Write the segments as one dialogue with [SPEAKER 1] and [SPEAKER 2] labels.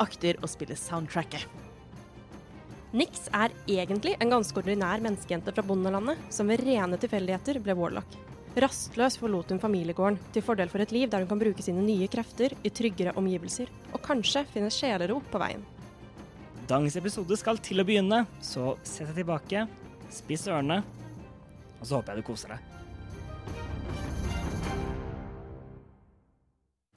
[SPEAKER 1] akter å spille soundtracket.
[SPEAKER 2] Nix er egentlig en ganske ordinær menneskejente fra bondelandet, som ved rene tilfeldigheter ble warlock. Rastløs forlot hun familiegården, til fordel for et liv der hun kan bruke sine nye krefter i tryggere omgivelser, og kanskje finne sjelero på veien.
[SPEAKER 3] Dagens episode skal til å begynne, så sett deg tilbake, spiss ørene, og så håper jeg du koser deg.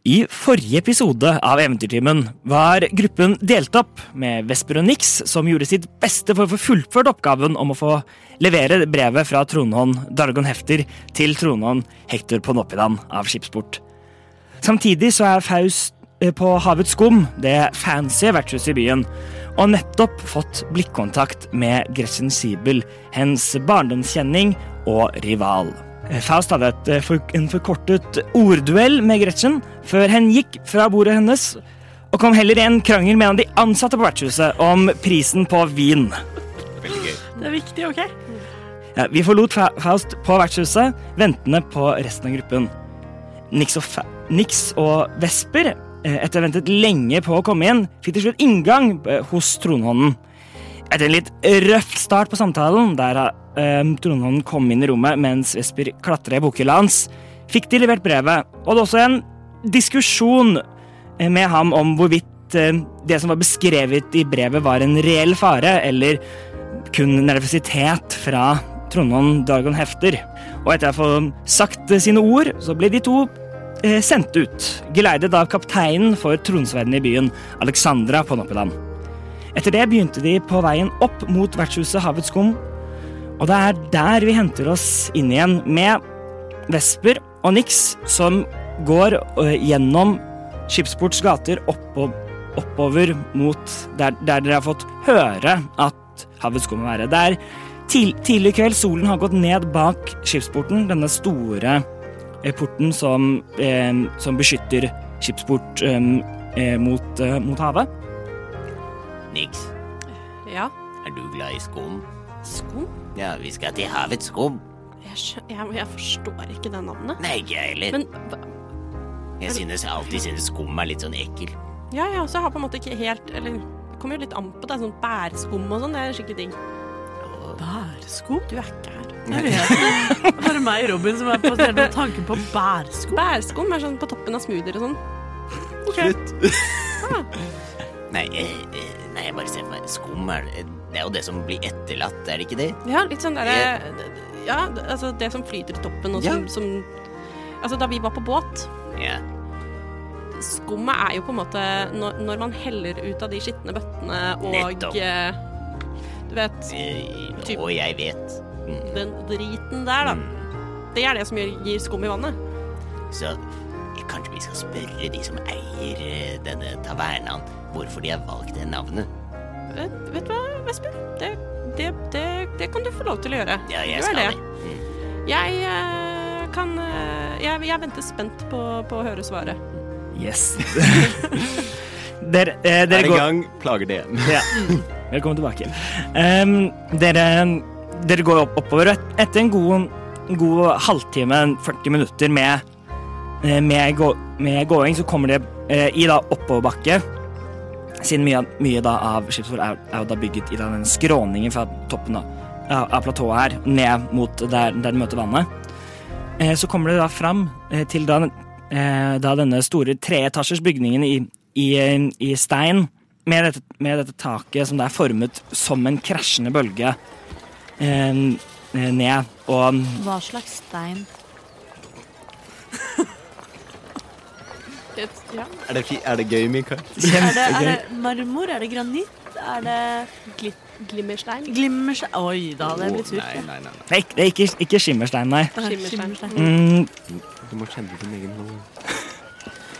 [SPEAKER 3] I forrige episode av Eventyrtimen var gruppen delt opp med Vesper og Nix, som gjorde sitt beste for å få fullført oppgaven om å få levere brevet fra tronhånd Dargon Hefter til tronhånd Hector Ponoppidan av Skipsport. Samtidig så er Faust eh, på Havets skum, det fancy vertshuset i byen, og nettopp fått blikkontakt med Gretchen Siebel, hennes barndomskjenning og rival. Eh, Faust hadde et, eh, for, en forkortet ordduell med Gretchen før hen gikk fra bordet hennes, og kom heller i en krangel med en av de ansatte på vertshuset om prisen på vin.
[SPEAKER 4] Veldig gøy.
[SPEAKER 5] Det er viktig, OK?
[SPEAKER 3] Ja, vi forlot Fa Faust på vertshuset, ventende på resten av gruppen. Nix og, Fa Nix og Vesper, eh, etter å ha ventet lenge på å komme inn, fikk til slutt inngang eh, hos tronhånden. Etter en litt røff start på samtalen, der eh, tronhånden kom inn i rommet mens Vesper klatra i bokhylla hans, fikk de levert brevet, og det var også en diskusjon eh, med ham om hvorvidt eh, det som var beskrevet i brevet, var en reell fare, eller kun nervøsitet fra Trondheim Dagon Hefter. Og etter å få sagt sine ord, så ble de to eh, sendt ut, geleidet av kapteinen for tronsverden i byen, Alexandra Ponoppidan. Etter det begynte de på veien opp mot vertshuset Havets skum, og det er der vi henter oss inn igjen med Vesper og Nix, som går eh, gjennom Skipsports gater oppå, oppover mot der, der dere har fått høre at havet skulle være. Det er til, tidlig kveld, solen har gått ned bak skipsporten, denne store eh, porten som, eh, som beskytter skipsport eh, eh, mot, eh, mot havet.
[SPEAKER 6] Nix,
[SPEAKER 2] Ja,
[SPEAKER 6] er du glad i skum?
[SPEAKER 2] sko?
[SPEAKER 6] Ja, vi skal til havets skum.
[SPEAKER 2] Jeg, skjø- jeg, jeg forstår ikke det navnet.
[SPEAKER 6] Nei, ikke jeg heller.
[SPEAKER 2] Men hva-
[SPEAKER 6] Jeg synes jeg alltid synes skum er litt sånn ekkel.
[SPEAKER 2] ja, jeg også har på en måte ikke helt Eller det kommer jo litt an på. Det er sånn bæreskum og sånn. Det er skikkelig digg.
[SPEAKER 5] Bæresko?
[SPEAKER 2] Du er ikke her.
[SPEAKER 5] Jeg vet det. Det er bare meg og Robin som er på stedet med tanken på bæresko.
[SPEAKER 2] Bæreskum er sånn på toppen av smoothier og sånn.
[SPEAKER 6] Nei, eh, eh, nei, jeg bare ser for meg Skum er Det er jo det som blir etterlatt, er det ikke det?
[SPEAKER 2] Ja, litt sånn derre Ja, altså det som flyter i toppen, og som,
[SPEAKER 6] Ja.
[SPEAKER 2] som Altså, da vi var på båt
[SPEAKER 6] Ja.
[SPEAKER 2] Skummet er jo på en måte når, når man heller ut av de skitne bøttene og
[SPEAKER 6] Nettopp.
[SPEAKER 2] eh, Du vet,
[SPEAKER 6] Eh,
[SPEAKER 2] Typ.
[SPEAKER 6] Og jeg vet. Mm.
[SPEAKER 2] den driten der, da. Det er det som gir, gir skum i vannet.
[SPEAKER 6] Så eh, kanskje vi skal spørre de som eier eh, denne tavernaen, hvorfor de har valgt det navnet.
[SPEAKER 2] Vet, Eh, vet du hva, Vesper? Det, det, det, det kan du få lov til å gjøre.
[SPEAKER 6] Ja, jeg
[SPEAKER 2] Gjør
[SPEAKER 6] skal
[SPEAKER 2] det.
[SPEAKER 6] det. Mm.
[SPEAKER 2] Jeg eh, kan eh, jeg, jeg venter spent på, på å høre svaret.
[SPEAKER 3] Yes. dere eh, dere går
[SPEAKER 4] gang, plager det.
[SPEAKER 3] Ja. Velkommen tilbake. Ehm, dere, dere går opp, oppover. og et- Etter en god, en god halvtime, 40 minutter med, eh, med, gå, med gåing, så kommer dere eh, i da oppoverbakke. Siden mye, av- mye da av Skipsfjord er, er jo da bygget i da den skråningen fra toppen av, av, av platået her, ned mot der, der det møter vannet. Eh, så kommer dere da fram eh, til da, den- eh, da denne store treetasjers bygningen i, i, eh, i stein med dette, med dette taket som det er formet som en krasjende bølge eh, ned. Og
[SPEAKER 7] Hva slags stein?
[SPEAKER 2] Ja.
[SPEAKER 8] Er det, fi- er det gøy, Mikael?
[SPEAKER 7] Er det, er
[SPEAKER 3] kjempegøy.
[SPEAKER 7] det marmor? Er det granitt? Er det
[SPEAKER 2] Glit- Glimmerstein?
[SPEAKER 1] Glimmers... Oi, da hadde jeg blitt sur.
[SPEAKER 8] nei, nei, nei.
[SPEAKER 3] Det er ikke, det er ikke, ikke skimmerstein, nei.
[SPEAKER 2] Skimmerstein.
[SPEAKER 3] Mm,
[SPEAKER 8] Du må kjenne din egen hånd.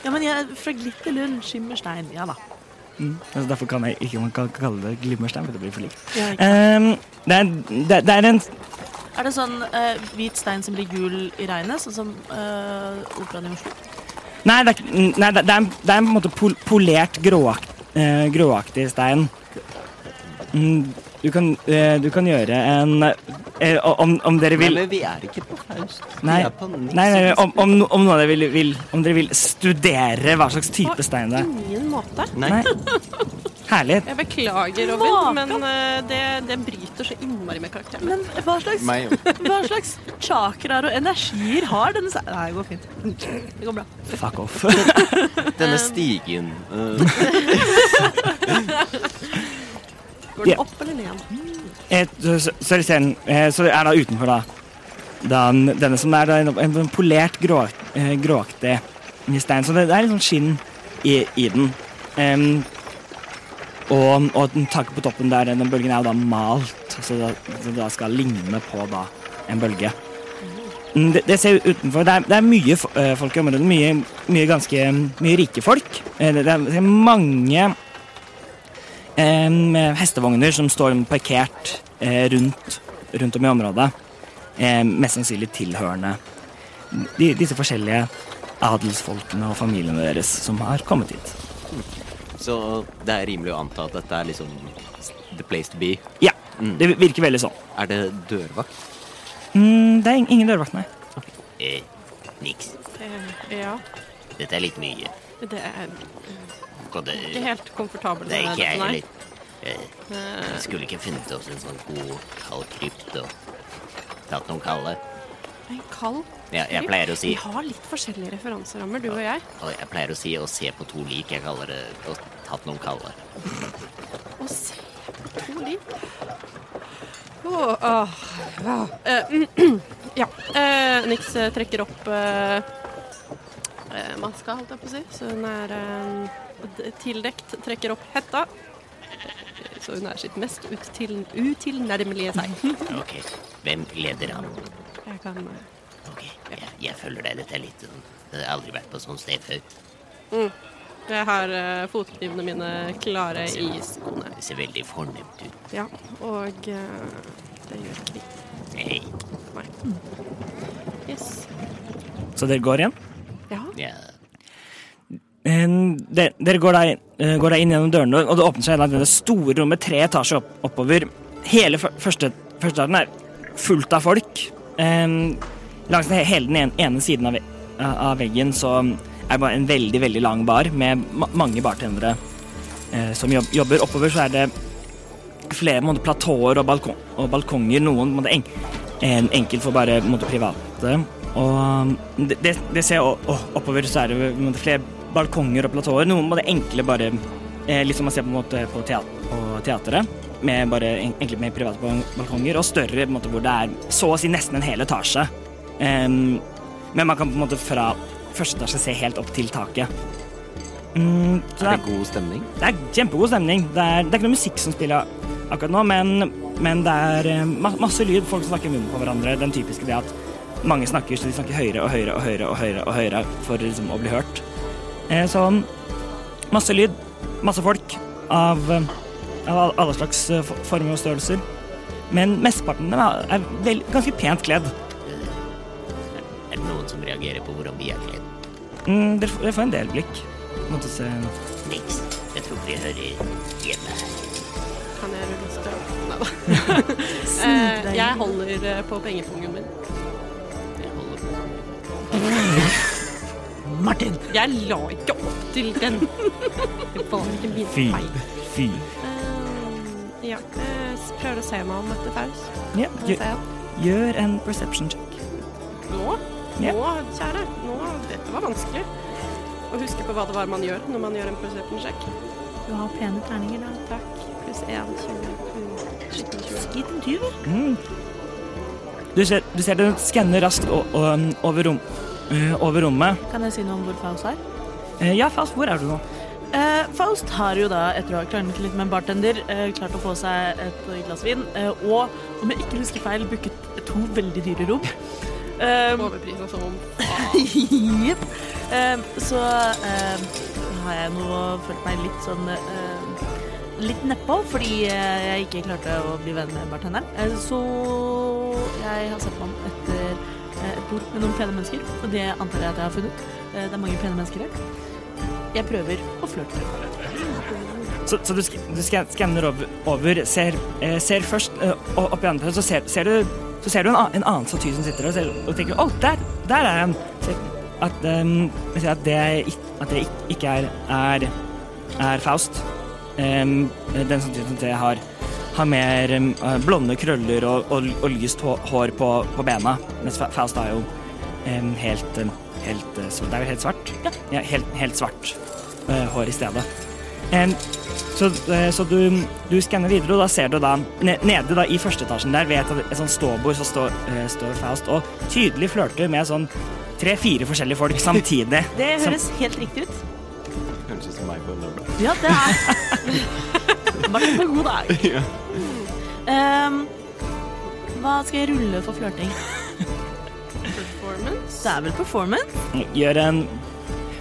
[SPEAKER 1] Ja, men jeg er fra Glitterlund. Skimmerstein. Ja da.
[SPEAKER 3] altså derfor kan jeg ikke man kan kalle det glimmerstein, for det blir for likt.
[SPEAKER 1] Ja, ikke-
[SPEAKER 3] Eh, det, er, det, det er en
[SPEAKER 1] Er det sånn eh, hvit stein som blir gul i regnet, sånn som uh, operaen i Oslo?
[SPEAKER 3] Nei, det er, ikke- nei, det det er, det er på en måte pol polert gråakt, eh, gråaktig stein. Mm, du, kan, eh, du kan gjøre en eh, om, om dere vil
[SPEAKER 8] Nei, men vi er ikke på Faust.
[SPEAKER 3] Nei.
[SPEAKER 8] Vi er på Nix.
[SPEAKER 3] Nei, nei, nei om, om, no- om, noen av dere vil, vil, om dere vil studere hva slags type stein det er.
[SPEAKER 2] Ingen måte.
[SPEAKER 8] Nei.
[SPEAKER 3] Nei. Herlig.
[SPEAKER 2] Jeg beklager, Robin, men eh, det, det bryter så innmari med karakteren.
[SPEAKER 1] Men hva slags,
[SPEAKER 8] Meg òg.
[SPEAKER 1] hva slags chakraer og energier har denne steinen? Nei, det går fint. Det går bra.
[SPEAKER 3] Fuck off.
[SPEAKER 8] Denne stigen øh,
[SPEAKER 2] Går den
[SPEAKER 3] Ja.
[SPEAKER 2] opp eller ned?
[SPEAKER 3] Eh, så, så, så, er det scenen, eh, så det er da utenfor, da. da den- denne som er da en, en, en polert grå, eh, gråaktig stein. Så det, det er litt sånn skinn i, i den. Em, og, og den taket på toppen der, den bølgen er jo da malt, så det, så det da skal ligne på da en bølge. Mm, Det, det ser jo utenfor Det er, det er mye fo- eh, folk i området. Mye, mye ganske mye rike folk. Eh, Det, det er- det er mange em, hestevogner som står parkert eh, rundt, rundt om i området. Eh, mest sannsynlig tilhørende de, disse forskjellige adelsfolkene og familiene deres som har kommet hit.
[SPEAKER 8] Så det er rimelig å anta at dette er liksom the place to be.
[SPEAKER 3] Ja,
[SPEAKER 8] Mm.
[SPEAKER 3] det virker veldig sånn.
[SPEAKER 8] Er det dørvakt?
[SPEAKER 3] Mm, det er ing- ingen dørvakt, nei.
[SPEAKER 6] Eh, niks.
[SPEAKER 2] Eh, Ja,
[SPEAKER 6] Dette er litt mye.
[SPEAKER 2] det er
[SPEAKER 6] Kan det,
[SPEAKER 2] ikke helt komfortabel.
[SPEAKER 6] det er
[SPEAKER 2] med
[SPEAKER 6] ikke jeg
[SPEAKER 2] dette, nei.
[SPEAKER 6] heller. Eh, vi skulle ikke funnet oss en sånn god kald krypt og tatt noen kalde.
[SPEAKER 2] En kald
[SPEAKER 6] Ja, jeg
[SPEAKER 2] kryp.
[SPEAKER 6] pleier å si
[SPEAKER 2] Vi har litt forskjellige referanserammer, du og jeg.
[SPEAKER 6] og Jeg pleier å si å se på to lik. Jeg kaller det å tatt noen kalde.
[SPEAKER 2] Og se på to lik. Åh, åh, åh. Eh, ja. eh, Nix eh, trekker opp eh, eh, maska, holdt jeg på å si. Så hun er eh, d- tildekt. Trekker opp hetta. Så hun er sitt mest util utilnærmelige seg.
[SPEAKER 6] Ok, hvem leder an?
[SPEAKER 2] Jeg kan eh,
[SPEAKER 6] Ok, jeg, jeg følger deg. Dette er litt sånn Jeg har aldri vært på sånn sted før.
[SPEAKER 2] Jeg har eh, fotknivene mine klare i skoene.
[SPEAKER 6] Det ser veldig fornemt ut.
[SPEAKER 2] Ja, og eh, det gjør ikke de.
[SPEAKER 6] Hei.
[SPEAKER 2] Nei. Yes.
[SPEAKER 3] Så dere går igjen?
[SPEAKER 2] Ja.
[SPEAKER 6] Ja,
[SPEAKER 3] En- Ehm, de- Dere går da, inn- eh, går da inn gjennom dørene, og det åpner seg da dette store rommet tre etasjer opp, oppover. Hele fyr- første, første etasjen er fullt av folk. Em, langs den, he- hele den ene, ene siden av, ve- av veggen så er det bare en veldig, veldig lang bar med ma mange bartendere eh, som jobb, jobber. Oppover så er det flere på en måte, platåer og, balkon og balkonger. Noen på en måte, en, en enkelt for bare på en måte, private. Og um, det, det, det ser jeg o- o- oppover, så er det på en måte, flere balkonger og platåer. Noen på en måte, enkle bare eh, Litt som man ser på, en måte, på, teat på teateret. Med bare en- enkle med private bal- balkonger, og større på en måte, hvor det er så å si nesten en hel etasje. Em, men man kan på en måte fra første etasje se helt opp til taket. Mm, så
[SPEAKER 8] Er det god stemning?
[SPEAKER 3] det er kjempegod stemning. Det er, det er ikke noe musikk som spiller akkurat nå, men, men det er eh, ma masse lyd. Folk som snakker i munnen på hverandre. Den typiske det at mange snakker, så de snakker høyere og høyere og høyere og høyere, og høyere for liksom å bli hørt. Eh, så masse lyd, masse folk av, eh, av al- alle slags eh, for- former og størrelser. Men mesteparten er, er vel, ganske pent kledd.
[SPEAKER 6] er det noen som reagerer på hvordan vi er kledd?
[SPEAKER 3] Mm, dere, får- dere får en del blikk. Måtte se.
[SPEAKER 6] Niks. Jeg tror vi hører hjemme her.
[SPEAKER 2] Kan jeg rulle støv? Nei da. Jeg holder eh, på pengepungen min.
[SPEAKER 6] Jeg holder på.
[SPEAKER 1] Martin!
[SPEAKER 2] Jeg la ikke opp til den. Det var ikke min
[SPEAKER 3] Fy.
[SPEAKER 2] feil.
[SPEAKER 3] Fy.
[SPEAKER 2] Eh, ja. eh, s- prøver å se meg om etter Faus.
[SPEAKER 3] Ja,
[SPEAKER 2] Hva
[SPEAKER 3] gjør,
[SPEAKER 2] ser jeg?
[SPEAKER 3] gjør en perception check.
[SPEAKER 2] Nå?
[SPEAKER 3] Ja.
[SPEAKER 2] Nå, kjære. Nå, dette var vanskelig. Å huske på hva det var man gjør når man gjør en perception check.
[SPEAKER 1] Du har pene terninger, da.
[SPEAKER 9] Takk. Pluss 1, 20, 20.
[SPEAKER 1] Gitt en tyver.
[SPEAKER 3] Mm. Du, ser, du ser den skanner raskt o, o, over, rom, eh, over rommet.
[SPEAKER 1] Kan jeg si noe om hvor Faust er?
[SPEAKER 3] Eh, ja, Faust, hvor er du nå?
[SPEAKER 1] Eh, Faust har jo da, etter å ha kranglet litt med en bartender, eh, klart å få seg et glass vin, eh, og om jeg ikke husker feil, booket to veldig dyre rom. Um,
[SPEAKER 9] Overprisa som om
[SPEAKER 1] Jepp. Ehm, så ehm, har jeg nå følt meg litt sånn ehm, Litt nedpå fordi eh, jeg ikke klarte å bli venn med bartenderen. Eh, så jeg har sett meg om etter eh, et bord med noen pene mennesker, og det antar jeg at jeg har funnet. Eh, det er mange pene mennesker her. Jeg prøver å flørte.
[SPEAKER 3] Så, så du, sk- du sk- skanner over, over ser, eh, ser først eh, o- opp i andre, så ser, ser du, så ser du en, annen, en annen staty som sitter der, og, ser, og tenker 'Å, der, der er han!' Ser At, ehm, jeg ser at det, ikk- at det ikk- ikke er, er, er Faust. Ehm, den statuen som det har, har mer ehm, eh, blonde krøller og, og, og lyst hå- hår på, på bena, mens Fa- Faust er jo ehm, helt, ehm, helt, eh, svart. Det er jo helt svart? Ja. helt, helt svart eh, hår i stedet. Ehm, så, eh, så du, du skanner videre, og da ser du da ne- Nede da i første etasjen der ved et, et sånt ståbord så står, eh, står Faust og tydelig flørter med sånn tre-fire forskjellige folk samtidig.
[SPEAKER 1] Det
[SPEAKER 3] Som-
[SPEAKER 1] høres helt riktig ut.
[SPEAKER 4] Høres ut som meg på en lørdag.
[SPEAKER 1] Ja, det er Martin på god dag. Ehm, hva skal jeg rulle for flørting?
[SPEAKER 9] performance.
[SPEAKER 1] Det er vel performance?
[SPEAKER 3] Gjør en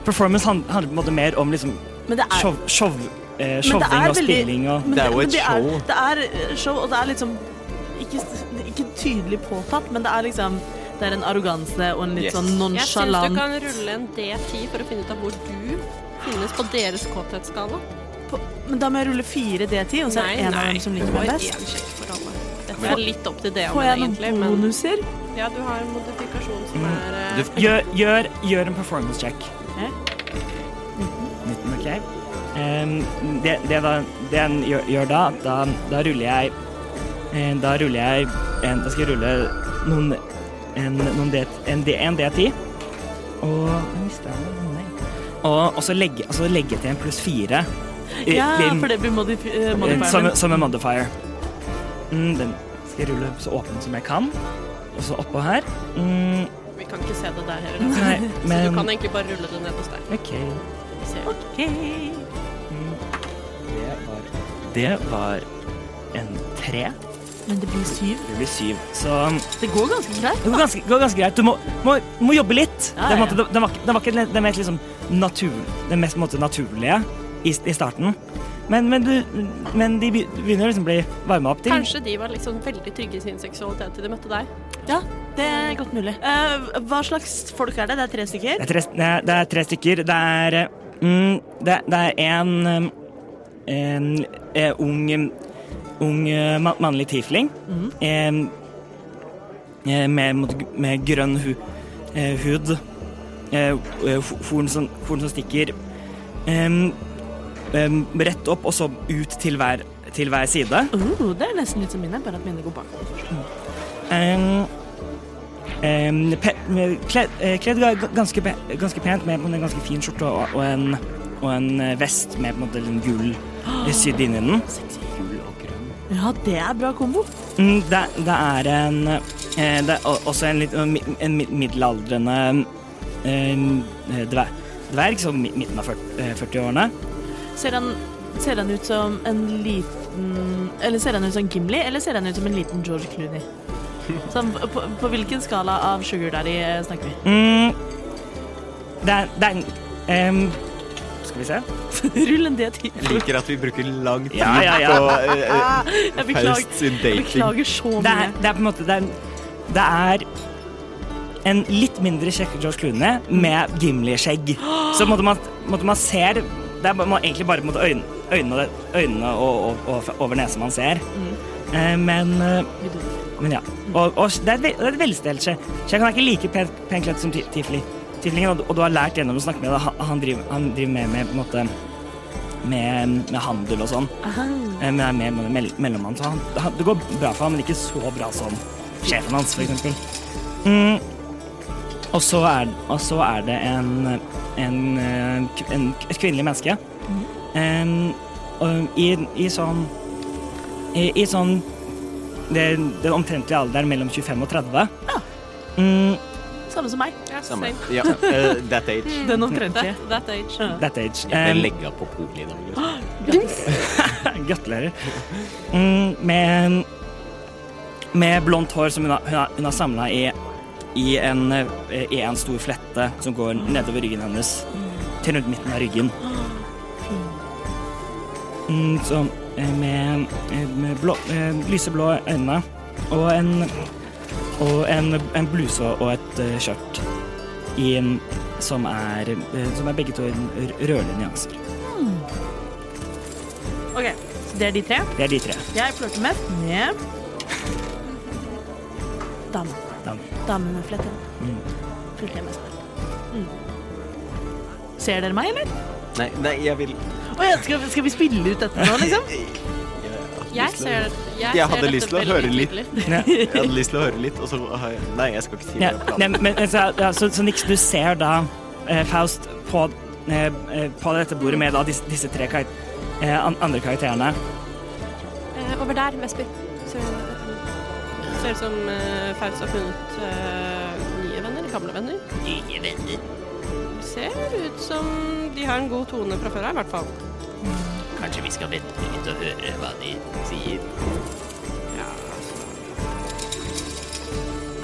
[SPEAKER 3] Performance hand- handler på en måte mer om liksom
[SPEAKER 1] Men det er
[SPEAKER 3] show, show, eh,
[SPEAKER 1] Men det
[SPEAKER 3] showing
[SPEAKER 1] er
[SPEAKER 3] og
[SPEAKER 1] veldig-
[SPEAKER 3] spilling og
[SPEAKER 1] men
[SPEAKER 4] Det er jo
[SPEAKER 1] men
[SPEAKER 4] et show.
[SPEAKER 1] Det er, det er eh, show, og det er liksom ikke, s- ikke tydelig påtatt, men det er liksom Det er en arroganse og en litt
[SPEAKER 4] Yes.
[SPEAKER 1] sånn
[SPEAKER 9] Jeg syns du
[SPEAKER 1] nonsjalant
[SPEAKER 9] kan rulle en D10 for å finne ut av hvor du finnes på deres kåthetsskala.
[SPEAKER 1] på- Men da må jeg rulle fire D10, og så er det Altså, en av dem som liker
[SPEAKER 9] Du får
[SPEAKER 1] meg best.
[SPEAKER 9] én sjekk for alle. Dette er litt opp til det om
[SPEAKER 1] Får jeg
[SPEAKER 9] egentlig,
[SPEAKER 1] noen
[SPEAKER 9] men
[SPEAKER 1] bonuser?
[SPEAKER 9] ja, du har en modifikasjon som er eh,
[SPEAKER 4] Mm. Du
[SPEAKER 3] Gjør, gjør, gjør en performance check.
[SPEAKER 1] Ok.
[SPEAKER 3] 19, ok. Ehm, det, det, da, det en gjør, gjør da, da, da ruller jeg eh, Da ruller jeg en, Da skal jeg rulle noen en, noen D, en, D, en D10. Og Jeg mistet den, den. var der. Og og så legge, og så legge til en pluss fire. i-
[SPEAKER 1] Ja,
[SPEAKER 3] din-
[SPEAKER 1] for det blir modifi eh,
[SPEAKER 3] Eh, Som,
[SPEAKER 1] modifieren.
[SPEAKER 3] som Eh, en modifier. Mm, den skal jeg rulle så åpen som jeg kan. Og så oppå her. Mm,
[SPEAKER 9] Vi kan ikke se det der heller. da.
[SPEAKER 3] nei,
[SPEAKER 9] Så du kan
[SPEAKER 3] men
[SPEAKER 9] egentlig bare rulle det ned hos deg.
[SPEAKER 3] OK.
[SPEAKER 9] Vi ser.
[SPEAKER 1] Ok.
[SPEAKER 3] Det var en tre.
[SPEAKER 1] Men det blir syv.
[SPEAKER 3] Det blir syv. Så um,
[SPEAKER 1] Det går ganske greit.
[SPEAKER 3] det går ganske, går ganske greit. Du må, må, må jobbe litt.
[SPEAKER 1] Ja,
[SPEAKER 3] Det,
[SPEAKER 1] ja,
[SPEAKER 3] måtte, det, det var, ikke- det var ikke det- det mest, liksom, natur, det mest på en måte, naturlige i, i starten. Men, men, du, men de begynner å liksom bli varma opp til.
[SPEAKER 9] Kanskje de var liksom veldig trygge i sin seksualitet til de møtte deg.
[SPEAKER 1] Ja, det er godt mulig. Eh, hva slags folk er det? Det er tre stykker.
[SPEAKER 3] Det er tre, nei, det er tre stykker. Det er eh, mm, Det, det er en, em, en, eh, ung em, Ung eh, ma- mannlig tiefling. em, eh, med, mot- med grønn hu, eh, hud. eh, eh, ho- horn, som, horn som stikker em, em, rett opp og så ut til hver, til hver side.
[SPEAKER 1] Uh, det er nesten litt som mine, bare at mine går bak.
[SPEAKER 3] Um, um, pe med- kledd, eh, kledd ga- ganske, pe ganske pent med på en ganske fin skjorte og, og, en, og en eh, vest med på en måte en gull eh, sydd inn i den.
[SPEAKER 4] Gul og grønn.
[SPEAKER 1] Ja, det er bra kombo.
[SPEAKER 3] Mm, det, det er en eh, Det er o- også en, litt, en mi- en mi- middelaldrende eh, dver dverg, sånn mi- midten av 40 eh, 40-årene.
[SPEAKER 1] Ser han, ser han ut som en liten Eller ser han ut som Gimli, eller ser han ut som en liten George Clooney? Sånn, på, på hvilken skala av Sugar Daddy eh, snakker
[SPEAKER 3] Mm, det er, det er en em, Skal vi se.
[SPEAKER 1] vi? Rull en D10.
[SPEAKER 4] Jeg liker at vi bruker lang tid
[SPEAKER 3] Ja, ja, ja.
[SPEAKER 4] på eh, eh,
[SPEAKER 1] Jeg
[SPEAKER 4] Faust
[SPEAKER 1] beklager,
[SPEAKER 4] sin
[SPEAKER 1] jeg
[SPEAKER 4] dating.
[SPEAKER 1] beklager så
[SPEAKER 3] Det
[SPEAKER 1] mye.
[SPEAKER 3] er, det er på en måte det er, det er en litt mindre kjekk George Clooney med Gimli-skjegg. Så måtte man, måtte man ser Det er bare- man egentlig bare måtte øyn- øynene, øynene og, og, og over nesa man ser. Eh, men, eh, men ja. Og, og det er et, ve- det er et velstelt skje. Skjegg han er ikke like pen, pen kledd som Ti- Tifli. Tiflingen, og, du- og du har lært gjennom å snakke med deg. Han, han driver, han driver med, med, på en måte, med, med handel og sånn. Eh, Men det er mer med mell mellommann. Så han, han, det går bra for ham, men ikke så bra som sjefen hans, for eksempel. Mm. Og, så er, og så er det en, en, Mm. eh, kv- en, et kvinnelig menneske. En, og i, i sånn i, i sånn det, den omtrentlige alderen mellom 25 og 30. Mm,
[SPEAKER 1] Samme som meg.
[SPEAKER 4] Samme. Ja, eh, that age.
[SPEAKER 1] Den omtrentlige.
[SPEAKER 2] That, that age.
[SPEAKER 3] that age.
[SPEAKER 4] Jeg
[SPEAKER 3] Um,
[SPEAKER 4] ble legga på polet i dag. liksom.
[SPEAKER 3] Gratulerer. Mm, med, med blondt hår som hun har, hun har, hun har samla i, i, en, eh, i en stor flette som går nedover ryggen hennes til rundt midten av ryggen. Mm, så, eh, med eh, med blå, eh, lyseblå øyne og en og en, en bluse og et eh, skjørt i, en- som, er, eh, som er begge to r- rødlige nyanser.
[SPEAKER 1] Ok, så Det er de tre.
[SPEAKER 3] Det er de tre.
[SPEAKER 1] Jeg flørter mest med Dame.
[SPEAKER 3] Dame.
[SPEAKER 1] Dame med fletter.
[SPEAKER 3] Mm.
[SPEAKER 1] Flørter jeg mest med. Mm. Ser dere meg, eller?
[SPEAKER 4] Nei, nei, jeg vil
[SPEAKER 1] Å ja, skal, skal vi spille ut dette nå, liksom?
[SPEAKER 2] Jeg ser det. Jeg,
[SPEAKER 4] Jeg
[SPEAKER 2] ser
[SPEAKER 4] hadde
[SPEAKER 2] dette
[SPEAKER 4] lyst til å
[SPEAKER 2] veldig
[SPEAKER 4] høre litt.
[SPEAKER 2] tydelig.
[SPEAKER 3] Ja.
[SPEAKER 4] Jeg hadde lyst til å høre litt, og så har jeg Nei, jeg skal ikke si
[SPEAKER 3] Ja,
[SPEAKER 4] det.
[SPEAKER 3] nei, men, altså, ja, så, så Nix, du ser da eh, Faust på, eh, eh, på dette bordet med da, disse, disse tre kar eh, an andre karakterene.
[SPEAKER 2] Eh, over der, Vesper. Ser du- Ser ut som eh, Faust har funnet eh, nye venner, gamle venner.
[SPEAKER 6] Nye venner.
[SPEAKER 2] Ser ut som de har en god tone fra før her, i hvert fall.
[SPEAKER 6] Kanskje vi skal vente litt og høre hva de sier. altså.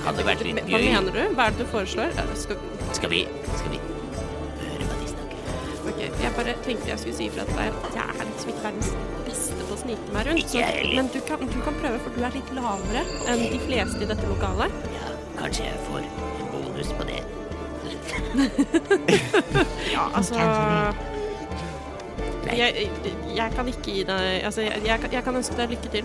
[SPEAKER 6] Hadde vært litt
[SPEAKER 2] Hva
[SPEAKER 6] gøy.
[SPEAKER 2] mener du? Hva er det du foreslår? Eh, Skal,
[SPEAKER 6] Skal vi Skal vi høre hva de snakker om?
[SPEAKER 2] ok, jeg bare tenkte jeg skulle si fra til deg at jeg er liksom ikke verdens beste på å snike meg rundt.
[SPEAKER 6] Ikke jeg heller.
[SPEAKER 2] men du kan, du kan prøve, for du er litt lavere enn de fleste i dette lokalet.
[SPEAKER 6] Ja, kanskje jeg får en bonus på det.
[SPEAKER 2] Ja, altså jeg, jeg kan ikke gi deg Altså, jeg, jeg, kan- jeg kan ønske deg lykke til.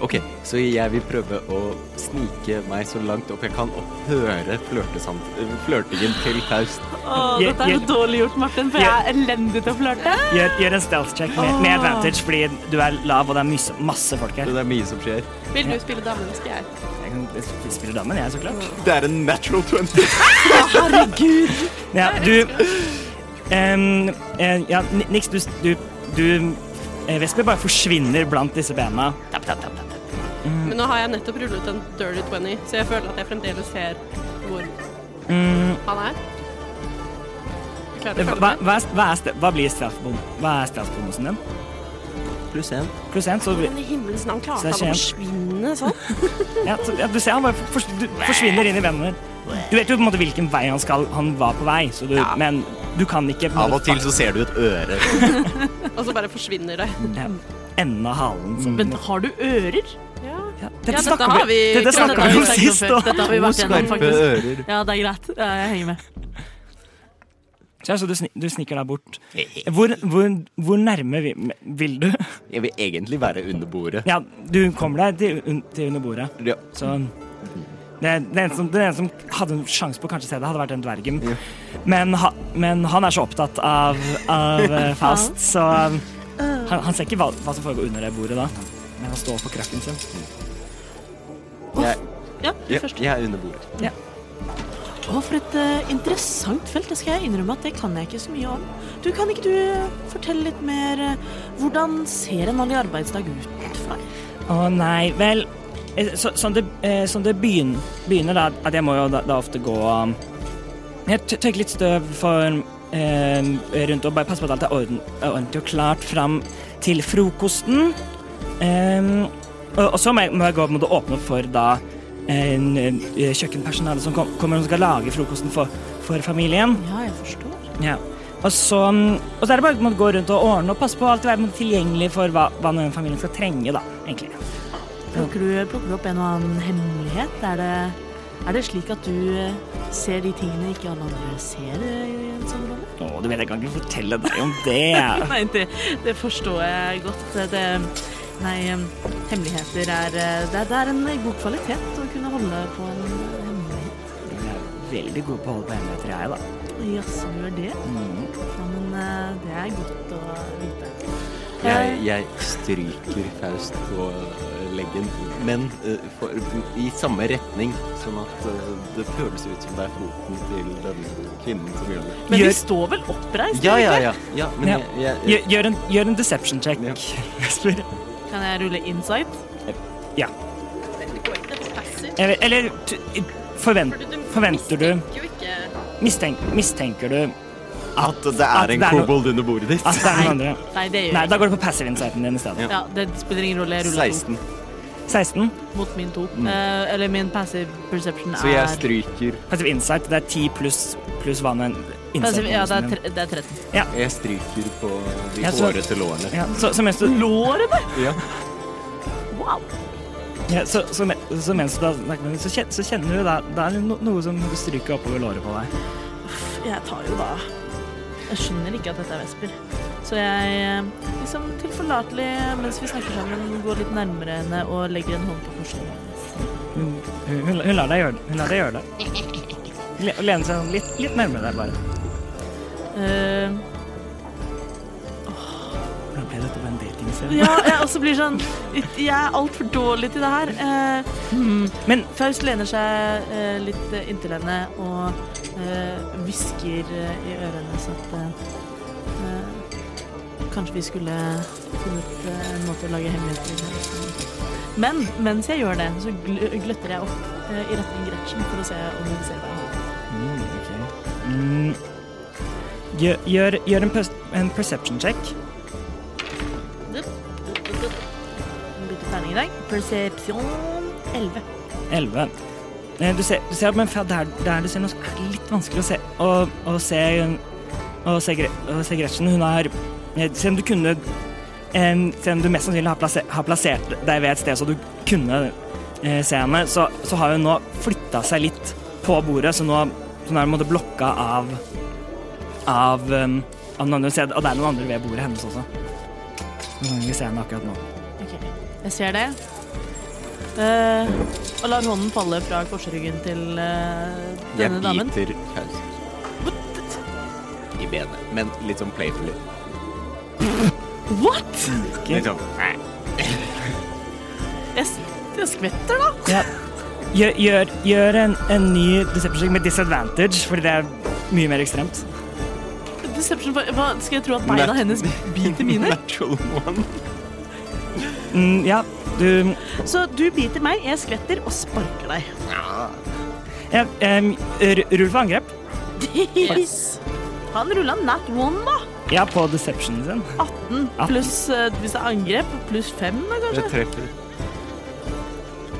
[SPEAKER 4] Ok, så jeg vil prøve å snike meg så langt opp jeg kan og høre flørtesam- flørtingen til Faust.
[SPEAKER 1] Å,
[SPEAKER 3] Jeg-
[SPEAKER 1] dette er jo
[SPEAKER 3] jeg-
[SPEAKER 1] dårlig gjort, Martin, for jeg er elendig til å flørte.
[SPEAKER 3] Gjør, gjør en stealth check med, med advantage fordi du er lav og det er mys- masse folk her.
[SPEAKER 4] Det er mye som skjer.
[SPEAKER 2] Vil du spille damen, skal jeg.
[SPEAKER 3] Jeg kan sp- spille damen, jeg, så klart.
[SPEAKER 4] Det er en natural 20.
[SPEAKER 3] Ja, du em, eh, Ja, Ni- Nix, du, du, du eh, Vesper bare forsvinner blant disse bena.
[SPEAKER 6] Tap, tap, tap, tap, tap.
[SPEAKER 2] Men nå har jeg nettopp rullet en dirty 20, så jeg føler at jeg fremdeles ser hvor han er. Klarer du å
[SPEAKER 3] Eh, Hva,
[SPEAKER 2] følge med?
[SPEAKER 3] hva, Mm. er- hva, er, ste- hva blir straffbom- Hva er straffbonusen din?
[SPEAKER 4] Pluss én.
[SPEAKER 3] Pluss én, så blir
[SPEAKER 2] Men i himmelens navn
[SPEAKER 3] Så
[SPEAKER 2] klarte
[SPEAKER 3] jeg
[SPEAKER 2] han å
[SPEAKER 3] ser-
[SPEAKER 2] forsvinne sånn?
[SPEAKER 3] Ja, så, ja, du ser han bare for, for, du, forsvinner inn i vennene. Du vet jo på en måte hvilken vei han skal. Han var på vei, så du, men du kan ikke på en
[SPEAKER 4] Av og
[SPEAKER 3] måte
[SPEAKER 4] til så ser du et øre.
[SPEAKER 2] Og så bare forsvinner det.
[SPEAKER 3] fatte enden av halen. Som,
[SPEAKER 1] Men har du ører?
[SPEAKER 2] Ja.
[SPEAKER 3] ja,
[SPEAKER 2] dette
[SPEAKER 3] dette snakka
[SPEAKER 2] har
[SPEAKER 3] vi,
[SPEAKER 2] vi
[SPEAKER 3] dette
[SPEAKER 2] kranglet
[SPEAKER 3] snakket
[SPEAKER 2] om
[SPEAKER 3] vi om
[SPEAKER 1] sagt
[SPEAKER 3] sist.
[SPEAKER 1] før.
[SPEAKER 3] Og.
[SPEAKER 1] Dette har vi vært gjennom,
[SPEAKER 4] Skarpe
[SPEAKER 1] faktisk.
[SPEAKER 4] ører.
[SPEAKER 1] Ja, det er greit. Ja, Jeg henger med.
[SPEAKER 3] Ja, så du, sni, du sniker deg bort. Hvor, hvor, hvor nærme vi- vil du?
[SPEAKER 4] Jeg vil egentlig være under bordet.
[SPEAKER 3] Ja, du kommer deg til, un- til under bordet,
[SPEAKER 4] Ja.
[SPEAKER 3] så det, det eneste som, den eneste som hadde en sjanse på å kanskje se det, hadde vært den dvergen. Men, ha, men han er så opptatt av, av eh, Fast, så han, han ser ikke hva, hva som foregår under det bordet da. Men han står på krakken sin.
[SPEAKER 4] Jeg,
[SPEAKER 1] Ja, du
[SPEAKER 4] ja,
[SPEAKER 1] først.
[SPEAKER 4] jeg er under bordet.
[SPEAKER 1] Å, for et eh, interessant felt. Det skal jeg innrømme at det kan jeg ikke så mye om. Du, Kan ikke du eh, fortelle litt mer eh, Hvordan ser en vanlig arbeidsdag ut for deg?
[SPEAKER 3] Å nei, vel eh, så, Sånn det, eh, sånn det begyn, begynner, da, at jeg må jo da, da ofte gå um, Jeg tør- tørker litt støv for, eh, rundt og bare passe på at alt er orden, er ordentlig og klart fram til frokosten. Em, og, og så må jeg, må jeg gå og åpne opp for da en, eh, kjøkkenpersonale som kom, kommer og skal lage frokosten for, for familien.
[SPEAKER 1] Ja, jeg forstår.
[SPEAKER 3] Ja. Og så, um, og så er det bare å gå rundt og ordne og passe på å alltid være tilgjengelig for hva, hva den familien skal trenge, da, egentlig.
[SPEAKER 1] Plukker du, eh, plukker du opp en og annen hemmelighet? Er det, er det slik at du eh, ser de tingene ikke alle andre ser eh, i en sånn rolle?
[SPEAKER 3] Å, du vet jeg kan ikke fortelle deg om det.
[SPEAKER 1] Nei, det, det forstår jeg godt. Det, det, nei, em, hemmeligheter er eh, det, det er en god kvalitet å kunne holde på en hemmelighet.
[SPEAKER 3] Jeg er veldig god på å holde på hemmeligheter, jeg, da. Mm.
[SPEAKER 1] Jaså, gjør det? Ja, men eh, det er godt å vite.
[SPEAKER 10] Jeg, jeg stryker Faust på eh, leggen, men eh, for, i samme retning, sånn at eh, det føles ut som det er foten til denne kvinnen som gjør det.
[SPEAKER 1] Men
[SPEAKER 3] Gjør-
[SPEAKER 1] vi står vel oppreist?
[SPEAKER 10] Ja, ja, ja. ja men
[SPEAKER 3] Ja.
[SPEAKER 10] jeg, jeg,
[SPEAKER 3] Gjør, gjør, en, gjør en deception check,
[SPEAKER 10] Ja.
[SPEAKER 3] Jesper.
[SPEAKER 1] Kan jeg rulle insight?
[SPEAKER 3] Eller, eller t- forvent,
[SPEAKER 2] Fordi du
[SPEAKER 3] Eh, forventer du
[SPEAKER 2] mistenker jo ikke
[SPEAKER 3] mistenk, Mistenker du
[SPEAKER 10] At det
[SPEAKER 3] at
[SPEAKER 10] er
[SPEAKER 3] det
[SPEAKER 10] en
[SPEAKER 3] er noe-
[SPEAKER 10] kobold under bordet ditt?
[SPEAKER 3] at det er noen andre?
[SPEAKER 1] Nei, det
[SPEAKER 3] Nei,
[SPEAKER 1] gjør jeg ikke.
[SPEAKER 3] da går du på passive insighten din i stedet.
[SPEAKER 10] Ja.
[SPEAKER 1] Ja, det spiller ingen rolle. Jeg ruller 16.
[SPEAKER 10] 16.
[SPEAKER 3] 16.
[SPEAKER 1] to mot min to. Eh, eller min passive perception er
[SPEAKER 10] Mm. Så jeg stryker,
[SPEAKER 3] Passive insight, det er 10 pluss pluss hva nå enn insight
[SPEAKER 1] passive, Ja, det er,
[SPEAKER 3] bonusen din.
[SPEAKER 1] tre, det er 13.
[SPEAKER 10] jeg stryker på de
[SPEAKER 3] Ja, så-
[SPEAKER 10] hårete lårene.
[SPEAKER 3] Ja, så, så mens du
[SPEAKER 1] Lårene!
[SPEAKER 10] Ja.
[SPEAKER 1] Wow!
[SPEAKER 3] Ja, så, så, men- så mens du da snakker med henne, så, kjen- så kjenner du da Det er no, noe som stryker oppover låret på deg.
[SPEAKER 1] Jeg tar jo da Jeg skjønner ikke at dette er vesper. Så jeg eh, liksom tilforlatelig mens vi snakker sammen, går litt nærmere henne og legger en hånd på korsryggen hennes.
[SPEAKER 3] Hun, Eh, hun, hun lar deg gjøre det. Hun lar deg gjøre det. Le, lener seg sånn litt, litt nærmere deg, bare.
[SPEAKER 1] Eh,
[SPEAKER 3] Hvordan ble dette på en datingscene?
[SPEAKER 1] ja, jeg også blir sånn Jeg er altfor dårlig til det her. Eh, hmm.
[SPEAKER 3] Men
[SPEAKER 1] Faust lener seg eh, litt eh, inntil henne og eh, hvisker eh, i øret hennes at eh, eh, kanskje vi skulle funnet eh, en måte å lage hemmeligheter på. Men mens jeg gjør det, så gl gløtter jeg opp eh, i retning Gretchen for å se om hun ser meg.
[SPEAKER 3] Mm, ok. Mm. Gjør, gjør, gjør en, pers en perception check.
[SPEAKER 1] Hun bytter terning i dag. Perception 11.
[SPEAKER 3] 11. Eh, Du ser, du ser men fra der, der du ser nå, så er det litt vanskelig å se Å, å se, å se, Gre å se Gretchen. Hun har eh, Se om du kunne eh, Se om du mest sannsynlig har, plasse- har plassert deg ved et sted så du kunne eh, se henne, så, så har hun nå flytta seg litt på bordet, så nå, så nå er hun på en måte blokka av Av, eh, av noen andre steder. Og det er noen andre ved bordet hennes også. Nå kan vi se henne akkurat nå.
[SPEAKER 1] Ok, jeg ser det. Eh, og lar hånden falle fra korsryggen til eh,
[SPEAKER 10] Jeg
[SPEAKER 1] denne damen.
[SPEAKER 10] biter Faust i benet, men litt sånn playfully.
[SPEAKER 1] What?!
[SPEAKER 3] Ok.
[SPEAKER 10] Litt sånn,
[SPEAKER 1] Jeg, s- jeg skvetter, da!
[SPEAKER 3] Ja. Gjør, gjør, gjør en, en ny deception check med disadvantage, fordi det er mye mer ekstremt.
[SPEAKER 1] Deception, hva, hva- skal jeg tro at beina
[SPEAKER 10] Nei.
[SPEAKER 1] hennes biter mine?
[SPEAKER 10] Natural one.
[SPEAKER 3] Mm, ja, du
[SPEAKER 1] Så du biter meg, jeg skvetter og sparker deg.
[SPEAKER 3] ja, em, ru- Rull for angrep.
[SPEAKER 1] Yes. Han rulla nat one, da.
[SPEAKER 3] Ja, på deceptionen sin.
[SPEAKER 1] 18 pluss eh, hvis det er angrep, pluss 5, da, kanskje.
[SPEAKER 10] Jeg treffer.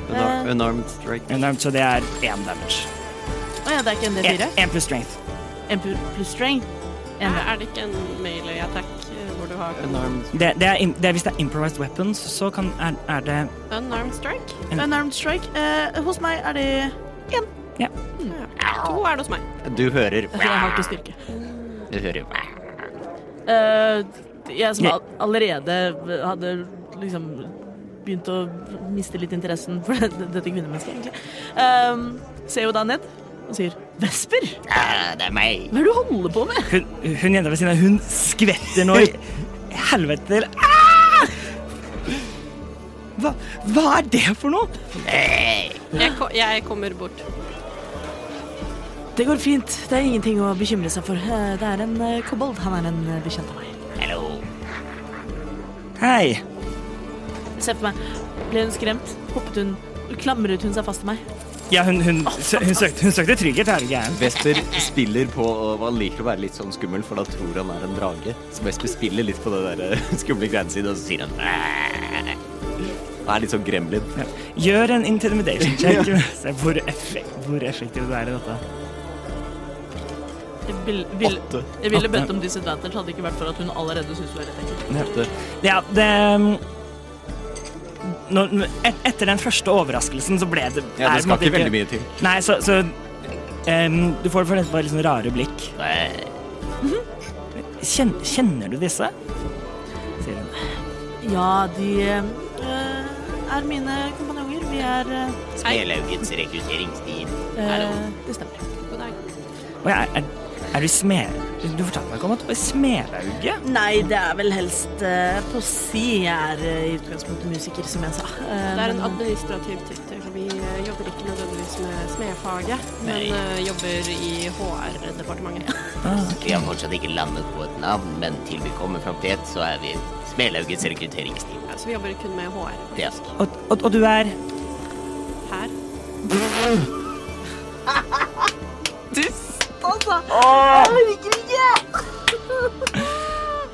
[SPEAKER 1] Eh.
[SPEAKER 10] Unar- Unarmed strike.
[SPEAKER 3] Enormt, um, Så det er én damage.
[SPEAKER 1] Å ja, det er ikke en D4.
[SPEAKER 10] Eh,
[SPEAKER 3] Én pluss strength.
[SPEAKER 1] En pu- pluss strength. En
[SPEAKER 2] Er det ikke en melee attack eh, hvor du har
[SPEAKER 10] Unarmed
[SPEAKER 3] Det, det er, im- det er, hvis det er improvised weapons, så kan, er, er det
[SPEAKER 2] unarmed strike?
[SPEAKER 3] En-
[SPEAKER 1] Unarmed strike. Eh, hos meg er det
[SPEAKER 2] To er det hos meg.
[SPEAKER 10] Du hører.
[SPEAKER 1] Jeg har ikke styrke.
[SPEAKER 10] Du hører.
[SPEAKER 1] Eh, jeg som
[SPEAKER 3] Ja.
[SPEAKER 1] al- allerede hadde liksom begynt å miste litt interessen for det- dette kvinnemennesket, egentlig. Um, ser jo da ned og sier 'Vesper,
[SPEAKER 6] Ah, det er meg.
[SPEAKER 1] hva er det du holder på med?'
[SPEAKER 3] Hun, hun jenta ved siden av, hun skvetter nå i helvete til ah! hva, hva er det for noe?
[SPEAKER 2] Jeg, ko jeg kommer bort.
[SPEAKER 1] Det går fint. Det er ingenting å bekymre seg for. Eh, Det er en eh, kobold. Han er en eh, bekjent av meg.
[SPEAKER 6] Hallo.
[SPEAKER 3] Hei.
[SPEAKER 1] Se på meg. Ble hun skremt? Hoppet hun? Klamret hun seg fast til meg?
[SPEAKER 3] Ja, hun, hun, sø- hun, søkte, hun søkte trygghet, er du gæren?
[SPEAKER 10] Vesper spiller på og Han liker å være litt sånn skummel, for da tror han er en drage. Så Vesper spiller litt på det der eh, skumle greiene sine, og så sier han "Æ". Han er litt sånn gremlin.
[SPEAKER 3] Gjør en intimidation check. Se hvor, effek hvor effektiv du er i dette.
[SPEAKER 1] Jeg, vil, vil,
[SPEAKER 10] Åtte.
[SPEAKER 1] jeg ville
[SPEAKER 3] Åtte.
[SPEAKER 1] bedt om disadvantage hadde det ikke vært for at hun allerede syntes du var litt ekkel.
[SPEAKER 10] Åtte.
[SPEAKER 3] Ja, det um, når, et, Etter den første overraskelsen så ble det er
[SPEAKER 10] Ja, det
[SPEAKER 3] på en
[SPEAKER 10] skal
[SPEAKER 3] måte
[SPEAKER 10] ikke veldig mye til.
[SPEAKER 3] Nei, så, så em, Du får for bare litt sånn rare blikk. Kjen, kjenner du disse? Sier hun.
[SPEAKER 1] Ja, de eh, er mine kompanjonger. Vi er eh,
[SPEAKER 6] Smelaugens rekrutteringsteam.
[SPEAKER 1] eh, Det stemmer.
[SPEAKER 2] God dag.
[SPEAKER 3] Å ja, er, er du smed... Du fortalte meg ikke om at det var i Smelauget?
[SPEAKER 1] Nei, det er vel helst eh, på si jeg er eh, i utgangspunktet musiker, som jeg sa. Eh,
[SPEAKER 2] Det er en
[SPEAKER 1] men-
[SPEAKER 2] administrativ tittel. Vi eh, jobber ikke nødvendigvis med smedfaget, men eh, jobber i HR-departementet.
[SPEAKER 6] Vi har fortsatt ikke landet på et navn, men til vi kommer fram til et, så er vi Smelaugets rekrutteringsteam. altså-
[SPEAKER 2] Ja, så vi jobber kun med HR.
[SPEAKER 6] Ja.
[SPEAKER 2] faktisk.
[SPEAKER 3] Og, og, og du er
[SPEAKER 2] Her.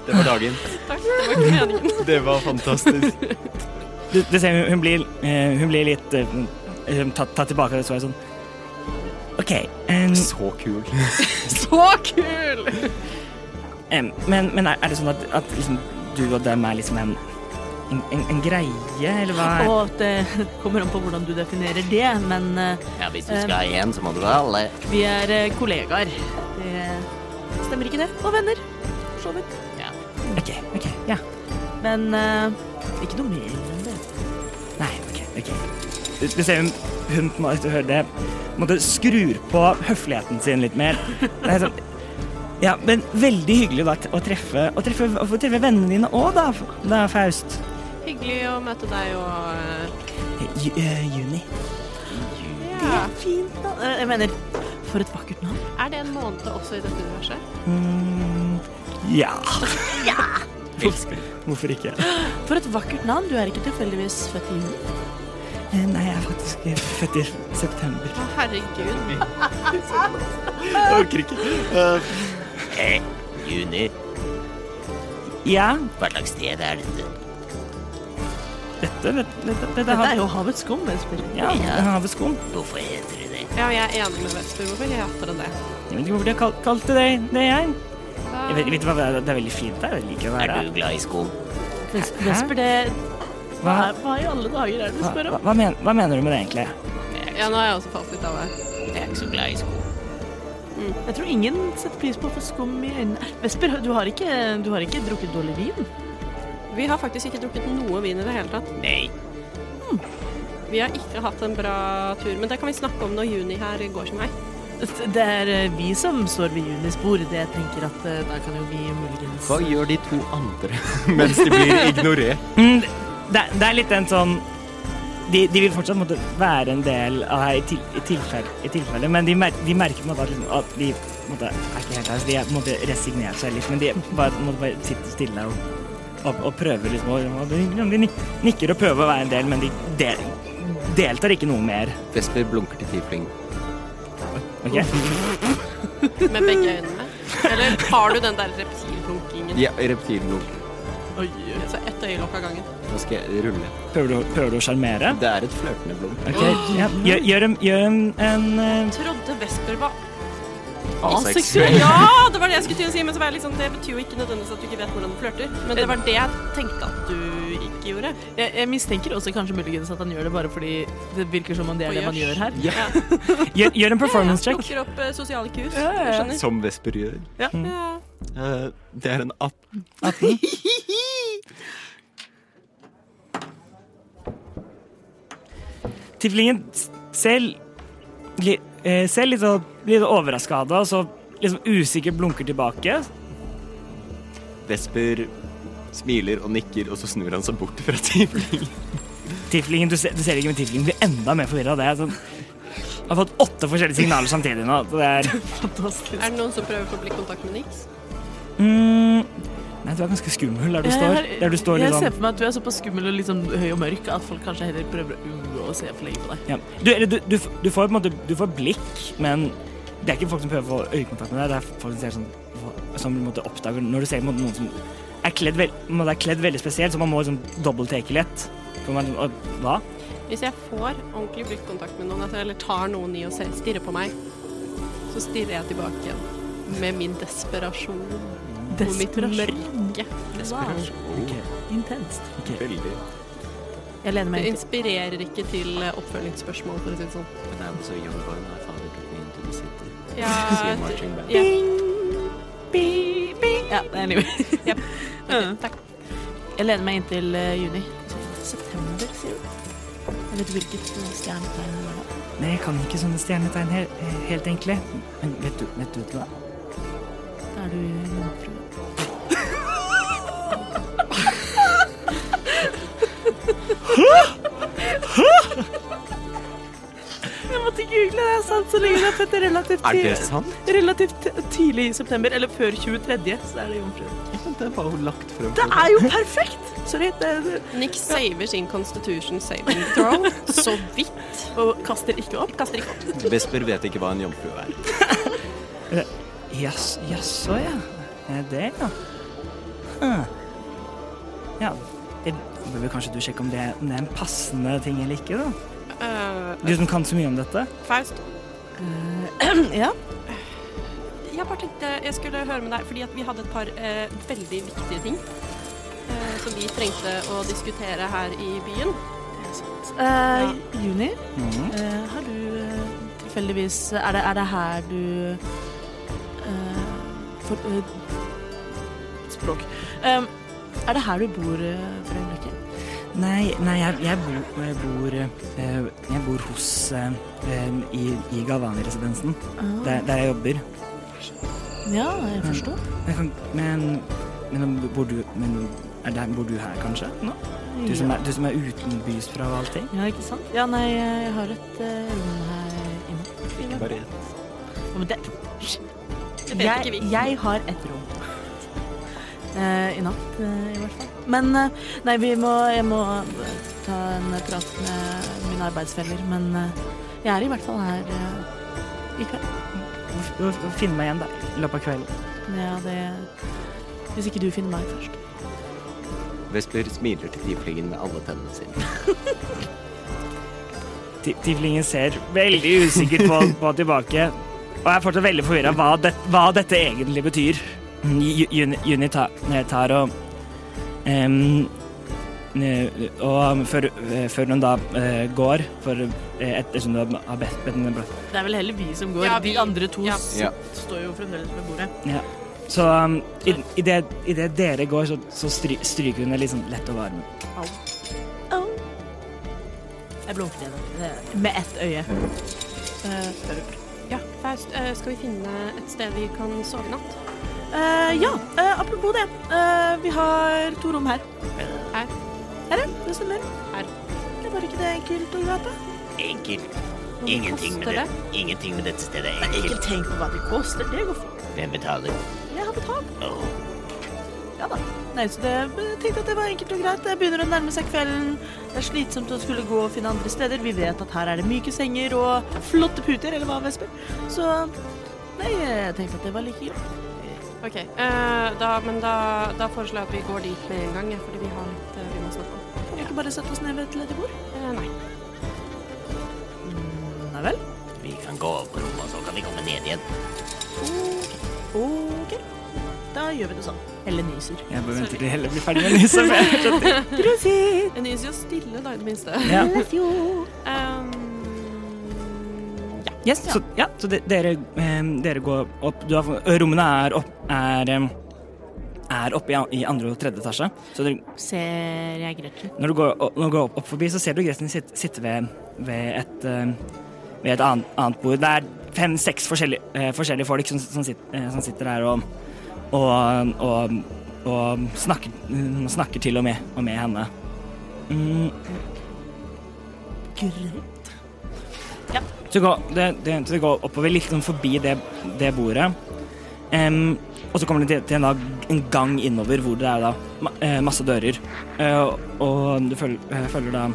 [SPEAKER 10] Det var dagen.
[SPEAKER 2] Takk, det var ikke meningen.
[SPEAKER 10] Det var fantastisk.
[SPEAKER 3] Du, du ser hun, hun blir, eh, hun blir litt eh, eh, tatt, tatt tilbake av det svaret sånn. OK. em,
[SPEAKER 10] Så kul.
[SPEAKER 2] Så kul!
[SPEAKER 3] em, men, men er er det sånn at, at liksom, du og dem er liksom en, en, en, en greie, eller hva? Er?
[SPEAKER 1] Og det kommer an på hvordan du definerer det, men eh,
[SPEAKER 6] ja, hvis du skal ha én, så må du ha alle.
[SPEAKER 1] vi er eh, kollegaer. Det stemmer ikke det. Og venner, for så vidt.
[SPEAKER 6] Ja.
[SPEAKER 3] OK. ok, Ja.
[SPEAKER 1] Men eh, ikke noe mer enn det.
[SPEAKER 3] Nei, OK. ok. Du, du ser hun, hun på en måte, etter å høre det, på en måte skrur på høfligheten sin litt mer. Det er sånn, ja, men veldig hyggelig da, å treffe, å treffe, å få treffe vennene dine òg, da, da, Faust.
[SPEAKER 2] Hyggelig å møte deg og
[SPEAKER 3] Ju, eh, juni.
[SPEAKER 2] eh, ja.
[SPEAKER 1] Fint da. Eh, jeg mener, for et vakkert navn.
[SPEAKER 2] Er det en måned også i dette universet?
[SPEAKER 3] Mm, ja. Hvorfor, hvorfor ikke?
[SPEAKER 1] For et vakkert navn. Du er ikke tilfeldigvis født i juni.
[SPEAKER 3] Eh, Nei, jeg er faktisk eh, født i september.
[SPEAKER 2] Å, herregud.
[SPEAKER 10] Jeg orker ikke. Eh,
[SPEAKER 6] Eh, juni,
[SPEAKER 3] Ja,
[SPEAKER 6] hva slags sted er dette?
[SPEAKER 3] dette, dette, dette, dette
[SPEAKER 1] Dette
[SPEAKER 3] har
[SPEAKER 1] er jo havets skum. jeg spør.
[SPEAKER 3] ja, det har vi skoen.
[SPEAKER 6] Hvorfor heter det det?
[SPEAKER 2] Ja, jeg er enig med Vesper. Hvorfor heter det det?
[SPEAKER 3] Jeg vet ikke hvorfor de har kalt, kalt det det, det jeg.
[SPEAKER 2] Da-
[SPEAKER 3] Jeg vet, vet du hva, det er- det er veldig fint der. Jeg liker å være
[SPEAKER 6] Er
[SPEAKER 3] her.
[SPEAKER 6] du glad i skog?
[SPEAKER 1] Vesper, det
[SPEAKER 3] Hva,
[SPEAKER 1] Nei, Hva i alle dager er det du
[SPEAKER 3] hva,
[SPEAKER 1] spør om?
[SPEAKER 3] hva, hva, men, hva mener du med det, egentlig?
[SPEAKER 2] Ja, nå er jeg også falt litt av det.
[SPEAKER 6] Jeg er ikke så glad i skog.
[SPEAKER 1] Jeg tror ingen setter pris på å få skum i øynene. Vesper, du har ikke, du har ikke drukket dårlig vin?
[SPEAKER 2] Vi har faktisk ikke drukket noe vin i det hele tatt.
[SPEAKER 6] Nei.
[SPEAKER 2] Vi har ikke hatt en bra tur, men det kan vi snakke om når juni her går som vei.
[SPEAKER 1] Det er eh, vi som står ved Junis bord. Det jeg tenker at eh, da kan jo vi muligens
[SPEAKER 10] hva gjør de to andre mens de blir ignorert?
[SPEAKER 3] Mm, det, er- det er litt en sånn de, de vil fortsatt måtte være en del av her i, til, i, tilfelle, i tilfelle, men de, mer, de merker på en måte at, liksom, at de på en måte, er ikke helt her. Så de er på en måte resignert seg litt, men de bare, på en måte, bare sitter stille og, og, og prøver liksom å og de, de nikker og prøver å være en del, men de del, deltar ikke noe mer.
[SPEAKER 10] Vesper blunker til Tiefling.
[SPEAKER 3] ok?
[SPEAKER 2] Med begge øynene. Eller har du den der reptilblunkingen?
[SPEAKER 10] Ja, reptilblunk.
[SPEAKER 2] Så ett øyelokk av gangen.
[SPEAKER 10] Nå skal jeg rulle.
[SPEAKER 3] Prøver du, å- prøver du å sjarmere?
[SPEAKER 10] Det er et flørtende blunk.
[SPEAKER 3] Ok, ja. Gjør, gjør en, gjør en, en eh,
[SPEAKER 2] Trodde Vesper var
[SPEAKER 10] Aseksuell.
[SPEAKER 2] Ja, det var det jeg skulle til å si, men så var jeg liksom, det betyr jo ikke nødvendigvis at du ikke vet hvordan du flørter. Men det var det jeg tenkte at du ikke gjorde.
[SPEAKER 1] jeg, jeg mistenker også kanskje muligens at han gjør det bare fordi det virker som om det er
[SPEAKER 2] For
[SPEAKER 1] det man
[SPEAKER 2] gjørs.
[SPEAKER 1] gjør her.
[SPEAKER 2] Ja.
[SPEAKER 3] gjør, gjør en performance check.
[SPEAKER 2] Plukker opp eh, sosiale kus.
[SPEAKER 1] ja, ja.
[SPEAKER 2] Jeg skjønner.
[SPEAKER 10] Som Vesper gjør.
[SPEAKER 2] Ja.
[SPEAKER 10] Eh, det er en app.
[SPEAKER 3] Tiflingen selv li- eh, ser litt, sånn- litt overraska av det, og så liksom usikker blunker tilbake.
[SPEAKER 10] Vesper smiler og nikker, og så snur han seg bort fra Tiefling.
[SPEAKER 3] Tiflingen, du, ser- du ser ikke, men Tiflingen blir enda mer forvirra av det. Sånn. Jeg har fått åtte forskjellige signaler samtidig nå. Så det er,
[SPEAKER 2] Er det noen som prøver å få blikkontakt med Nix?
[SPEAKER 3] mm, nei, du er ganske skummel der du står. Der du står
[SPEAKER 1] jeg
[SPEAKER 3] litt
[SPEAKER 1] ser
[SPEAKER 3] sånn.
[SPEAKER 1] for meg at du er såpass skummel og litt sånn høy og mørk at folk kanskje heller prøver å unngå å se for lenge på deg.
[SPEAKER 3] Ja. Du, eller du, du, f- du får på en måte du får blikk, men det er ikke folk som prøver å få øyekontakt med deg. Det er folk som, ser sånn, som på en måte oppdager Når du ser på en måte noen som er kledd, vel- på en måte er kledd veldig spesielt, så man må liksom dobbelttake litt. For man, og, hva?
[SPEAKER 2] Hvis jeg får ordentlig blikkontakt med noen, altså, eller tar noen i og ser- stirrer på meg, så stirrer jeg tilbake igjen med min desperasjon og mitt mørke.
[SPEAKER 1] Wow,
[SPEAKER 3] Ok.
[SPEAKER 1] intenst.
[SPEAKER 10] Veldig.
[SPEAKER 1] Jeg lener
[SPEAKER 2] Det
[SPEAKER 1] meg inntil.
[SPEAKER 2] inspirerer ikke til eh, oppfølgingsspørsmål, for å si det sånn.
[SPEAKER 10] And I'm so young boy, my father took me into the city.
[SPEAKER 2] Ja,
[SPEAKER 10] To see a marching band.
[SPEAKER 2] ja,
[SPEAKER 1] Ja, anyway. Mm.
[SPEAKER 2] ok, takk.
[SPEAKER 1] Jeg lener meg inntil eh, juni. September, sier du? Jeg vet hvilket eh, stjernetegn det er da.
[SPEAKER 3] Nei, jeg kan ikke sånne stjernetegn he helt egentlig. Men vet du, vet du det?
[SPEAKER 1] Det Er du jomfru? Jeg måtte ikke google det, det er sant, så lenge du er født relativt,
[SPEAKER 10] Er det
[SPEAKER 1] ti-
[SPEAKER 10] sant?
[SPEAKER 1] relativt tidlig i september, eller før 23., så er det jomfru.
[SPEAKER 10] Det var jo lagt frem.
[SPEAKER 1] Det er jo perfekt! Sorry. Det, det,
[SPEAKER 2] Nick saver sin constitution saving throw så vidt.
[SPEAKER 1] og kaster ikke opp. Kaster ikke opp.
[SPEAKER 10] Vesper vet ikke hva en jomfru er.
[SPEAKER 3] Jas- Jaså, ja. Er det, ja. Hm. Ja, det bør vel kanskje du sjekke om det, om det er en passende ting eller ikke, da.
[SPEAKER 2] Eh,
[SPEAKER 3] Du som kan så mye om dette.
[SPEAKER 2] Faust,
[SPEAKER 1] Ja. Eh,
[SPEAKER 2] jeg bare tenkte jeg skulle høre med deg, fordi at vi hadde et par eh, veldig viktige ting eh, som vi trengte å diskutere her i byen.
[SPEAKER 1] Eh, Juni,
[SPEAKER 3] Mhm.
[SPEAKER 1] eh, har du eh, tilfeldigvis er det, er det her du eh, for, eh, Språk. Eh, er det her du bor eh, for øyeblikket?
[SPEAKER 3] Nei, nei jeg, jeg, bo, jeg bor eh, Jeg bor hos eh, eh, i, i Galvani-residensen, der, der jeg jobber.
[SPEAKER 1] Ja, jeg forstår.
[SPEAKER 3] Men, jeg kan, men, men bor du Men er der, bor du her, kanskje? Nå? Mm. Du, som er, du som er utenbys fra og allting?
[SPEAKER 1] Ja, ikke sant? Ja, nei, jeg har et eh, rom her inne.
[SPEAKER 10] Bare
[SPEAKER 1] Ja, men det,
[SPEAKER 2] Det vet ikke
[SPEAKER 1] jeg,
[SPEAKER 2] vi.
[SPEAKER 1] jeg har et rom. Eh, I natt, eh, i hvert fall. Men eh, nei, vi må, jeg må eh, ta en prat med mine arbeidsfeller. Men eh, jeg er i hvert fall her eh, i kveld.
[SPEAKER 3] Hvor- hvor- hvor Finne meg igjen der i løpet av kvelden.
[SPEAKER 1] Ja, det, hvis ikke du finner meg først.
[SPEAKER 10] Vesper smiler til tiplingen med alle tennene sine.
[SPEAKER 3] Ti- Tiflingen ser veldig usikker på, på tilbake, og er fortsatt veldig forvirra hva, det, hva dette egentlig betyr. Ju- Juni, juni ta, eh, tar og em, eh, Og før, eh, før hun da eh, går, for eh, ettersom du har bedt bedt henne bla-
[SPEAKER 1] Det er vel heller vi som går.
[SPEAKER 2] Ja, vi-
[SPEAKER 1] De andre to
[SPEAKER 2] ja.
[SPEAKER 1] s-
[SPEAKER 10] Ja.
[SPEAKER 1] står jo fremdeles ved bordet.
[SPEAKER 3] Så um, i- i det- i det dere går, så, så stry, stryker hun det litt sånn lett over armen.
[SPEAKER 1] Jeg blunker til henne eh, Oh. med ett øye. Eh,
[SPEAKER 2] Ja, Faust, eh, skal vi finne et sted vi kan sove i natt?
[SPEAKER 1] Eh, ja, eh, apropos det. Eh, vi har to rom her.
[SPEAKER 2] Her?
[SPEAKER 1] Her, ja. Det stemmer.
[SPEAKER 2] Her.
[SPEAKER 1] Det var ikke det enkelt, Olgata.
[SPEAKER 6] Enkelt.
[SPEAKER 2] Hvor mye
[SPEAKER 6] Ingenting med,
[SPEAKER 2] koster
[SPEAKER 6] det. Ingenting med dette stedet er
[SPEAKER 1] Ikke
[SPEAKER 6] enkelt.
[SPEAKER 1] tenk på hva det koster. Det går fort.
[SPEAKER 6] Hvem betaler?
[SPEAKER 1] Jeg har betalt.
[SPEAKER 6] Åh,
[SPEAKER 1] Ja da. Nei, så det, jeg tenkte at det var enkelt og greit. Det begynner å nærme seg kvelden. Det er slitsomt å skulle gå og finne andre steder. Vi vet at her er det myke senger og flotte puter, eller hva, Vesper? Så nei, jeg tenkte at det var like greit.
[SPEAKER 2] Ok, eh, da, men da, da foreslår jeg at vi går dit med en gang, ja, fordi vi har litt eh, vi må snakke om.
[SPEAKER 1] Kan vi ikke bare sette oss ned ved et ledig bord?
[SPEAKER 2] Eh, nei.
[SPEAKER 1] Nei vel.
[SPEAKER 6] vi kan gå opp på rommet, og så kan vi komme ned igjen.
[SPEAKER 1] OK. Da gjør vi det sånn. Eller nyser.
[SPEAKER 3] Jeg bare venter til Helle blir ferdig med nissa. men jeg skjønner.
[SPEAKER 2] En nyser jo stille, da, i det minste.
[SPEAKER 3] Ja.
[SPEAKER 2] Um, ja.
[SPEAKER 3] Yes, Så, ja, så de, dere, em, dere går opp. Du har, rommene er, opp, er, em, er oppe i, an- i andre og tredje etasje. Så dere,
[SPEAKER 1] Ser jeg greit ut?
[SPEAKER 3] når du går, opp- når du går opp, opp forbi, så ser du Gresten sitte, sitte ved, ved et, em, ved et annet, annet bord. Det er fem-seks forskjellige, eh, forskjellige folk som, som, sit, eh, som sitter der og, og, og, og snakker, mm, snakker til og med, og med henne. Mm.
[SPEAKER 1] Greit.
[SPEAKER 3] Så går, det, det, så det går oppover litt sånn forbi det, det bordet. Em, og så kommer det til, til en, da, en gang innover hvor det er da ma- eh, masse dører. Eh, og du følger, eh, følger da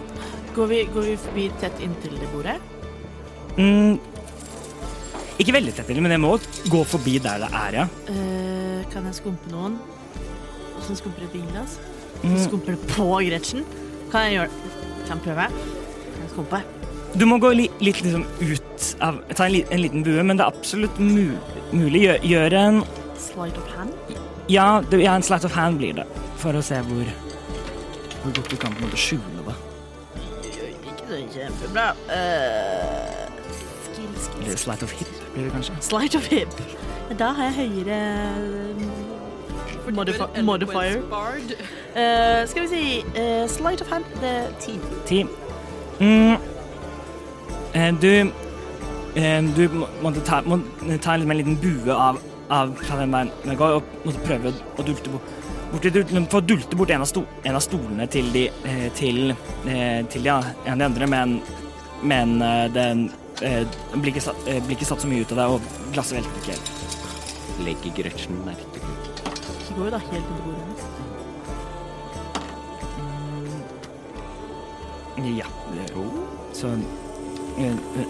[SPEAKER 1] Går vi, går vi forbi tett inntil det bordet?
[SPEAKER 3] mm, Ikke veldig tett, men jeg må gå forbi der det er, ja.
[SPEAKER 1] Eh, kan jeg skumpe noen? Og så skumper det på Inglas. Så
[SPEAKER 3] Mm.
[SPEAKER 1] skumper det på Gretchen. Kan jeg gjøre det? Kan jeg prøve? Kan jeg skumpe?
[SPEAKER 3] Du må gå li, litt liksom ut av Ta en, li, en liten bue, men det er absolutt mu, mulig. Gjør, gjør en
[SPEAKER 1] Slide of hand?
[SPEAKER 3] Ja, det, ja, en slight of hand blir det. For å se hvor Hvor godt du kan på en måte skjule det.
[SPEAKER 1] Gjør ikke det kjempebra. Eh, skill, skill,
[SPEAKER 3] Eller
[SPEAKER 1] skill.
[SPEAKER 3] slight of hip, blir det kanskje.
[SPEAKER 1] Slide of hip. Men Da har jeg høyere eh, modifi modifier.
[SPEAKER 2] Bard.
[SPEAKER 1] Eh, skal vi si eh, slide of hand? Det er ti.
[SPEAKER 3] Ti. Mm. Eh, Du eh, Du må, måtte ta, må ta liksom en liten bue av, av fra den veien den går, og måtte prøve å, å dulte bort. Borti, dul- få dulte bort en av, sto, en av stolene til de, eh, til, eh, til de, an- en av de andre, men, men eh, den eh, blir, ikke satt, eh, blir ikke satt så mye ut av det, og glasset velter ikke helt.
[SPEAKER 4] Legger Gretchen merke til
[SPEAKER 1] Det går jo da helt under bordet hennes.
[SPEAKER 3] Ja. det- Så eh,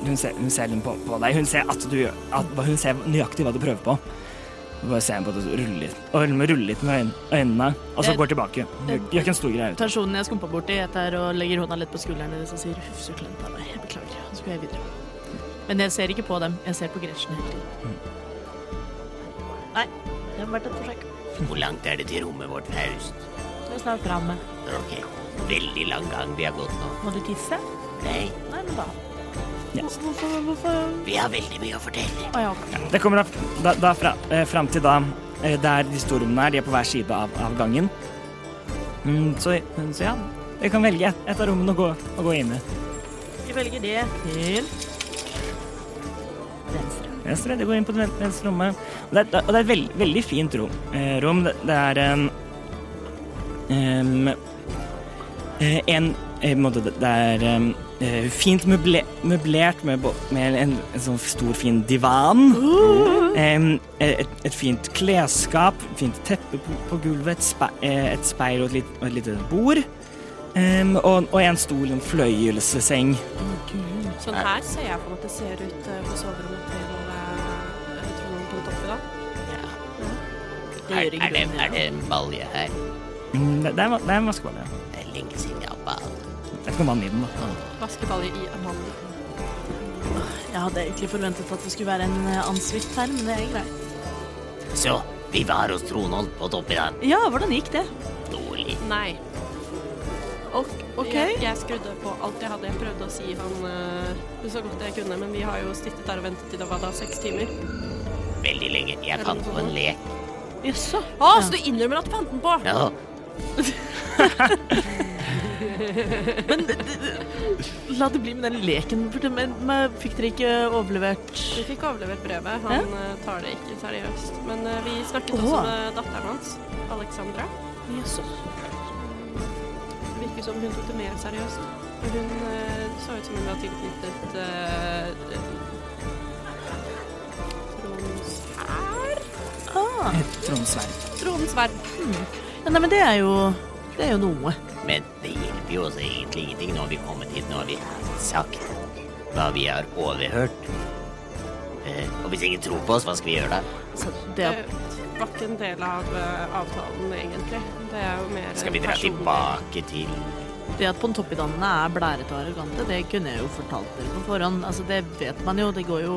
[SPEAKER 3] hun, ser, hun ser den på, på deg. Hun ser, at du, gjør- at, hva- hun ser nøyaktig hva du prøver på. Du bare ser på det rulle litt, og hun ruller litt med øyn- øynene, og så
[SPEAKER 1] Eh,
[SPEAKER 3] går tilbake. Gjør gjør ikke en stor greie ut av det.
[SPEAKER 1] Personen jeg skumpa borti, etter og legger hånda litt på skulderen hennes og sier 'huff, så klemt av meg, jeg beklager', og så går jeg videre. Men jeg ser ikke på dem, jeg ser på Gretchen hele tiden. Nei, det har vært et forsøk.
[SPEAKER 6] Hvor langt er det til rommet vårt, Faust?
[SPEAKER 1] Vi er snart framme.
[SPEAKER 6] Ok, veldig lang gang vi har gått nå.
[SPEAKER 1] Må du tisse?
[SPEAKER 6] Nei,
[SPEAKER 1] Nei, men da.
[SPEAKER 3] Ja.
[SPEAKER 1] Hvorfor, hvorfor
[SPEAKER 6] vi har veldig mye å fortelle.
[SPEAKER 1] Å ja.
[SPEAKER 3] Det kommer da, da, da fra, eh, fram til da eh, der de store rommene er. De er på hver side av, av gangen. Mm, så, så ja, dere kan velge et, et av rommene å gå, å gå inn i.
[SPEAKER 1] Vi velger det til venstre.
[SPEAKER 3] Venstre, det går inn på det ven- venstre rommet. Og det er, og det er et veld, veldig fint rom. Eh, rom det, det er en em, eh, En eh, på en måte, det det er em, eh, fint møble, møblert med, bo- med en, en sånn stor, fin divan. Em, et, et fint klesskap, fint teppe på, på gulvet, et, spe, eh, et speil og et, lit, og et lite bord. Em, og, og en stol, en fløyelsseng.
[SPEAKER 2] Sånn her ser jeg for meg at det ser ut eh, på soverommet til eh, jeg tror noen på toppen da.
[SPEAKER 6] Er, er, det, er det en balje her?
[SPEAKER 3] Mm, Det, det er, va- det er en vaskeball. Ja.
[SPEAKER 6] Det er lenge siden jeg har ball.
[SPEAKER 3] Det er ikke noe vann i den, da.
[SPEAKER 2] Vaskebalje i Amanda.
[SPEAKER 1] Jeg hadde egentlig forventet at det skulle være en eh, ansvikt her, men det er greit.
[SPEAKER 6] Så, vi var hos Tronhold på toppen.
[SPEAKER 1] Ja, hvordan gikk det?
[SPEAKER 6] Dårlig.
[SPEAKER 2] Nei.
[SPEAKER 1] ok.
[SPEAKER 2] Jeg, jeg skrudde på alt jeg hadde. Jeg prøvde å si han eh, så godt jeg kunne, men vi har jo sittet der og ventet i det var da seks timer.
[SPEAKER 6] Veldig lenge. Jeg fant på en lek.
[SPEAKER 1] Jaså.
[SPEAKER 2] Å, så du innrømmer at du fant den på?
[SPEAKER 6] Nå,
[SPEAKER 1] La det bli med den leken. for det- Men men fikk dere ikke overlevert
[SPEAKER 2] Vi fikk overlevert brevet. Han eh, tar det ikke seriøst. Men eh, vi snakket også
[SPEAKER 1] Åh.
[SPEAKER 2] med datteren hans, Alexandra.
[SPEAKER 1] Jaså.
[SPEAKER 2] Det virker som hun tok det mer seriøst. For Hun eh, så ut som hun var tilknyttet uh, Trons hær?
[SPEAKER 1] Ah.
[SPEAKER 3] Et tronsverd.
[SPEAKER 2] Trons verden.
[SPEAKER 1] Ja, nei, men det er jo Det er jo noe.
[SPEAKER 6] men det hjelper jo også egentlig ingenting når vi kommer hit, når vi har sagt hva vi har overhørt. Eh, og hvis ingen tror på oss, hva skal vi gjøre da?
[SPEAKER 1] Så
[SPEAKER 2] Det
[SPEAKER 1] det
[SPEAKER 2] var ikke en del av eh, avtalen, egentlig. Det er jo mer
[SPEAKER 6] Skal vi dra
[SPEAKER 2] personlig.
[SPEAKER 6] tilbake til
[SPEAKER 1] Det at pontoppidanene er blærete og arrogante, det kunne jeg jo fortalt dere på forhånd. Altså, det vet man jo, det går jo,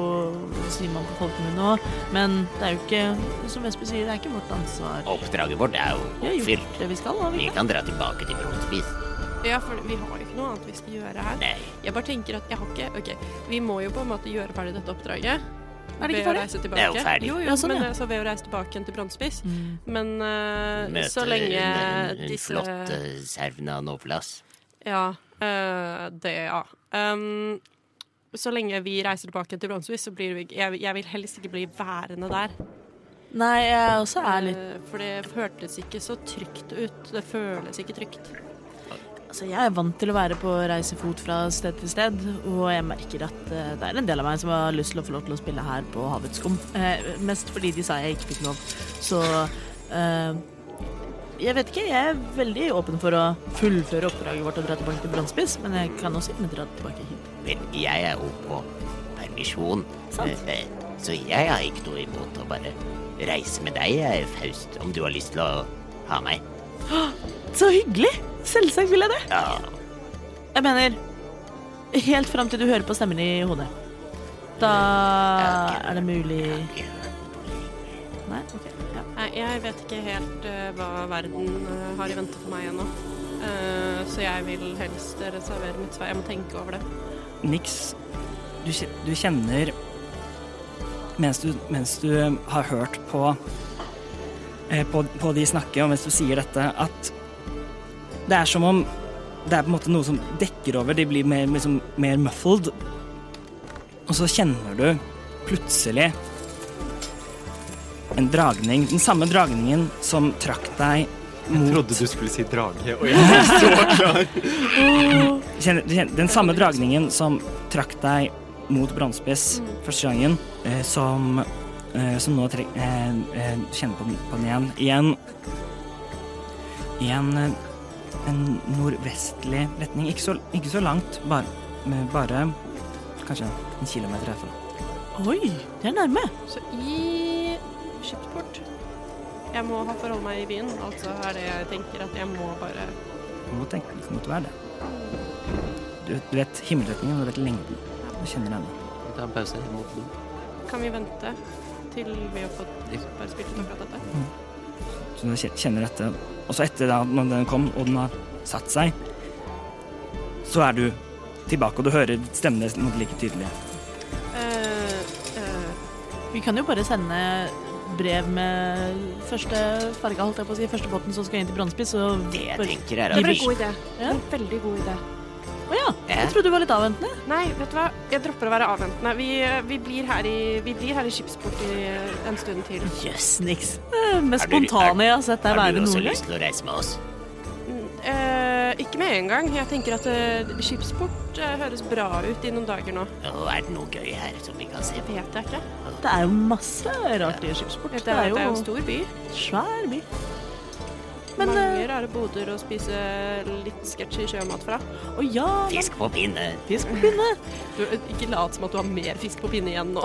[SPEAKER 1] sier man på folkemunne òg. Men det er jo ikke, som Vesper sier, det er ikke vårt ansvar.
[SPEAKER 6] Oppdraget vårt er jo
[SPEAKER 1] Vi har gjort
[SPEAKER 6] oppfylt.
[SPEAKER 1] det vi skal, har vi
[SPEAKER 6] Vi
[SPEAKER 1] ikke?
[SPEAKER 6] kan dra tilbake til Brotspis.
[SPEAKER 2] Ja, for vi har jo ikke noe annet vi skal gjøre her.
[SPEAKER 6] Nei.
[SPEAKER 2] Jeg bare tenker at jeg har ikke OK, vi må jo på en måte gjøre ferdig dette oppdraget.
[SPEAKER 1] Er det
[SPEAKER 2] Ved
[SPEAKER 1] ikke
[SPEAKER 2] å
[SPEAKER 1] ferdig?
[SPEAKER 2] reise
[SPEAKER 6] Det er jo
[SPEAKER 2] tilbake.
[SPEAKER 6] ferdig.
[SPEAKER 2] Jo, jo,
[SPEAKER 1] Ja, sånn,
[SPEAKER 2] men
[SPEAKER 1] ja.
[SPEAKER 2] altså ved å reise tilbake igjen til Brannspiss.
[SPEAKER 1] Mm.
[SPEAKER 2] Men eh,
[SPEAKER 6] Møte
[SPEAKER 2] så lenge
[SPEAKER 6] den, den
[SPEAKER 2] disse
[SPEAKER 6] flotte Servna Novlas.
[SPEAKER 2] Ja. eh, det, ja. Um, så lenge vi reiser tilbake til Brannspiss, så blir vi jeg, jeg vil helst ikke bli værende der.
[SPEAKER 1] Nei, jeg også er litt
[SPEAKER 2] Eh, for det hørtes ikke så trygt ut. Det føles ikke trygt.
[SPEAKER 1] Altså, jeg er vant til å være på reisefot fra sted til sted, og jeg merker at eh, det er en del av meg som har lyst til å få lov til å spille her på Havets skum. Eh, mest fordi de sa jeg ikke fikk lov. Så eh, jeg vet ikke, jeg er veldig åpen for å fullføre oppdraget vårt og dra tilbake til Brannspiss, men jeg kan også gjerne dra tilbake hit.
[SPEAKER 6] Men jeg er jo på permisjon.
[SPEAKER 1] Sant.
[SPEAKER 6] Eh, eh, Så jeg har ikke noe imot å bare reise med deg, eh, Faust, om du har lyst til å ha meg.
[SPEAKER 1] Så hyggelig! Selvsagt vil jeg det.
[SPEAKER 6] Ja,
[SPEAKER 1] Jeg mener, helt fram til du hører på stemmen i hodet. Da er det mulig Nei? OK. Ja.
[SPEAKER 2] Nei, jeg vet ikke helt eh, hva verden eh, har i vente for meg ennå. Eh, så jeg vil helst reservere mitt svar. Jeg må tenke over det.
[SPEAKER 3] Nix, du, kje- du kjenner mens du, mens du har hørt på, eh, på på de snakke, og mens du sier dette, at det er som om det er på en måte noe som dekker over, de blir mer, liksom, mer muffled. Og så kjenner du plutselig en dragning, den samme dragningen som trakk deg
[SPEAKER 10] Jeg
[SPEAKER 3] mot
[SPEAKER 10] trodde du skulle si drage, og jeg var så klar.
[SPEAKER 3] Kjenner- du kjenner- Den samme dragningen som trakk deg mot Brannspiss første gangen, eh, som, eh, som nå trek, eh, eh, kjenner på den, på den igjen. I en, i en, eh, en nordvestlig retning. Ikke så, ikke så langt, bare, men bare kanskje en kilometer herfra.
[SPEAKER 1] Oi, det er nærme.
[SPEAKER 2] Så i skipsport Jeg må ha forholde meg i byen. Altså er det jeg tenker at jeg må bare
[SPEAKER 3] Du må tenke litt mot hver det. Du, du vet himmelretningen, og du vet lengden. Du kjenner den.
[SPEAKER 10] Ta en pause mot den.
[SPEAKER 2] Kan vi vente til vi har fått bare spilt ut akkurat dette?
[SPEAKER 3] Så du kje- kjenner dette. Og så etter da når den kom, og den har satt seg, så er du tilbake, og du hører stemmen din noe like tydelig.
[SPEAKER 2] Eh, eh,
[SPEAKER 1] Vi kan jo bare sende brev med første farga, holdt jeg på å si, første båten som skal inn til Brannspiss, og
[SPEAKER 6] Det jeg
[SPEAKER 1] bare-
[SPEAKER 6] tenker er
[SPEAKER 1] Det
[SPEAKER 6] at
[SPEAKER 9] Det var
[SPEAKER 6] vi
[SPEAKER 9] en god idé.
[SPEAKER 1] Ja.
[SPEAKER 9] En veldig god idé.
[SPEAKER 1] Å ja,
[SPEAKER 6] Ja.
[SPEAKER 1] jeg trodde du var litt avventende.
[SPEAKER 2] nei, vet du hva? Jeg dropper å være avventende. Vi, eh, vi, blir, her i, vi blir her i skipsport i eh, en stund til.
[SPEAKER 1] Jøss, yes, niks. Det mest
[SPEAKER 6] Er du-
[SPEAKER 1] Eh, spontane jeg har sett deg
[SPEAKER 6] Har
[SPEAKER 1] være
[SPEAKER 6] du også
[SPEAKER 1] noen gang.
[SPEAKER 6] lyst til å reise med oss?
[SPEAKER 2] Mm, eh, ikke med en gang. Jeg tenker at eh, skipsport eh, høres bra ut i noen dager nå.
[SPEAKER 6] Og er det noe gøy her som vi kan se på?
[SPEAKER 2] Vet jeg ikke.
[SPEAKER 1] Det er jo masse rart i skipsport.
[SPEAKER 2] Dette er, det er jo en stor by.
[SPEAKER 1] svær by. Men,
[SPEAKER 2] Mange
[SPEAKER 1] eh,
[SPEAKER 2] rare boder å spise litt sketchy sjømat fra.
[SPEAKER 1] Å ja,
[SPEAKER 6] Fisk på pinne.
[SPEAKER 1] fisk på pinne.
[SPEAKER 2] Du, eh, ikke lat som at du har mer fisk på pinne igjen nå.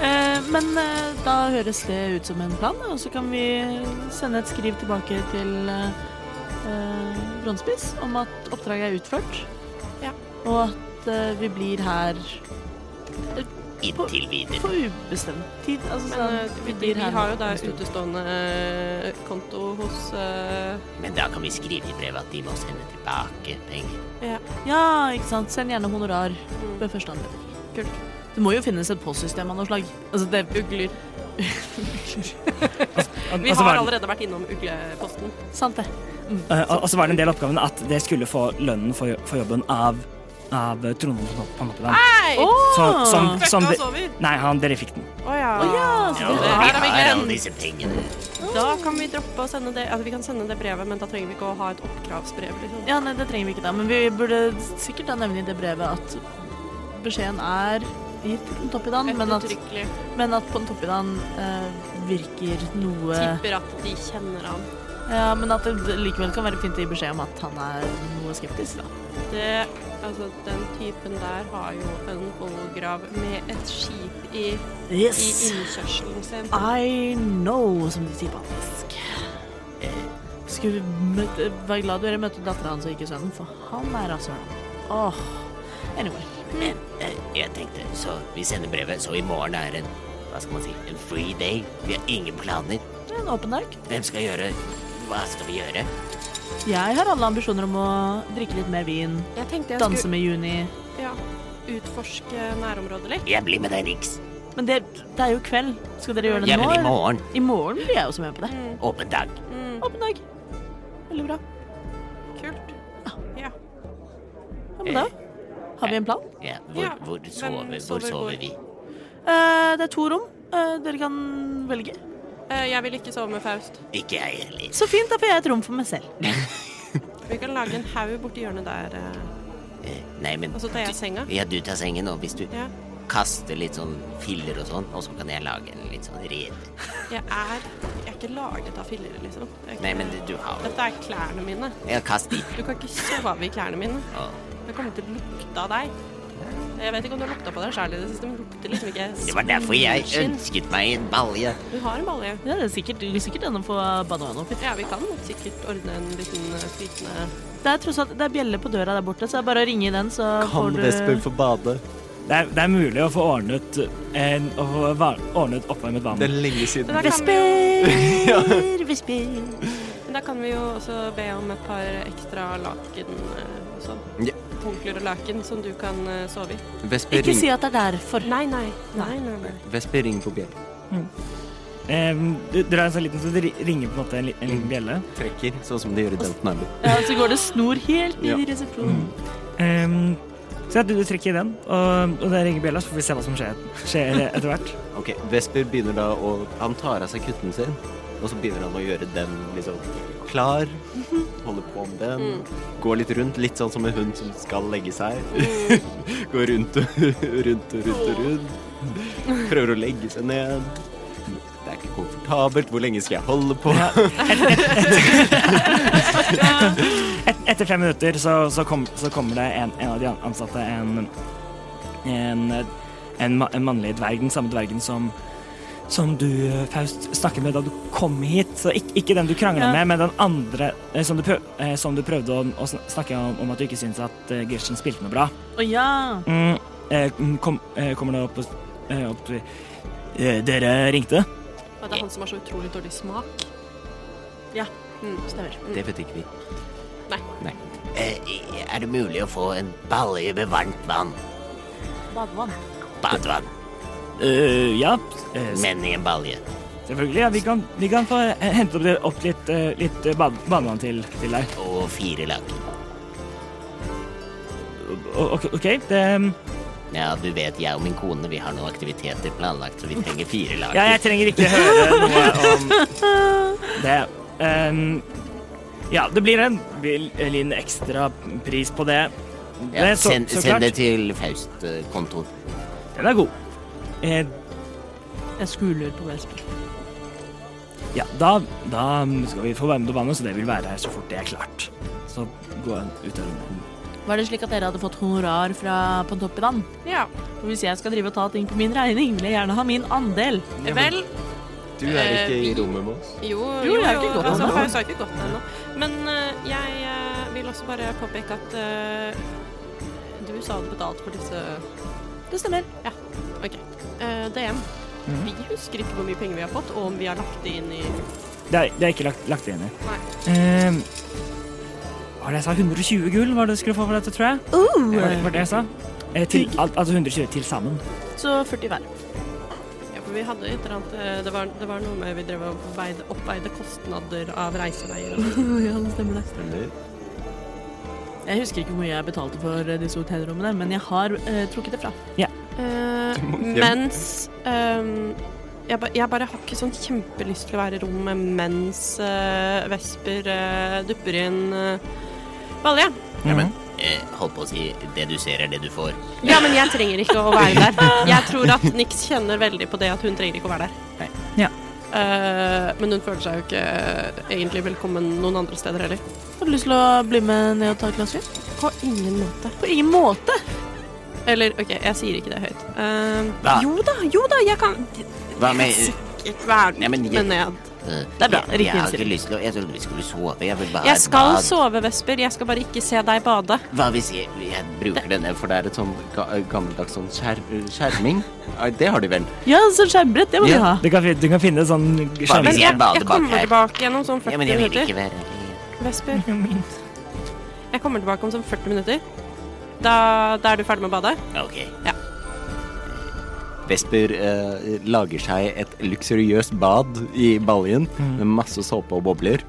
[SPEAKER 1] Eh, men eh, da høres det ut som en plan, og så kan vi sende et skriv tilbake til eh, eh, Brannspiss om at oppdraget er utført,
[SPEAKER 2] Ja.
[SPEAKER 1] og at eh, vi blir her
[SPEAKER 6] Inntil videre.
[SPEAKER 1] på ubestemt tid. Altså,
[SPEAKER 2] Men
[SPEAKER 1] sånn,
[SPEAKER 2] eh, vi, vi har jo da utestående eh, konto hos eh,
[SPEAKER 6] Men da kan vi skrive i brevet at de må sende tilbake penger.
[SPEAKER 1] Ja, ikke sant. Send gjerne honorar
[SPEAKER 2] Mm.
[SPEAKER 1] ved første anledning.
[SPEAKER 2] Kult.
[SPEAKER 1] Det må jo finnes et postsystem av noe slag. Altså, det
[SPEAKER 2] Ugler.
[SPEAKER 3] Og,
[SPEAKER 2] Vi
[SPEAKER 3] og så
[SPEAKER 2] har
[SPEAKER 3] var, den-
[SPEAKER 2] allerede vært innom ugleposten.
[SPEAKER 1] Sant, det.
[SPEAKER 3] eh, og, og så var det en del av oppgavene at dere skulle få lønnen for, for jobben av, av Trondheim på Panoppeland.
[SPEAKER 2] Hei! Oh,
[SPEAKER 3] Så- som-
[SPEAKER 2] Fucka
[SPEAKER 3] som de-
[SPEAKER 2] oss over!
[SPEAKER 3] Nei, han, dere fikk den.
[SPEAKER 2] Å ja.
[SPEAKER 1] ja, så
[SPEAKER 6] Ja,
[SPEAKER 2] det-
[SPEAKER 6] vi
[SPEAKER 2] her har vi
[SPEAKER 6] har alle
[SPEAKER 2] glemt.
[SPEAKER 6] disse pengene.
[SPEAKER 2] Da kan vi droppe å sende det Altså, vi kan sende det brevet, men da trenger vi ikke å ha et oppkravsbrev, liksom.
[SPEAKER 1] Ja, nei, det trenger vi ikke da, men vi burde sikkert da nevne i det brevet at beskjeden er gitt på Toppiddan, men at,
[SPEAKER 2] Ettertrykkelig.
[SPEAKER 1] men at på Toppiddan eh, virker noe
[SPEAKER 2] Tipper at de kjenner han.
[SPEAKER 1] Ja, men at det likevel kan være fint å gi beskjed om at han er noe skeptisk, da.
[SPEAKER 2] Det Altså, den typen der har jo en holograv med et skip i, i innkjørselen sin.
[SPEAKER 1] Ah, I know, som de sier på engelsk. Eh, Skulle møte, være glad dere møtte dattera hans og ikke sønnen, for han er rasshøl. Åh. Anyway.
[SPEAKER 6] Men eh, jeg tenkte, så vi sender brevet, så i morgen er en, hva skal man si, en free day. Vi har ingen planer.
[SPEAKER 1] det er En åpen dag.
[SPEAKER 6] Hvem skal gjøre, hva skal vi gjøre?
[SPEAKER 1] Jeg har alle ambisjoner om å drikke litt mer vin,
[SPEAKER 2] Jeg tenkte jeg
[SPEAKER 1] danse med Juni.
[SPEAKER 2] skulle ja, utforske nærområdet litt.
[SPEAKER 6] Jeg blir med deg, Nix.
[SPEAKER 1] Men det, det er jo kveld. Skal dere gjøre det
[SPEAKER 6] Ja,
[SPEAKER 1] nå?
[SPEAKER 6] men i
[SPEAKER 1] eller?
[SPEAKER 6] morgen,
[SPEAKER 1] I morgen blir jeg også med på det.
[SPEAKER 6] åpen dag.
[SPEAKER 2] Mm.
[SPEAKER 1] Åpen dag. Veldig bra.
[SPEAKER 2] Kult. Ja.
[SPEAKER 1] Ja, men da har vi en plan.
[SPEAKER 6] Ja, hvor,
[SPEAKER 2] Ja,
[SPEAKER 6] hvor,
[SPEAKER 2] hvem
[SPEAKER 6] sover, hvor
[SPEAKER 2] sover hvor?
[SPEAKER 6] sover vi?
[SPEAKER 1] Eh, det er to rom. Eh, dere kan velge.
[SPEAKER 2] Eh, Jeg vil ikke sove med Faust.
[SPEAKER 6] Ikke jeg heller.
[SPEAKER 1] Så fint, da får jeg et rom for meg selv.
[SPEAKER 2] Vi kan lage en haug borti hjørnet der, eh,
[SPEAKER 6] Eh, Nei, men
[SPEAKER 2] og så tar jeg senga.
[SPEAKER 6] ja, du tar sengen, og hvis du
[SPEAKER 2] Ja.
[SPEAKER 6] kaster litt sånn filler og sånn, og så kan jeg lage en litt sånn rede.
[SPEAKER 2] Jeg er, jeg er ikke laget av filler, liksom. Det er ikke-
[SPEAKER 6] Nei, men du- du har
[SPEAKER 2] Dette er klærne mine.
[SPEAKER 6] Ja, kast dit.
[SPEAKER 2] Du kan ikke sove i klærne mine.
[SPEAKER 6] Å,
[SPEAKER 2] Det kommer til å lukte av deg. Jeg vet ikke om du har lukta på deg sjæl i det siste, men det lukter liksom ikke
[SPEAKER 6] Det var derfor jeg
[SPEAKER 2] Skinn.
[SPEAKER 6] ønsket meg en balje.
[SPEAKER 2] Du har en balje.
[SPEAKER 1] Ja, det er sikkert, det er sikkert denne på bananoppi.
[SPEAKER 2] Ja, vi kan sikkert ordne en liten eh, flytende
[SPEAKER 1] Det er tross alt det er bjelle på døra der borte, så det er bare å ringe i den, så får
[SPEAKER 10] Kan
[SPEAKER 1] du
[SPEAKER 10] Vesper få bade?
[SPEAKER 3] Det er, det er mulig å få ordnet, eh, å få va- ordnet oppvarmet vann.
[SPEAKER 10] Det er lenge siden.
[SPEAKER 2] Men da kan vi jo,
[SPEAKER 1] Vesper, vesper.
[SPEAKER 2] men da kan vi jo også be om et par ekstra laken eh, og sånn.
[SPEAKER 10] Ja.
[SPEAKER 2] Håndklær og laken som du kan eh, sove i.
[SPEAKER 10] Vesper,
[SPEAKER 1] Ikke
[SPEAKER 10] ring,
[SPEAKER 1] si at det er derfor.
[SPEAKER 2] Nei, nei. Nei, nei, nei.
[SPEAKER 10] Vesper ringer på bjell.
[SPEAKER 3] Eh, du- Dere har en sånn liten, så det ri- ringer på en måte en, li- en liten bjelle.
[SPEAKER 10] Trekker, sånn som de gjør i Downton Abbey.
[SPEAKER 1] Ja, så går det snor helt ned
[SPEAKER 10] Ja.
[SPEAKER 1] i resepsjonen.
[SPEAKER 3] Ehm, Så ja, du, du trekker i den, og, og det ringer bjella, så får vi se hva som skjer, skjer etter hvert.
[SPEAKER 10] Ok, Vesper begynner da å Han tar av seg kutten sin, og så begynner han å gjøre den liksom klar.
[SPEAKER 2] Mhm.
[SPEAKER 10] Holder på med den.
[SPEAKER 2] Mm.
[SPEAKER 10] Går litt rundt, litt sånn som en hund som skal legge seg.
[SPEAKER 2] Mm.
[SPEAKER 10] Går rundt og rundt og rundt og rundt. Prøver å legge seg ned. Det er ikke komfortabelt. Hvor lenge skal jeg holde på?
[SPEAKER 3] Et, etter fem minutter så, så, kom, så kommer det en, en av de ansatte, en, en, en, ma- en mannlig dverg, den samme dvergen som som du, Faust, snakket med da du kom hit. Så ikke, ikke den du krangla med, men den andre eh, som du, prøv, eh, som du prøvde å, å sn- snakke om, om at du ikke syntes at eh, Gersten spilte noe bra.
[SPEAKER 1] Å ja.
[SPEAKER 3] Mm, eh, kom, eh, kommer det opp, eh, opp til eh, Dere ringte?
[SPEAKER 2] Og det er han som har så utrolig dårlig smak.
[SPEAKER 1] Ja.
[SPEAKER 2] Mm, stemmer. Mm.
[SPEAKER 10] Det vet ikke vi.
[SPEAKER 6] Eh, er det mulig å få en balje med varmt vann?
[SPEAKER 1] Badevann.
[SPEAKER 6] Badevann,
[SPEAKER 3] Eh, ja. eh,
[SPEAKER 6] men i en balje.
[SPEAKER 3] Selvfølgelig. ja. Vi kan, vi kan få eh, hente opp, det- opp litt, eh, litt eh, bad- badevann til, til deg.
[SPEAKER 6] Og fire laken.
[SPEAKER 3] O- ok, OK, det um,
[SPEAKER 6] Ja, du vet, jeg og min kone, vi har noen aktiviteter planlagt, så vi trenger fire laken.
[SPEAKER 3] Ja, jeg trenger ikke høre noe om det. Ehm, ja, det blir en blir en liten ekstra pris på det.
[SPEAKER 6] Ja,
[SPEAKER 3] Det, så,
[SPEAKER 6] send,
[SPEAKER 3] så
[SPEAKER 6] send det
[SPEAKER 3] klart.
[SPEAKER 6] til Faust-kontoen.
[SPEAKER 3] Den er god. Eh,
[SPEAKER 1] Jeg skuler på Vesper.
[SPEAKER 3] ja, da, da skal vi få være med på banen, så det vil være her så fort det er klart. Så gå ut av rommet.
[SPEAKER 1] Var det slik at dere hadde fått honorar fra Pontoppidan?
[SPEAKER 2] Ja.
[SPEAKER 1] For hvis jeg skal drive og ta ting på min regning, vil jeg gjerne ha min andel.
[SPEAKER 2] Vel,
[SPEAKER 10] Du er ikke i
[SPEAKER 2] Eh, vi-
[SPEAKER 10] rommet med oss.
[SPEAKER 2] jo,
[SPEAKER 1] Jo, jeg har ikke gått
[SPEAKER 2] altså,
[SPEAKER 1] ennå.
[SPEAKER 2] Faust har ikke gått ennå. Men eh, jeg eh, vil også bare påpeke at eh, du sa du betalte for disse
[SPEAKER 1] Det stemmer.
[SPEAKER 2] OK. Eh, DM. Vi husker ikke hvor mye penger vi har fått, og om vi har lagt det inn i
[SPEAKER 3] Det er, det er ikke lagt, lagt inn i.
[SPEAKER 2] Nei.
[SPEAKER 3] Ehm, Hva var det jeg sa? 120 gull var det du skulle få for dette, tror jeg? Var det, var det jeg sa? Eh, til, al- altså 120 til sammen.
[SPEAKER 1] Så 40 hver.
[SPEAKER 2] Ja, for vi hadde et eller annet eh, det var, det var noe med vi drev og veide, oppveide kostnader av reiseveier og sånt.
[SPEAKER 1] ja, det stemmer det.
[SPEAKER 10] Stemmer.
[SPEAKER 1] Jeg husker ikke hvor mye jeg betalte for eh, disse hotellrommene, men jeg har eh, trukket det fra.
[SPEAKER 2] Eh,
[SPEAKER 10] Du må hjem.
[SPEAKER 2] mens ehm, jeg, ba, jeg bare har ikke sånn kjempelyst til å være i rommet mens eh, Vesper eh, dupper inn uh, Valje.
[SPEAKER 3] Mhm.
[SPEAKER 6] Eh, holdt på å si det du ser er det du får.
[SPEAKER 2] Ja, men jeg trenger ikke å være der. Jeg tror at Nix kjenner veldig på det at hun trenger ikke å være der.
[SPEAKER 6] Nei.
[SPEAKER 3] Ja.
[SPEAKER 2] Eh, men hun føler seg jo ikke eh, egentlig velkommen noen andre steder heller.
[SPEAKER 1] Har du lyst til å bli med ned og ta et glass vin?
[SPEAKER 2] På ingen måte.
[SPEAKER 1] På ingen måte!
[SPEAKER 2] Eller OK, jeg sier ikke det høyt. Ehm,
[SPEAKER 6] Hva?
[SPEAKER 2] Jo da, jo da, jeg kan
[SPEAKER 6] Hva med
[SPEAKER 2] Ikke vær
[SPEAKER 6] Nei, men-
[SPEAKER 2] men jeg
[SPEAKER 6] Det
[SPEAKER 1] er bra,
[SPEAKER 6] Jeg, jeg har
[SPEAKER 1] riktig
[SPEAKER 6] ikke
[SPEAKER 1] innstilling.
[SPEAKER 6] lyst til å Jeg trodde vi skulle sove. Jeg vil bare ha
[SPEAKER 2] Jeg
[SPEAKER 6] et
[SPEAKER 2] skal
[SPEAKER 6] bad.
[SPEAKER 2] sove, Vesper. Jeg skal bare ikke se deg bade.
[SPEAKER 6] Hva hvis jeg, jeg bruker denne
[SPEAKER 10] For det er et sånn ga gammeldags sånn skjer skjerming. Nei, Det har de vel?
[SPEAKER 1] Ja, så skjermbrett, det må
[SPEAKER 10] Ja.
[SPEAKER 1] du ha.
[SPEAKER 3] Du kan, fin- du kan finne sånn
[SPEAKER 6] Hva hvis
[SPEAKER 3] skjerming-
[SPEAKER 6] jeg bader bak
[SPEAKER 2] Jeg kommer
[SPEAKER 6] her?
[SPEAKER 2] tilbake igjen om sånn
[SPEAKER 6] Ja,
[SPEAKER 2] 40
[SPEAKER 6] men jeg vil
[SPEAKER 2] minutter.
[SPEAKER 6] ikke være
[SPEAKER 2] Vesper. Jeg kommer tilbake om sånn 40 minutter. Da, da er du ferdig med å bade?
[SPEAKER 6] OK.
[SPEAKER 10] Vesper eh, lager seg et luksuriøst bad i baljen med masse såpe og bobler.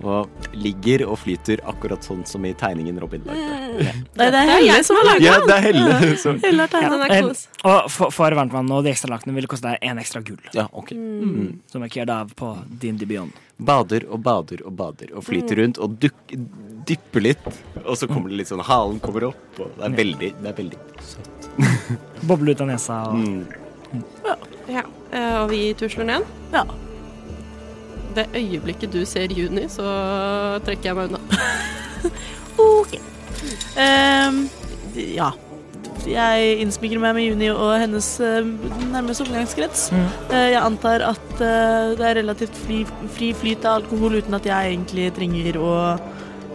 [SPEAKER 10] Og ligger og flyter akkurat sånn som i tegningen Robin
[SPEAKER 1] Mm.
[SPEAKER 10] lagde.
[SPEAKER 1] Nei, det er Helle som har laget
[SPEAKER 10] Ja, det er Helle som
[SPEAKER 1] Helle har tegnet.
[SPEAKER 2] Den er
[SPEAKER 3] Eh,
[SPEAKER 2] kos.
[SPEAKER 3] og for, for varmtvann og de ekstra lakene ville koste deg én ekstra gull.
[SPEAKER 10] Ja, ok.
[SPEAKER 3] Som er kjørt av på din Dibion.
[SPEAKER 10] Bader og bader og bader og
[SPEAKER 1] Mm.
[SPEAKER 10] flyter rundt og duk dypper litt. Og så kommer det litt sånn halen kommer opp, og det er veldig, det er veldig søtt.
[SPEAKER 3] Boble ut av nesa og
[SPEAKER 10] Mm.
[SPEAKER 2] Ja. eh, Og vi tusler ned.
[SPEAKER 1] Ja.
[SPEAKER 2] Det øyeblikket du ser Juni, så trekker jeg meg unna.
[SPEAKER 1] Ok. Ehm, d- ja. Jeg innsmigrer meg med Juni og hennes eh, nærmeste omgangskrets. Eh, jeg antar at eh, det er relativt fri, fri flyt av alkohol uten at jeg egentlig trenger å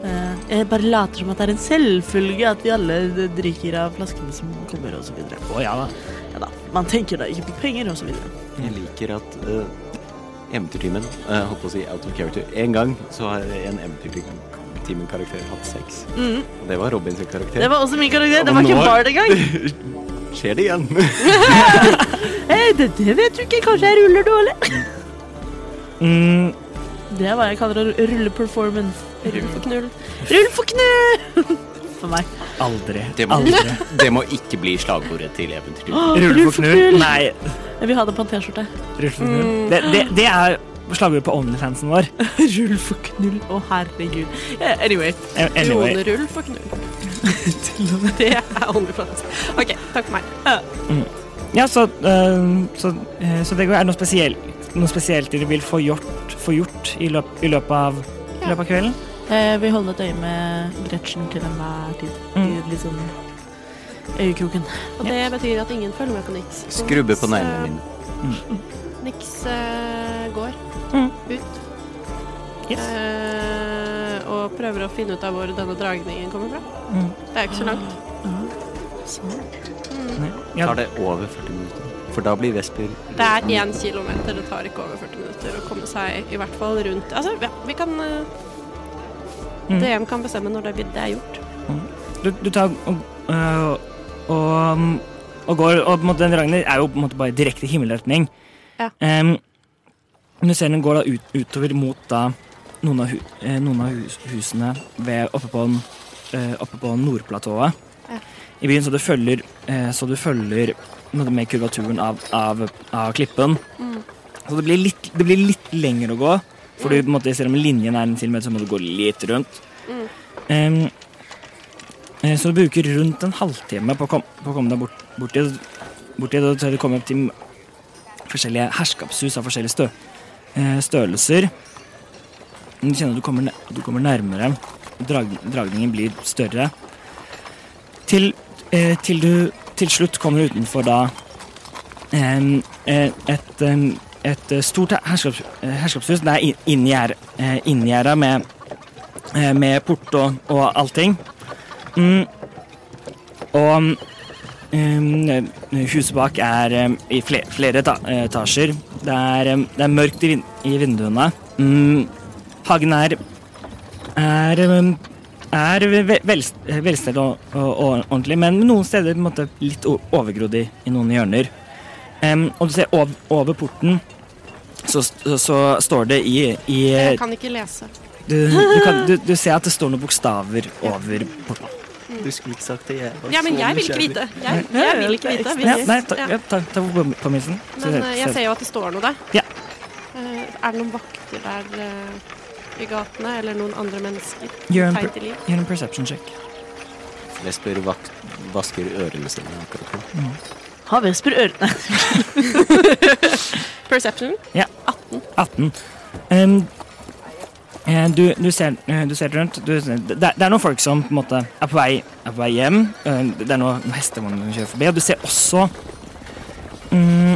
[SPEAKER 1] eh, Jeg bare later som at det er en selvfølge at vi alle d- drikker av flaskene som kommer, og så videre.
[SPEAKER 3] Å ja da.
[SPEAKER 1] Ja da. Man tenker da ikke på penger, og så videre.
[SPEAKER 10] Jeg liker at uh, eventyrtimen uh, Holdt på å si out of character. En gang så har en eventyrtimen-karakter hatt sex. Og det var Robins karakter.
[SPEAKER 1] Mm. Det var også min karakter.
[SPEAKER 10] Og
[SPEAKER 1] Det var
[SPEAKER 10] nå-
[SPEAKER 1] ikke Bard engang.
[SPEAKER 10] Skjer det igjen?
[SPEAKER 1] Hei, Eh, det, det vet du ikke. Kanskje jeg ruller dårlig.
[SPEAKER 3] Mm,
[SPEAKER 1] Det er hva jeg kaller å rulle performance.
[SPEAKER 2] Rull for knull.
[SPEAKER 1] Rull for knu! for meg.
[SPEAKER 3] Aldri.
[SPEAKER 10] Det må,
[SPEAKER 3] Aldri.
[SPEAKER 10] det må ikke bli slagordet til eventyret.
[SPEAKER 3] Rulle for knull. Mm. Nei.
[SPEAKER 1] Jeg vil ha det på en T-skjorte.
[SPEAKER 3] Rulle for knull. Det, det, det er slagordet på Onlyfansen vår.
[SPEAKER 1] Rull for knull. Å, herregud. Eh, Anyway.
[SPEAKER 3] Anyway.
[SPEAKER 2] Kronerull for knull.
[SPEAKER 1] Til og med det.
[SPEAKER 2] Det er OnlyFans. OK, takk for meg.
[SPEAKER 3] Ja, så, eh, så, eh, så det er det noe spesielt, noe spesielt dere vil få gjort, få gjort i, løp, i, løpet av, i løpet av kvelden?
[SPEAKER 1] Eh, vi holder et øye med Gretchen til enhver tid.
[SPEAKER 3] Mm.
[SPEAKER 1] I liksom øyekroken.
[SPEAKER 2] Og det betyr at ingen følger med på Nix.
[SPEAKER 10] Skrubbe på neglene mine.
[SPEAKER 2] Nix eh, går
[SPEAKER 3] Mm.
[SPEAKER 2] ut
[SPEAKER 3] Yes.
[SPEAKER 2] eh, og prøver å finne ut av hvor denne dragningen kommer fra.
[SPEAKER 3] Mm.
[SPEAKER 2] Det er ikke så langt.
[SPEAKER 3] Nei. Ja,
[SPEAKER 10] Tar det over 40 minutter? For da blir Vesper
[SPEAKER 2] Det er én kilometer, det tar ikke over 40 minutter å komme seg i hvert fall rundt Altså, ja, vi kan eh,
[SPEAKER 3] Mm.
[SPEAKER 2] DM kan bestemme når det, det er gjort.
[SPEAKER 3] du, du tar og, øh, og, um, og går Og på en måte, den Ragnhild er jo på en måte bare direkte himmelretning.
[SPEAKER 2] Ja.
[SPEAKER 3] Em, men du ser den går da ut, utover mot da noen av, hu, eh, noen av hus, husene ved, oppe på, den, eh, oppe på Nordplatået
[SPEAKER 2] Ja.
[SPEAKER 3] i byen, så du følger, eh, så du følger på en måte med kurvaturen av, av, av klippen.
[SPEAKER 2] Mm.
[SPEAKER 3] Så det blir, litt, det blir litt lenger å gå, for
[SPEAKER 2] Mm.
[SPEAKER 3] du, på en måte, selv om linjen er en kilometer, så må du gå litt rundt.
[SPEAKER 2] Mm.
[SPEAKER 3] Em, Eh, Så du bruker rundt en halvtime på å, kom, på å komme deg bort, bort, i, bort i det. Så du kommer opp til forskjellige herskapshus av forskjellige stø, eh, størrelser. Men Du kjenner at du kommer, nær- du kommer nærmere. Drag, dragningen blir større. Til, eh, til du til slutt kommer utenfor da em, eh, et, em, et eh, stort her- herskaps, eh, herskapshus. Det er i- inngjerd- eh, inngjerda med, eh, med port og, og allting. Mm. Og um, huset bak er um, i flere, flere eta etasjer. Det er, um, det er mørkt i, vin i vinduene. Mm. Hagen er er, um, er ve- vel velstelt og, og, og ordentlig, men noen steder på en måte, litt o- overgrodd i, i noen hjørner. Em, og du ser over, over porten, så, så, så står det i, i eh,
[SPEAKER 2] Jeg kan ikke lese.
[SPEAKER 3] du, du, kan, du, du ser at det står noen bokstaver over porten.
[SPEAKER 10] Du skulle ikke sagt det. Jeg var
[SPEAKER 2] Ja, men
[SPEAKER 10] så
[SPEAKER 2] jeg vil ikke
[SPEAKER 10] nysgjerrig.
[SPEAKER 2] vite. Jeg, jeg vil ikke vite.
[SPEAKER 3] Ja,
[SPEAKER 2] Hvis,
[SPEAKER 3] nei, ta,
[SPEAKER 2] ja.
[SPEAKER 3] ja, ta, ta på påminnelsen. Så-
[SPEAKER 2] Men eh,
[SPEAKER 3] så-
[SPEAKER 2] jeg ser jo at det står noe der.
[SPEAKER 3] Ja.
[SPEAKER 2] Eh, er det noen vakter der eh, i gatene, eller noen andre mennesker?
[SPEAKER 3] Gjør en,
[SPEAKER 2] Tegn
[SPEAKER 3] per-
[SPEAKER 2] til liv?
[SPEAKER 3] gjør en perception check.
[SPEAKER 10] Vesper vak vasker ørene sine akkurat nå.
[SPEAKER 1] Har Vesper ørene?
[SPEAKER 2] Perception?
[SPEAKER 3] Ja. 18. Em, eh, du, du, ser, eh, du ser rundt. Du, ser- det, det er noen folk som på en måte er på vei, er på vei hjem. Eh, Det er noen noen hestevogner som kjører forbi. Og du ser også mm,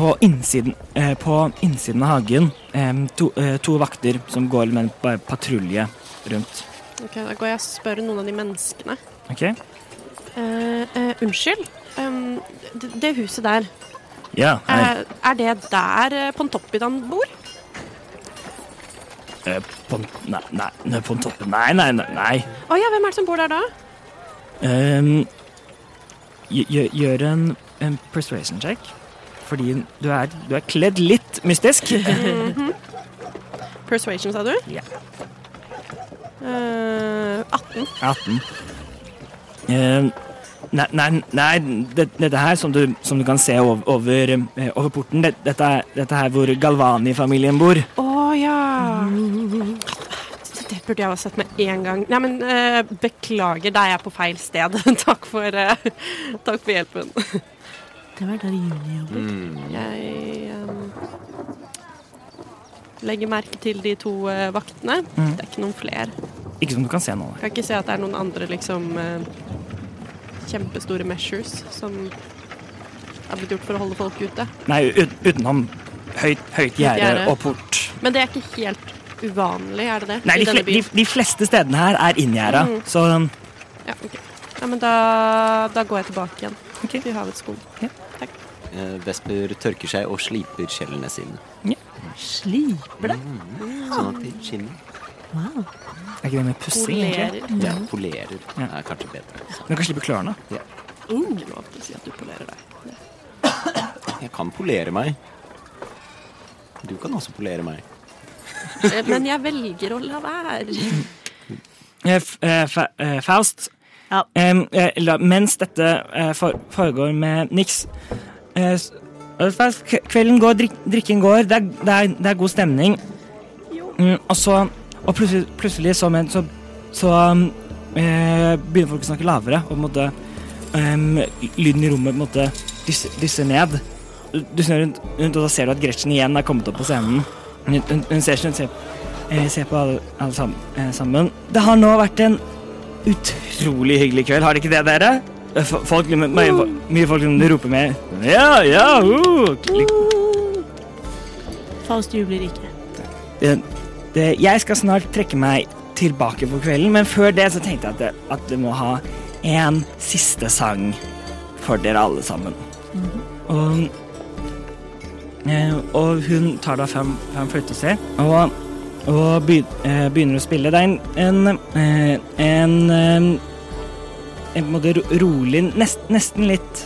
[SPEAKER 3] på innsiden, eh, på innsiden av hagen em, to, eh, to vakter som går med en pa- patrulje rundt.
[SPEAKER 2] Ok, Da går jeg og spør noen av de menneskene.
[SPEAKER 3] Ok?
[SPEAKER 2] Eh, eh, unnskyld. Um, det, det huset der,
[SPEAKER 3] Ja,
[SPEAKER 2] er, Eh, er det der eh, Pontoppidan bor?
[SPEAKER 3] Eh, på, nei, nei, nei, på toppen. Nei, nei, nei. nei.
[SPEAKER 2] Å ja, hvem er det som bor der da?
[SPEAKER 3] Ehm, gjø- gjø- gjør en, en persuasion check. Fordi du er, du er kledd litt mystisk.
[SPEAKER 2] Persuasion, sa du?
[SPEAKER 3] Ja.
[SPEAKER 2] Eh, 18.
[SPEAKER 3] 18. Ehm, nei, nei, nei det, dette her som du, som du kan se over, over, eh, over porten, det, dette, er, dette er hvor Galvani-familien bor.
[SPEAKER 2] Å ja. Det burde jeg ha sett med en gang. Nei, men eh, beklager, da er jeg på feil sted. takk, for, eh, takk for hjelpen.
[SPEAKER 1] Det var der Juni
[SPEAKER 3] Mm.
[SPEAKER 1] jobber.
[SPEAKER 2] Jeg eh, legger merke til de to eh, vaktene. Det er ikke noen flere.
[SPEAKER 3] Ikke som du kan se nå.
[SPEAKER 2] Kan ikke se at det er noen andre liksom eh, kjempestore measures som er blitt gjort for å holde folk ute.
[SPEAKER 3] Nei, ut, utenom høyt, høyt gjerde
[SPEAKER 2] gjerde.
[SPEAKER 3] og port.
[SPEAKER 2] Men det er ikke helt uvanlig, er det det?
[SPEAKER 3] Nei,
[SPEAKER 2] I
[SPEAKER 3] de, fle, de,
[SPEAKER 2] denne byen? Mm.
[SPEAKER 3] de fleste stedene her er inngjerda, så um,
[SPEAKER 2] Ja, ok. Ja, men da, da går jeg tilbake igjen til havets skog.
[SPEAKER 10] Eh, Vesper tørker seg og sliper skjellene sine.
[SPEAKER 1] Sliper det?
[SPEAKER 10] Sånn at de skinner.
[SPEAKER 1] Wow.
[SPEAKER 3] er ikke det med pussing, egentlig?
[SPEAKER 2] Polerer.
[SPEAKER 10] Ja, polerer. Er kanskje bedre.
[SPEAKER 3] Du kan slippe klørne.
[SPEAKER 2] Ikke lov til å si at du polerer deg.
[SPEAKER 10] Jeg kan polere meg. Du
[SPEAKER 2] Eh,
[SPEAKER 10] kan også polere meg.
[SPEAKER 2] Men jeg velger å la være.
[SPEAKER 3] Eh, Eh, f- eh, fa eh, Faust.
[SPEAKER 1] Ja.
[SPEAKER 3] Em, eh, la, mens dette eh, for foregår med Nix eh, s- eh, Faust, k- Kvelden går, drik drikken går, det er, det er, det er god stemning. Mm, og så Og plutselig, plutselig som en, så, så um, eh, begynner folk å snakke lavere, og på en måte em, lyden i rommet på en måte dys- dysser ned. Du, du snur rundt, rundt, og da ser du at Gretchen igjen er kommet opp på scenen. Hun, hun, hun ser seg rundt, ser eh, se på alle, alle sam eh, sammen. Det har nå vært en utrolig hyggelig kveld, har det ikke det, dere? Eh, fo- Folk, mye, mye folk som roper med Ja, ja, uh! klik.
[SPEAKER 1] Faust jubler ikke.
[SPEAKER 3] Det, Eh, det, jeg skal snart trekke meg tilbake for kvelden, men før det så tenkte jeg at, det, at vi må ha en siste sang for dere alle sammen. Og eh, og hun tar da fem, fem fløyter si, og, og begy- eh, begynner å spille. Det er en en, eh, en, eh, en på en måte ro- rolig, nest, nesten litt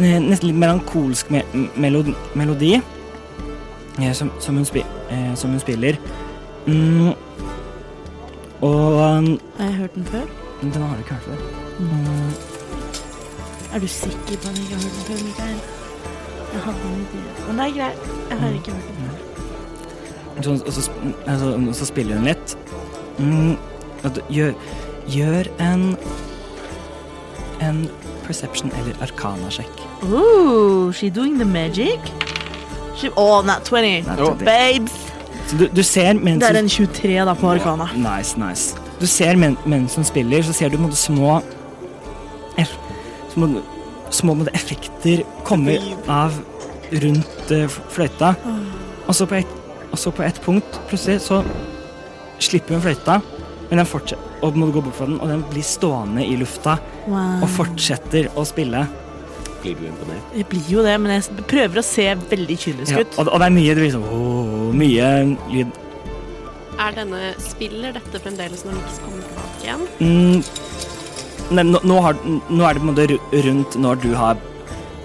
[SPEAKER 3] eh, Nesten litt melankolsk me melod melodi eh, som, som, hun spi eh, som hun spiller. Mm. Og um,
[SPEAKER 1] Har jeg hørt den før?
[SPEAKER 3] Den har du ikke hørt før?
[SPEAKER 1] Er du sikker på at jeg ikke har hørt den før, Mikael? Jeg hadde en idé. Men det er greit. Jeg
[SPEAKER 3] Mm.
[SPEAKER 1] har ikke hørt den før.
[SPEAKER 3] Så, og, så, sp- altså, og så spiller hun litt. Mm. Og du- Gjør, gjør en En perception eller arcana-sjekk.
[SPEAKER 1] Ooh, she doing the magic? She, oh, not 20.
[SPEAKER 3] Nei,
[SPEAKER 10] Jo.
[SPEAKER 3] det-
[SPEAKER 1] Babes!
[SPEAKER 3] Så du, du ser mens
[SPEAKER 1] Det er
[SPEAKER 3] hun-
[SPEAKER 1] en 23 da på Arkana.
[SPEAKER 3] Nice, nice. Du ser men, mens hun spiller, så ser du på en måte små eff, Små, små på en måte effekter komme av rundt eh, f- fløyta. Og så på et, og så på et punkt plutselig så slipper hun fløyta, men den fortsetter, og må gå bort fra den, og den blir stående i lufta og fortsetter å spille.
[SPEAKER 10] Blir du imponert?
[SPEAKER 1] Jeg blir jo det, men jeg s- prøver å se veldig kynisk
[SPEAKER 3] Ja,
[SPEAKER 1] ut.
[SPEAKER 3] og, og det er mye det blir sånn åh, Mye lyd.
[SPEAKER 2] Er denne Spiller dette fremdeles når Nix kommer tilbake igjen?
[SPEAKER 3] Mm, nei, nå, nå, har, nå er det på en måte ru- rundt når du har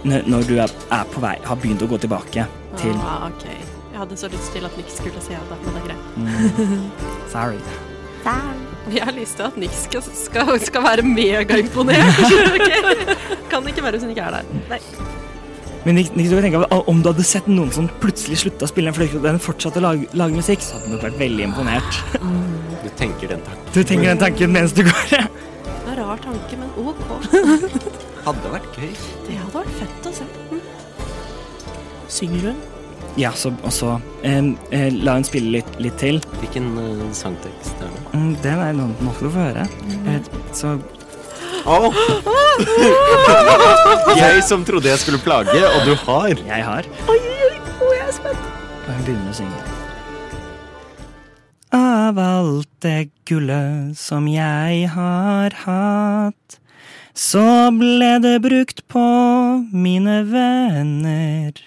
[SPEAKER 3] n- Når du er, er på vei, har begynt å gå tilbake til
[SPEAKER 2] Ah, ok. Jeg hadde så lyst til at Nix skulle se det, men det er greit.
[SPEAKER 3] Sorry.
[SPEAKER 2] Jeg har lyst til at Nix skal, skal, skal være megaimponert. ok? Kan ikke være hvis hun ikke er der.
[SPEAKER 3] Men Nick, Nick, du kan tenke over, ah, om du hadde sett noen som plutselig slutta å spille en fløyte, og den fortsatte å lage, lage musikk, så hadde du nok vært veldig imponert.
[SPEAKER 10] Du tenker den tanken.
[SPEAKER 3] Du tenker den tanken mens du går. ja.
[SPEAKER 2] Det er en rar tanke, men OK.
[SPEAKER 10] Hadde vært gøy.
[SPEAKER 2] Det hadde vært fett å se.
[SPEAKER 1] Synger hun?
[SPEAKER 3] Ja, så, og så em, eh, la hun spille litt, litt til.
[SPEAKER 10] Hvilken eh, sangtekst er det?
[SPEAKER 3] Mm, den er noe nå skal du få høre. Eh, så
[SPEAKER 10] Jeg som trodde jeg skulle plage, og du har.
[SPEAKER 3] jeg har. Og hun begynner å synge. Av alt det gullet som jeg har hatt, så ble det brukt på mine venner.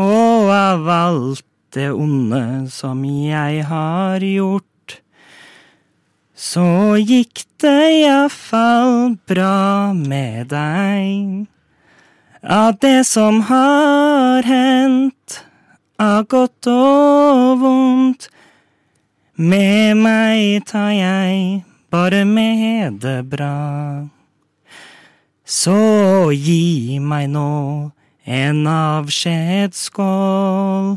[SPEAKER 3] Og av alt det onde som jeg har gjort, så gikk det iallfall bra med deg. Av det som har hendt, av godt og vondt. Med meg tar jeg bare med det bra. Så gi meg nå en avskjedsskål.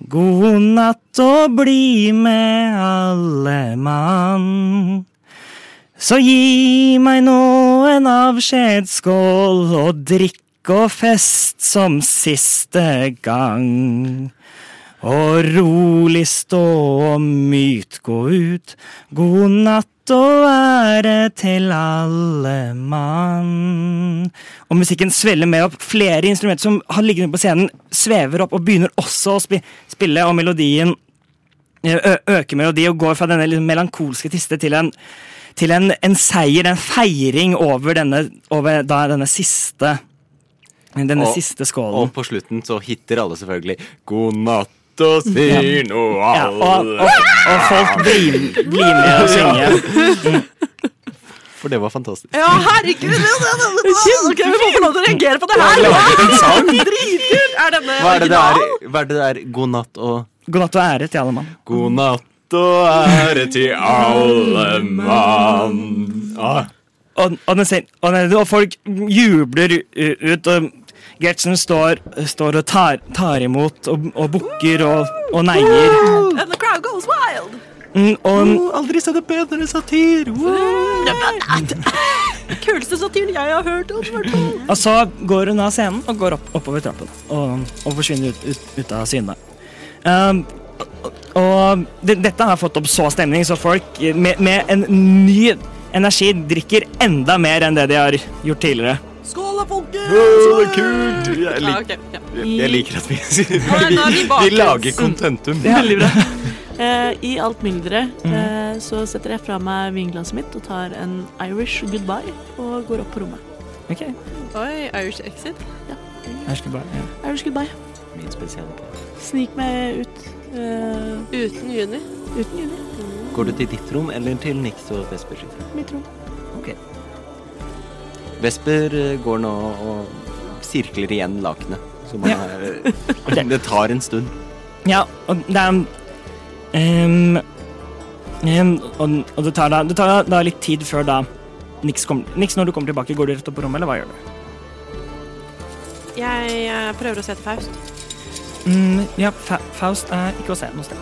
[SPEAKER 3] God natt og bli med alle mann. Så gi meg nå en avskjedsskål og drikk og fest som siste gang. Og rolig stå og myt gå ut, god natt og ære til alle mann. Og musikken sveller med opp, flere instrumenter som har liggende på scenen svever opp og begynner også å spi spille, og melodien eh, ø øker melodi og går fra denne liksom melankolske tiste til en til en, en seier, en feiring over denne, over da, denne siste denne
[SPEAKER 10] Og-
[SPEAKER 3] siste
[SPEAKER 10] Og
[SPEAKER 3] skålen.
[SPEAKER 10] på slutten så hitter alle selvfølgelig God natt og sier noe
[SPEAKER 3] ja, og, og,
[SPEAKER 10] alle
[SPEAKER 3] og folk blir, blir med og synger.
[SPEAKER 10] For det var fantastisk.
[SPEAKER 1] Ja, herregud! Ok, vi må få lov til å reagere på det her!
[SPEAKER 10] Hva er det det er? Hva er det det er? God natt og
[SPEAKER 3] God natt og ære til alle mann.
[SPEAKER 10] God natt
[SPEAKER 11] makt og ære til alle mann. Ah,
[SPEAKER 3] Og, og, den sen- og, den- og folk jubler u- ut, og Gertsen står, står og tar, tar imot og, og bukker og, og neier.
[SPEAKER 1] And the crowd goes wild!
[SPEAKER 3] Mm, og,
[SPEAKER 10] Oh, aldri sett en bedre satir! Wow.
[SPEAKER 1] Kuleste satiren jeg har hørt om! i hvert fall.
[SPEAKER 3] og så går hun av scenen og går opp, oppover trappen og, og forsvinner ut, ut, ut av syne. Um, og og det, dette har fått opp så stemning, så folk med, med en ny energi drikker enda mer enn det de har gjort tidligere.
[SPEAKER 1] Skål da, folkens!
[SPEAKER 11] det er kult! Jeg,
[SPEAKER 2] Ja,
[SPEAKER 11] lik,
[SPEAKER 2] ok. Ja.
[SPEAKER 11] jeg liker at vi,
[SPEAKER 2] Nei, nå er
[SPEAKER 11] vi,
[SPEAKER 2] vi baklengs.
[SPEAKER 11] vi lager kontentum.
[SPEAKER 1] Veldig bra. Eh, I alt mylderet
[SPEAKER 3] Mhm.
[SPEAKER 1] eh, så setter jeg fra meg vinglasset mitt og tar en Irish goodbye og går opp på rommet.
[SPEAKER 3] Ok,
[SPEAKER 2] Oi, Irish exit.
[SPEAKER 3] jeg skal bare... Ja.
[SPEAKER 1] Irish goodbye.
[SPEAKER 10] Min spesielle.
[SPEAKER 1] Snik meg ut. eh,
[SPEAKER 2] Uten juni.
[SPEAKER 1] uten juni.
[SPEAKER 10] Går du til ditt rom eller til Nix og Vesper sitt rom?
[SPEAKER 1] Mitt rom.
[SPEAKER 10] Vesper eh, går nå og sirkler igjen lakenet. Så man
[SPEAKER 3] Ja.
[SPEAKER 10] er, det tar en stund.
[SPEAKER 3] Ja, og det er ehm, ehm, og, og det tar, da, det tar da litt tid før da Nix, kom, Nix, når du kommer tilbake, går du rett opp på rommet, eller hva gjør du?
[SPEAKER 2] Jeg eh, prøver å se til Faust.
[SPEAKER 3] Mm, ja, Fa Faust er ikke å se noe sted.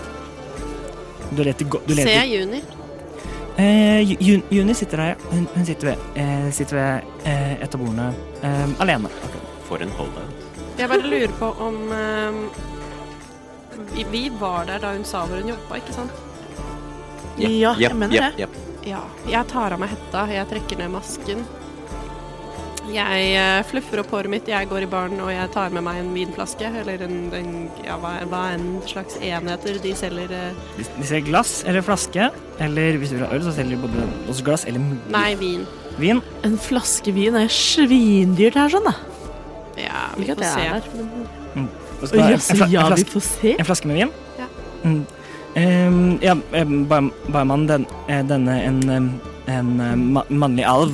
[SPEAKER 3] Du leter godt
[SPEAKER 2] Ser jeg juni?
[SPEAKER 3] eh, Ju- Jun- Juni sitter der, ja. Hun, hun sitter ved, eh, sitter ved eh, et av bordene eh, alene.
[SPEAKER 10] For en holdout.
[SPEAKER 2] Jeg bare lurer på om eh, vi, vi var der da hun sa hvor hun jobba, ikke sant?
[SPEAKER 1] Ja, jeg mener det.
[SPEAKER 2] Ja. Jeg tar av meg hetta, jeg trekker ned masken. Jeg eh, fluffer opp håret mitt, jeg går i baren og jeg tar med meg en vinflaske. Eller en, en ja, hva, hva enn slags enheter de selger. eh,
[SPEAKER 3] De, de ser glass eller flaske, eller hvis du vil ha øl, så selger de både også glass eller mugger.
[SPEAKER 2] Nei, vin.
[SPEAKER 3] vin.
[SPEAKER 1] En flaske vin er svindyrt her, sånn, da.
[SPEAKER 2] Ja, vi
[SPEAKER 1] Ikke at
[SPEAKER 2] får
[SPEAKER 1] jeg
[SPEAKER 2] se.
[SPEAKER 1] er her. men-
[SPEAKER 3] Og så
[SPEAKER 1] Å,
[SPEAKER 3] skal du ha en-
[SPEAKER 1] jaså,
[SPEAKER 3] en fla- en
[SPEAKER 1] ja, vi
[SPEAKER 3] flaske-
[SPEAKER 1] får se.
[SPEAKER 3] En flaske med vin?
[SPEAKER 2] Ja.
[SPEAKER 3] Mm. Ehm, ja, em, bar- barmannen, den, eh, denne en, em, en eh, ma mannlig alv,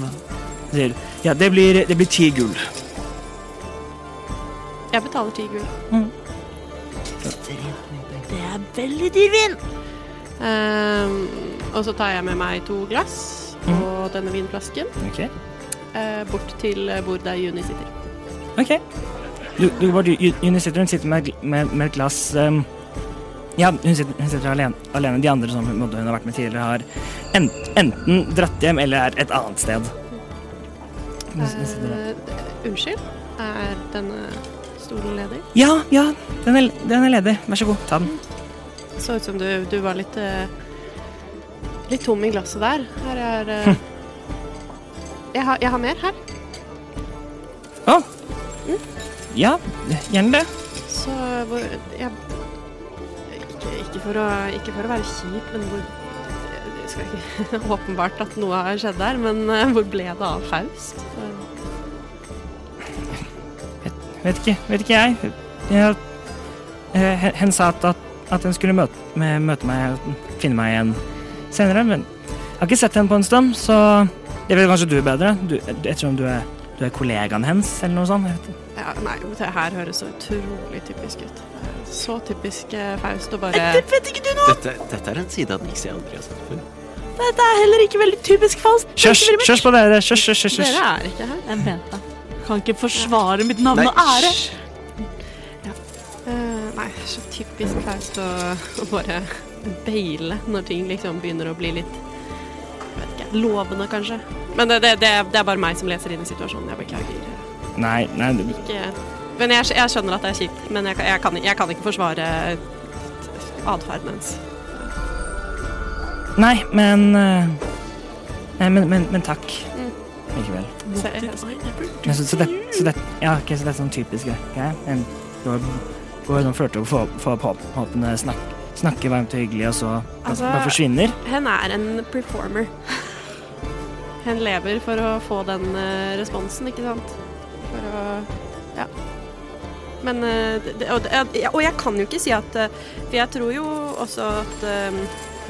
[SPEAKER 3] sier Ja, det blir, det blir ti gull.
[SPEAKER 2] Jeg betaler ti gull.
[SPEAKER 1] Det er veldig dyr vin!
[SPEAKER 2] Ehm, og så tar jeg med meg to glass
[SPEAKER 1] Mm.
[SPEAKER 2] og denne vinflasken
[SPEAKER 3] Ok.
[SPEAKER 2] eh, bort til eh, hvor det er Juni sitter.
[SPEAKER 3] Ok. Du, du, går bort- Ju- Juni sitter, hun sitter med, et gl- med, med et glass em, Ja, hun sitter, hun sitter alene, alene. De andre som hun, måtte- hun har vært med tidligere, har en, enten dratt hjem eller er et annet sted. Hun, hun sitter der.
[SPEAKER 2] Eh, unnskyld, er denne stolen ledig?
[SPEAKER 3] Ja, ja, den er, den er ledig. Vær så god, ta den.
[SPEAKER 2] Så ut som du, du var litt eh, litt tom i glasset der. Her er eh, jeg, har, jeg har mer her,
[SPEAKER 3] Å!
[SPEAKER 2] Mm.
[SPEAKER 3] Ja, gjerne det.
[SPEAKER 2] så hvor jeg, ikke, ikke, for å, ikke for å være kjip, men hvor det skal ikke Åpenbart at noe har skjedd der, men eh, hvor ble det av Faust? Så-
[SPEAKER 3] Vet ikke, vet ikke jeg. jeg eh, hen- hen sa at, at, at hun skulle møte, me- møte meg og finne meg igjen senere, men jeg har ikke sett henne på en stund, så det vet kanskje du bedre, du, ettersom du er, du er kollegaen hennes, eller noe sånt. Jeg vet. ikke.
[SPEAKER 2] Ja, nei, det her høres så utrolig typisk ut. Eh, Så typisk eh, Faust å bare
[SPEAKER 10] Dette, dette er en side av Nix jeg aldri har sett før.
[SPEAKER 1] Dette er heller ikke veldig typisk falskt.
[SPEAKER 3] Kjørs, kjørs på dere, kjørs, kjørs, kjørs, kjørs.
[SPEAKER 2] Dere er ikke her.
[SPEAKER 1] Jeg mente det. Kan ikke forsvare mitt navn og ære.
[SPEAKER 10] hysj.
[SPEAKER 2] Eh, nei, så typisk Faust å, å bare beile når ting liksom begynner å bli litt jeg vet ikke, lovende, kanskje. Men det, det, det, det er bare meg som leser inn i situasjonen. Jeg beklager.
[SPEAKER 3] Nei, nei, du-
[SPEAKER 2] Ikke, men jeg, skj- jeg skjønner at det er kjipt, men jeg, kan- jeg, kan, jeg kan ikke forsvare atferden hennes.
[SPEAKER 3] nei, men, eh, nei, men, men, men takk.
[SPEAKER 2] Mm.
[SPEAKER 3] Likevel.
[SPEAKER 2] Så jeg-
[SPEAKER 3] Men så, så, det, så, det, ja, ok, så det er sånn typisk greie. En går, går sånn flørter og får, får på håpene snak, snakker varmt og hyggelig, og så bare-
[SPEAKER 2] Altså-
[SPEAKER 3] bare forsvinner.
[SPEAKER 2] Hen er en performer. Hen lever for å få den eh, responsen, ikke sant? For å Ja. Men eh, det, og, det- og jeg kan jo ikke si at eh, For jeg tror jo også at eh,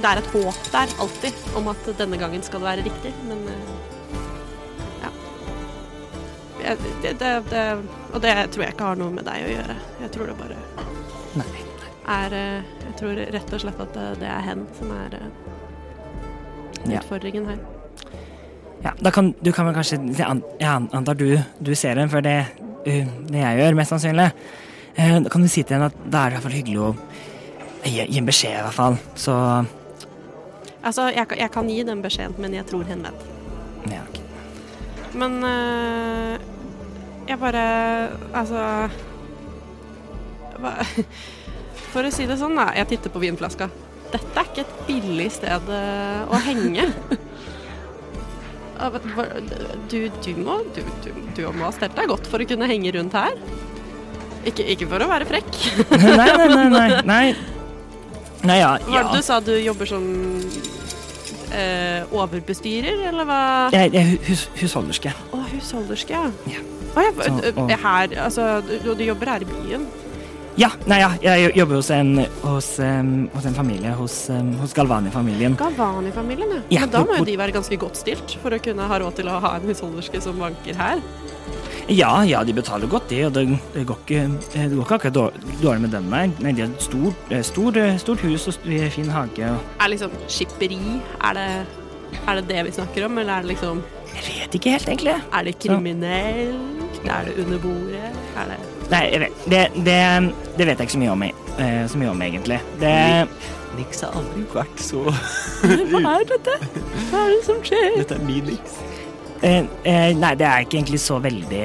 [SPEAKER 2] det er et håp der, alltid, om at denne gangen skal det være riktig, men eh, Ja. Jeg- Det, det, det, og det tror jeg ikke har noe med deg å gjøre. Jeg tror det bare
[SPEAKER 3] Nei.
[SPEAKER 2] er eh, Jeg tror rett og slett at det, det er hen som er eh,
[SPEAKER 3] Ja.
[SPEAKER 2] utfordringen her.
[SPEAKER 3] Ja, da kan du kan vel kanskje Jeg an- jeg an- antar du, du ser henne, for det, uh, det jeg gjør, mest sannsynlig. Eh, Da kan du si til henne at da er det i hvert fall hyggelig å gi, gi en beskjed, i hvert fall. Så
[SPEAKER 2] Altså, jeg, kan- jeg kan gi den beskjeden, men jeg tror hen vet.
[SPEAKER 3] ja, ok.
[SPEAKER 2] Men eh, jeg bare Altså hva, For å si det sånn, da. Jeg titter på vinflaska. Dette er ikke et billig sted eh, å henge. Ja, men hva- Du, du, må, du, du, du må ha stelt deg godt for å kunne henge rundt her. Ikke, ikke for å være frekk.
[SPEAKER 3] Nei, nei, nei. Nei, nei. nei ja,
[SPEAKER 2] Hva
[SPEAKER 3] ja.
[SPEAKER 2] var det du sa? Du jobber som eh, overbestyrer, eller hva?
[SPEAKER 3] Jeg, jeg er hu- hus, husholderske.
[SPEAKER 2] Å, husholderske, ja.
[SPEAKER 3] Ja.
[SPEAKER 2] Å, jeg,
[SPEAKER 3] Så,
[SPEAKER 2] ø- ø-
[SPEAKER 3] og-
[SPEAKER 2] her, altså, du, du jobber her i byen?
[SPEAKER 3] Ja, nei, ja. Jeg jobber hos en, hos, em, hos en familie, hos, em, hos Galvani-familien.
[SPEAKER 2] Galvani-familien, ja.
[SPEAKER 3] Ja,
[SPEAKER 2] Men da
[SPEAKER 3] hvor-
[SPEAKER 2] må jo
[SPEAKER 3] hvor-
[SPEAKER 2] de være ganske godt stilt for å kunne ha råd til å ha en husholderske som banker her.
[SPEAKER 3] Ja, ja, de betaler godt, de, og det, det, går, ikke, eh, det går ikke akkurat dår- dårlig med dem, nei. Nei, de har et stor, eh, stor, eh, stort hus og st- fin hage. Og
[SPEAKER 2] Er liksom skipperi er det, er det det vi snakker om, eller er det liksom
[SPEAKER 3] jeg vet ikke helt, egentlig.
[SPEAKER 2] Er det kriminelt? Er det under bordet? Er det
[SPEAKER 3] Nei, jeg vet, det, det, det vet jeg ikke så mye om, jeg- eh, så mye om egentlig. Det,
[SPEAKER 10] Nix har aldri vært så
[SPEAKER 2] Hva er det som skjer?
[SPEAKER 10] Dette er min Nix.
[SPEAKER 3] eh, eh, nei, det er jeg ikke egentlig så veldig,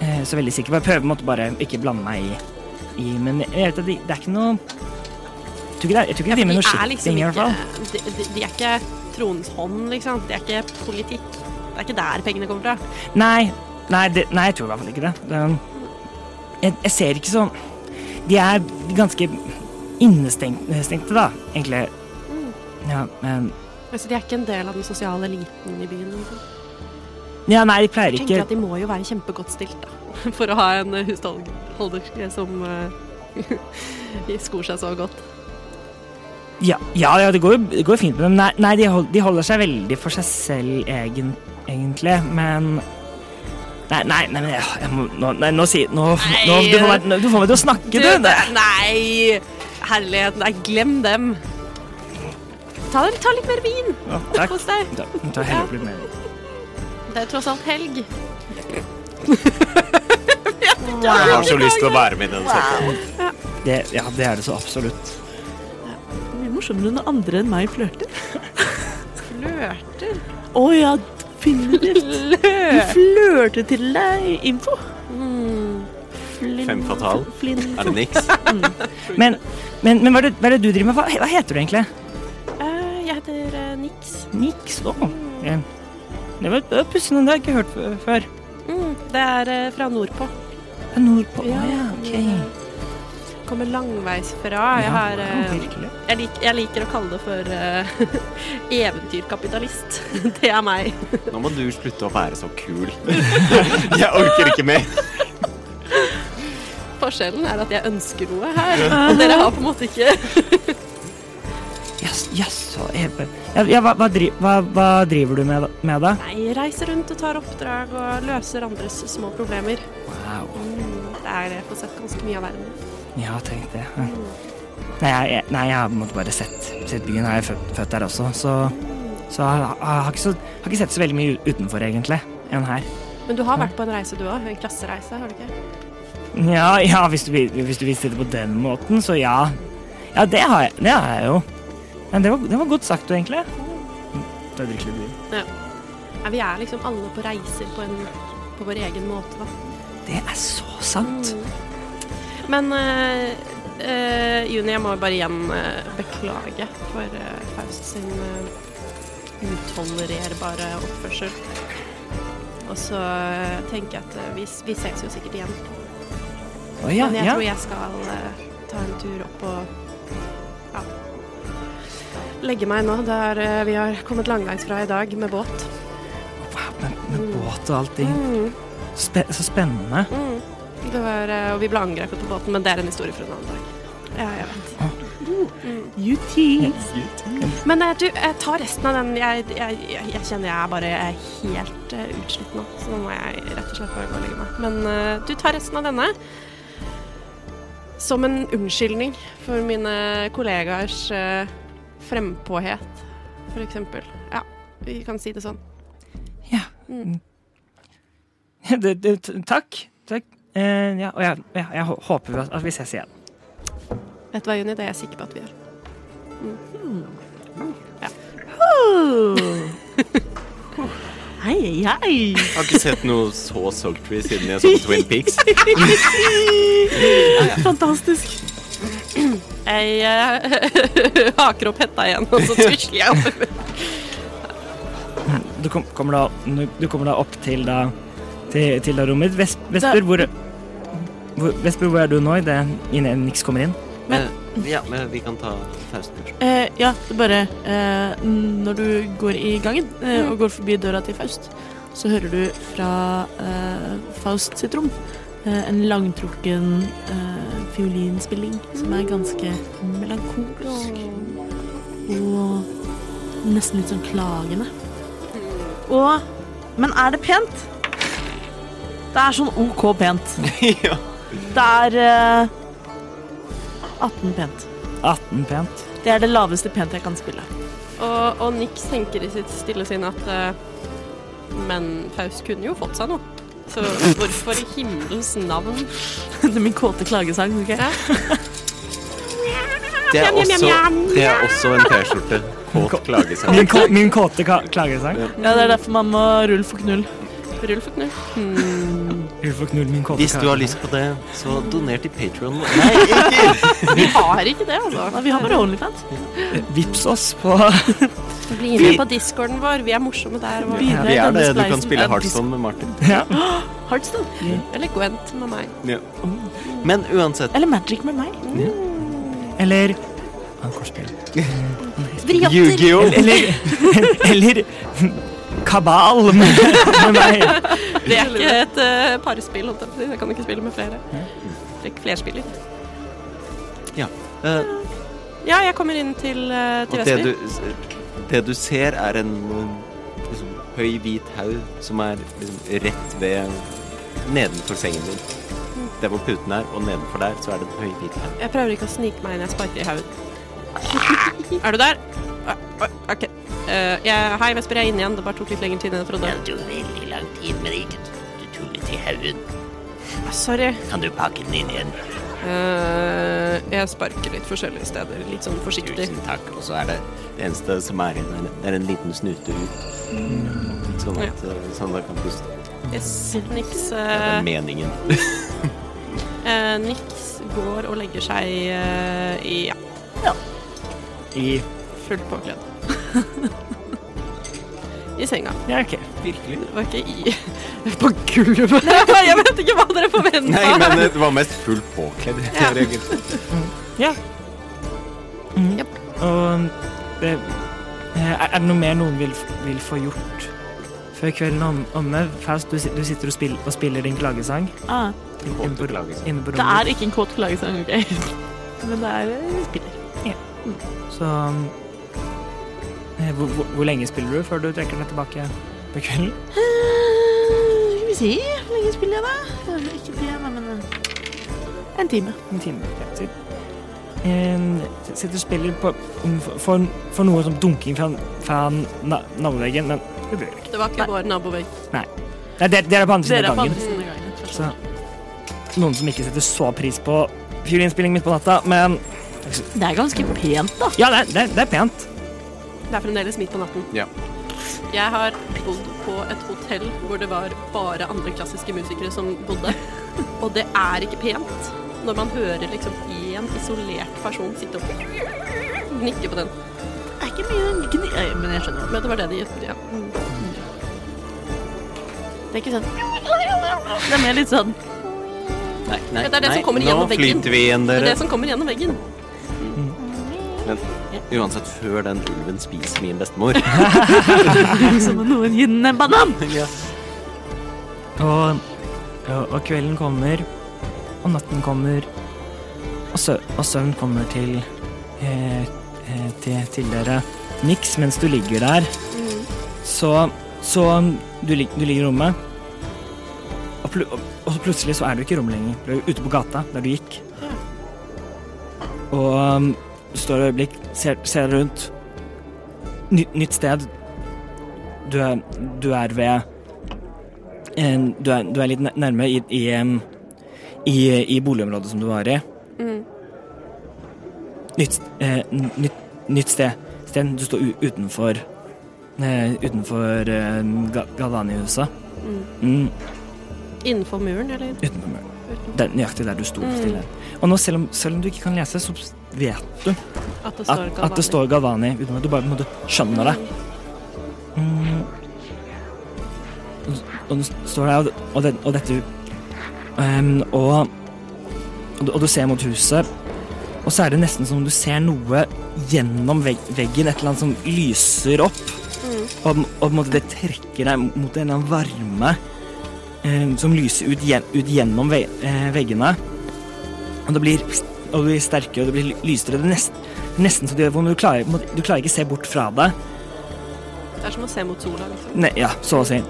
[SPEAKER 3] eh, så veldig sikker på. Jeg prøver på en måte bare ikke blande meg i, i men jeg vet at det, det er ikke noe jeg tror ikke det er- jeg tror ikke det driver med noe
[SPEAKER 2] er
[SPEAKER 3] skitting,
[SPEAKER 2] liksom
[SPEAKER 3] i hvert fall.
[SPEAKER 2] ikke- De, de, de er ikke tronens hånd, liksom. Det er ikke politikk. Det er ikke der pengene kommer fra.
[SPEAKER 3] Nei, nei, det, nei, jeg tror i hvert fall ikke det. det er- jeg, jeg ser ikke så De er ganske innestengte, da, egentlig.
[SPEAKER 2] Mm.
[SPEAKER 3] Ja, men
[SPEAKER 2] Altså, de er ikke en del av den sosiale eliten i byen. Liksom.
[SPEAKER 3] ja, Nei, de pleier
[SPEAKER 2] Jeg tenker
[SPEAKER 3] ikke
[SPEAKER 2] at de må jo være kjempegodt stilt, da. For å ha en eh, husholderske som eh, skor seg så godt.
[SPEAKER 3] Ja, ja, ja det går jo det går jo fint med dem. Nei, nei de, hold, de holder seg veldig for seg selv, egen, egentlig, men Nei, nei, nei, men jeg, jeg må Nå, nei, nå si nå, nå, du, får meg, nå- du får meg til å snakke, du!
[SPEAKER 2] Du,
[SPEAKER 3] Det.
[SPEAKER 2] Nei! Herlighet, nei, glem dem. Ta, ta litt mer vin.
[SPEAKER 3] Ja, takk.
[SPEAKER 2] Kos deg.
[SPEAKER 3] Da, nå tar jeg heller opp litt mer.
[SPEAKER 2] Det er tross alt helg.
[SPEAKER 10] Jeg har så lyst til å være med i den setten.
[SPEAKER 3] Det, ja, det er det så absolutt.
[SPEAKER 1] Det er mye morsommere når andre enn meg flørter.
[SPEAKER 2] Flørter.
[SPEAKER 1] Å ja, definitivt. Du flørter til deg, info.
[SPEAKER 2] Hmm.
[SPEAKER 1] Flin-
[SPEAKER 10] Fem fatal.
[SPEAKER 1] Flin.
[SPEAKER 10] Er det Nix?
[SPEAKER 3] Men, men, men hva, er det, hva er det du driver med? Hva, hva heter du egentlig?
[SPEAKER 2] Eh, jeg heter eh, Nix.
[SPEAKER 3] Niks. Å. eh, Det var, det var pussig, det har jeg ikke hørt f- før.
[SPEAKER 2] Mm, det er eh, fra nordpå.
[SPEAKER 3] Ja, Nordpå. Å ja,
[SPEAKER 2] jeg
[SPEAKER 3] ok.
[SPEAKER 2] Kommer langveis fra. Jeg,
[SPEAKER 3] Ja,
[SPEAKER 2] har,
[SPEAKER 3] ja,
[SPEAKER 2] eh,
[SPEAKER 3] virkelig.
[SPEAKER 2] jeg, lik, jeg liker å kalle det for eh, eventyrkapitalist. Det er meg.
[SPEAKER 10] Nå må du slutte å være så kul. Jeg orker ikke mer.
[SPEAKER 2] Forskjellen er at jeg ønsker noe her, og dere har på en måte ikke
[SPEAKER 3] Jas, jaså, Eve. Ja, ja, hva, hva, dri- hva, hva driver du med, da- med da?
[SPEAKER 2] Nei, reiser rundt og tar oppdrag og løser andres små problemer. Mm,
[SPEAKER 3] Wow.
[SPEAKER 2] Det er det jeg får sett ganske mye av verden.
[SPEAKER 3] Ja, tenk det. ja. Nei, jeg, jeg- nei, jeg har på en måte bare sett, sett byen. Jeg er født, født der også, så, så jeg, har- jeg har ikke så har ikke sett så veldig mye utenfor, egentlig, enn her.
[SPEAKER 2] Men du har vært på en reise, du òg? En klassereise, har du ikke?
[SPEAKER 3] Ja, ja hvis, du, vil- hvis du vil si det på den måten, så ja. Ja, det har jeg, det har jeg jo. Men det var, det var godt sagt, du, egentlig. Da drikker litt vin.
[SPEAKER 2] Nei, vi er liksom alle på reiser på, en, på vår egen måte, da.
[SPEAKER 3] Det er så sant.
[SPEAKER 2] Men eh, eh, Juni, jeg må bare igjen eh, beklage for eh, Faust sin eh, utolererbare oppførsel. Og så eh, tenker jeg at eh, vi, s- vi ses jo sikkert igjen.
[SPEAKER 3] Å ja,
[SPEAKER 2] Men jeg
[SPEAKER 3] ja.
[SPEAKER 2] tror jeg skal eh, ta en tur opp og ja, legge meg nå. Der eh, vi har kommet langveis fra i dag med båt.
[SPEAKER 3] Wow, med, med båt og allting. Spe, så spennende.
[SPEAKER 2] Det var, eh, og vi ble angrepet på båten, men det er en historie for en annen dag. Ja, jeg vet.
[SPEAKER 1] You tease.
[SPEAKER 2] Men eh, du, eh, ta resten av den. Jeg, jeg, jeg, jeg kjenner jeg er bare er helt eh, utslitt nå, så nå må jeg rett og slett bare gå og legge meg. Men eh, du tar resten av denne. Som en unnskyldning for mine kollegaers eh, frempåhet, for eksempel. Ja, vi kan si det sånn.
[SPEAKER 3] Mm.
[SPEAKER 2] Mm.
[SPEAKER 3] Det, det, t- takk. takk. Eh, ja, og jeg, ja, jeg hå- håper vi at- at vi ses igjen.
[SPEAKER 2] Vet du hva, Juni, det er jeg sikker på at vi gjør.
[SPEAKER 12] Hei, hei.
[SPEAKER 10] Jeg har ikke sett noe så sultry siden jeg så på Twin Peaks.
[SPEAKER 12] Fantastisk.
[SPEAKER 2] Jeg eh, haker opp hetta igjen, og så tusler jeg opp.
[SPEAKER 3] Du, kom, kommer, da, du kommer da opp til da, til, til da rommet ditt. Ves- Vesper, hvor, hvor, Vesper, hvor er du nå idet Nix kommer inn?
[SPEAKER 10] Men, ja, men vi kan ta pausen.
[SPEAKER 1] Eh, ja, det bare eh, Når du går i gangen eh, og går forbi døra til Faust, så hører du fra eh, Faust sitt rom eh, en langtrukken eh, fiolinspilling som er ganske melankolsk og nesten litt sånn klagende.
[SPEAKER 12] Og, men er det pent? Det er sånn OK pent.
[SPEAKER 1] Det er eh, 18 pent.
[SPEAKER 3] 18 pent.
[SPEAKER 1] Det er det laveste pent jeg kan spille.
[SPEAKER 2] Og, og Nix tenker i sitt stille sinn at eh, Men Faust kunne jo fått seg noe. Så hvorfor i himmelens navn?
[SPEAKER 1] det er min kåte klagesang. ok?
[SPEAKER 10] Det er også, det er også en T-skjorte. Kåt klagesang.
[SPEAKER 3] Min, kå- min kåte ka- klagesang.
[SPEAKER 1] Ja, Det er derfor man må rulle for knull.
[SPEAKER 2] Rull for knull.
[SPEAKER 3] Ulf og Knull, min kåte
[SPEAKER 10] Hvis du har
[SPEAKER 3] klagesang.
[SPEAKER 10] lyst på det, så doner til Patron. Nei,
[SPEAKER 2] Vi har ikke det, altså.
[SPEAKER 1] Ja, vi har bare Onlyfans.
[SPEAKER 3] Vips oss på
[SPEAKER 2] Bli med på discorden vår. Vi er morsomme der. Og,
[SPEAKER 1] Videre
[SPEAKER 10] vi er
[SPEAKER 1] denne
[SPEAKER 10] det. Du
[SPEAKER 1] spleisen
[SPEAKER 10] kan spille
[SPEAKER 1] er
[SPEAKER 10] Heartstone med Martin.
[SPEAKER 3] ja.
[SPEAKER 1] Hearthstone.
[SPEAKER 2] eller Gwent med meg.
[SPEAKER 10] Men uansett,
[SPEAKER 1] Eller Magic med meg.
[SPEAKER 3] Eller Ah, Kortspill.
[SPEAKER 10] Yu-Gi-Oh!
[SPEAKER 3] Eller Eller Kabal med, med meg.
[SPEAKER 2] Det er ikke et eh, parspill. holdt jeg på å si. Jeg kan ikke spille med flere. Trekk flerspiller.
[SPEAKER 10] Eh,
[SPEAKER 2] Ja, jeg kommer inn til, eh, til
[SPEAKER 10] Og
[SPEAKER 2] Vesper.
[SPEAKER 10] det du, det du ser, er en eh, liksom, høy, hvit haug som er liksom, rett ved nedenfor sengen din. Der hvor puten er, og nedenfor der, så er det en høy, hvit haug.
[SPEAKER 2] Jeg prøver ikke å snike meg inn. Jeg sparker i hodet. er du der? Ah, ah, OK. Eh, jeg, hei, Vesper. Jeg er inne igjen. Det bare tok litt lengre tid enn jeg trodde.
[SPEAKER 6] Det tok veldig lang tid, men ikke du tullet i haugen.
[SPEAKER 2] Ah, Sorry.
[SPEAKER 6] Kan du pakke den inn igjen?
[SPEAKER 2] Eh, jeg sparker litt forskjellige steder. Litt sånn forsiktig.
[SPEAKER 6] Tusen takk. Og så er det
[SPEAKER 10] Det eneste som er igjen, er- det er en liten snute ut. Sånn at eh, Sandra kan puste.
[SPEAKER 2] Yes, Nix,
[SPEAKER 10] Det
[SPEAKER 2] eh,
[SPEAKER 10] er meningen.
[SPEAKER 2] eh, Nix går og legger seg eh, i ja,
[SPEAKER 3] I
[SPEAKER 2] fullt påkledd. I senga.
[SPEAKER 3] Ja, OK.
[SPEAKER 10] Virkelig?
[SPEAKER 2] Det var ikke i På gulvet! Jeg vet ikke hva dere forventa.
[SPEAKER 10] Nei, men eh, det var mest fullt påkledd.
[SPEAKER 2] Ja.
[SPEAKER 10] Jeg reagerte.
[SPEAKER 3] Og det, eh, er er det noe mer noen vil, vil få gjort før kvelden er om- omme? Faust, du, sit- du sitter og, spill, og spiller din klagesang
[SPEAKER 1] Ah,
[SPEAKER 3] inne på,
[SPEAKER 10] klagesang.
[SPEAKER 3] inne på
[SPEAKER 1] det
[SPEAKER 3] rommet.
[SPEAKER 1] er ikke en kåt klagesang, ok? Men det er eh, spiller.
[SPEAKER 3] Så um, eh, hvor, hvor, hvor lenge spiller du før du trekker deg tilbake på kvelden?
[SPEAKER 1] Eh, Skal vi se, hvor lenge spiller jeg da? Eh, Ikke tre, nei, men eh, en time.
[SPEAKER 3] En time. ja, sitt. En, sitter og spiller på, for, for noe som dunking fra, fra na, navleveggen, men det blir det ikke.
[SPEAKER 2] Det var ikke vår nabovegg.
[SPEAKER 3] Nei, dere, dere er på andre siden av
[SPEAKER 1] Dere er på
[SPEAKER 3] gangen.
[SPEAKER 1] andre siden av gangen.
[SPEAKER 3] Så noen som ikke setter så pris på fiolinspilling midt på natta, men
[SPEAKER 1] Det er ganske pent, da.
[SPEAKER 3] ja, det, er- det, er- det er pent.
[SPEAKER 2] Det er fremdeles midt på natten.
[SPEAKER 10] Ja.
[SPEAKER 2] Jeg har bodd på et hotell hvor det var bare andre klassiske musikere som bodde. Og det er ikke pent når man hører liksom én isolert person sitte og nikke på den.
[SPEAKER 1] Det er ikke mye gni... eh, Men jeg skjønner.
[SPEAKER 2] Men det var det de gjorde. Ja.
[SPEAKER 1] Det er ikke sånn Det er mer litt sånn
[SPEAKER 10] Nei, nei,
[SPEAKER 2] Det er det som kommer
[SPEAKER 10] nå
[SPEAKER 2] gjennom veggen.
[SPEAKER 10] flyter vi igjen,
[SPEAKER 2] Det er
[SPEAKER 10] dere.
[SPEAKER 2] det som kommer gjennom veggen.
[SPEAKER 10] Men uansett, før den ulven spiser min bestemor
[SPEAKER 1] som om noen gir den en banan.
[SPEAKER 10] ja.
[SPEAKER 3] Og, og, og kvelden kommer, og natten kommer, og, sø, og søvn kommer til, eh, eh, til, til dere. Niks mens du ligger der. Så, så du, lig- du ligger i rommet, og, plu, og, og så plutselig så er du ikke i rommet lenger. Du er ute på gata der du gikk. Og um, står et øyeblikk, ser, ser deg rundt. Ny, nytt sted. Du er, du er ved en, Eh, du, er, du er litt nær- nærme i, i, um, i, i boligområdet som du var i. Nytt, eh, n- nytt, nytt sted. Sten, du står u utenfor eh, Utenfor eh, Ga- Galvani-huset. Mm,
[SPEAKER 2] Innenfor muren, eller?
[SPEAKER 3] utenfor muren. Det er nøyaktig der du sto stille. Og nå, selv om, selv om du ikke kan lese, så vet du
[SPEAKER 2] At
[SPEAKER 3] at,
[SPEAKER 2] det står
[SPEAKER 3] at det
[SPEAKER 2] Galvani.
[SPEAKER 3] står Galvani uten at du bare på en måte skjønner det. Mm. Og det står der, og, det- og, det, og dette Ehm, og, og, du- og du ser mot huset, og så er det nesten som om du ser noe gjennom vegg, veggen, et eller annet som lyser opp. Og, og på en måte det trekker deg mot en eller annen varme eh, som lyser ut, gjen, ut gjennom ve, eh, veggene. Og det blir, og det blir sterkere, og det blir ly- lysere. Det er nesten, nesten så du, du, klarer, på en måte- du klarer ikke se bort fra det.
[SPEAKER 2] Det er som å se mot sola, liksom.
[SPEAKER 3] Ne, ja, så å si.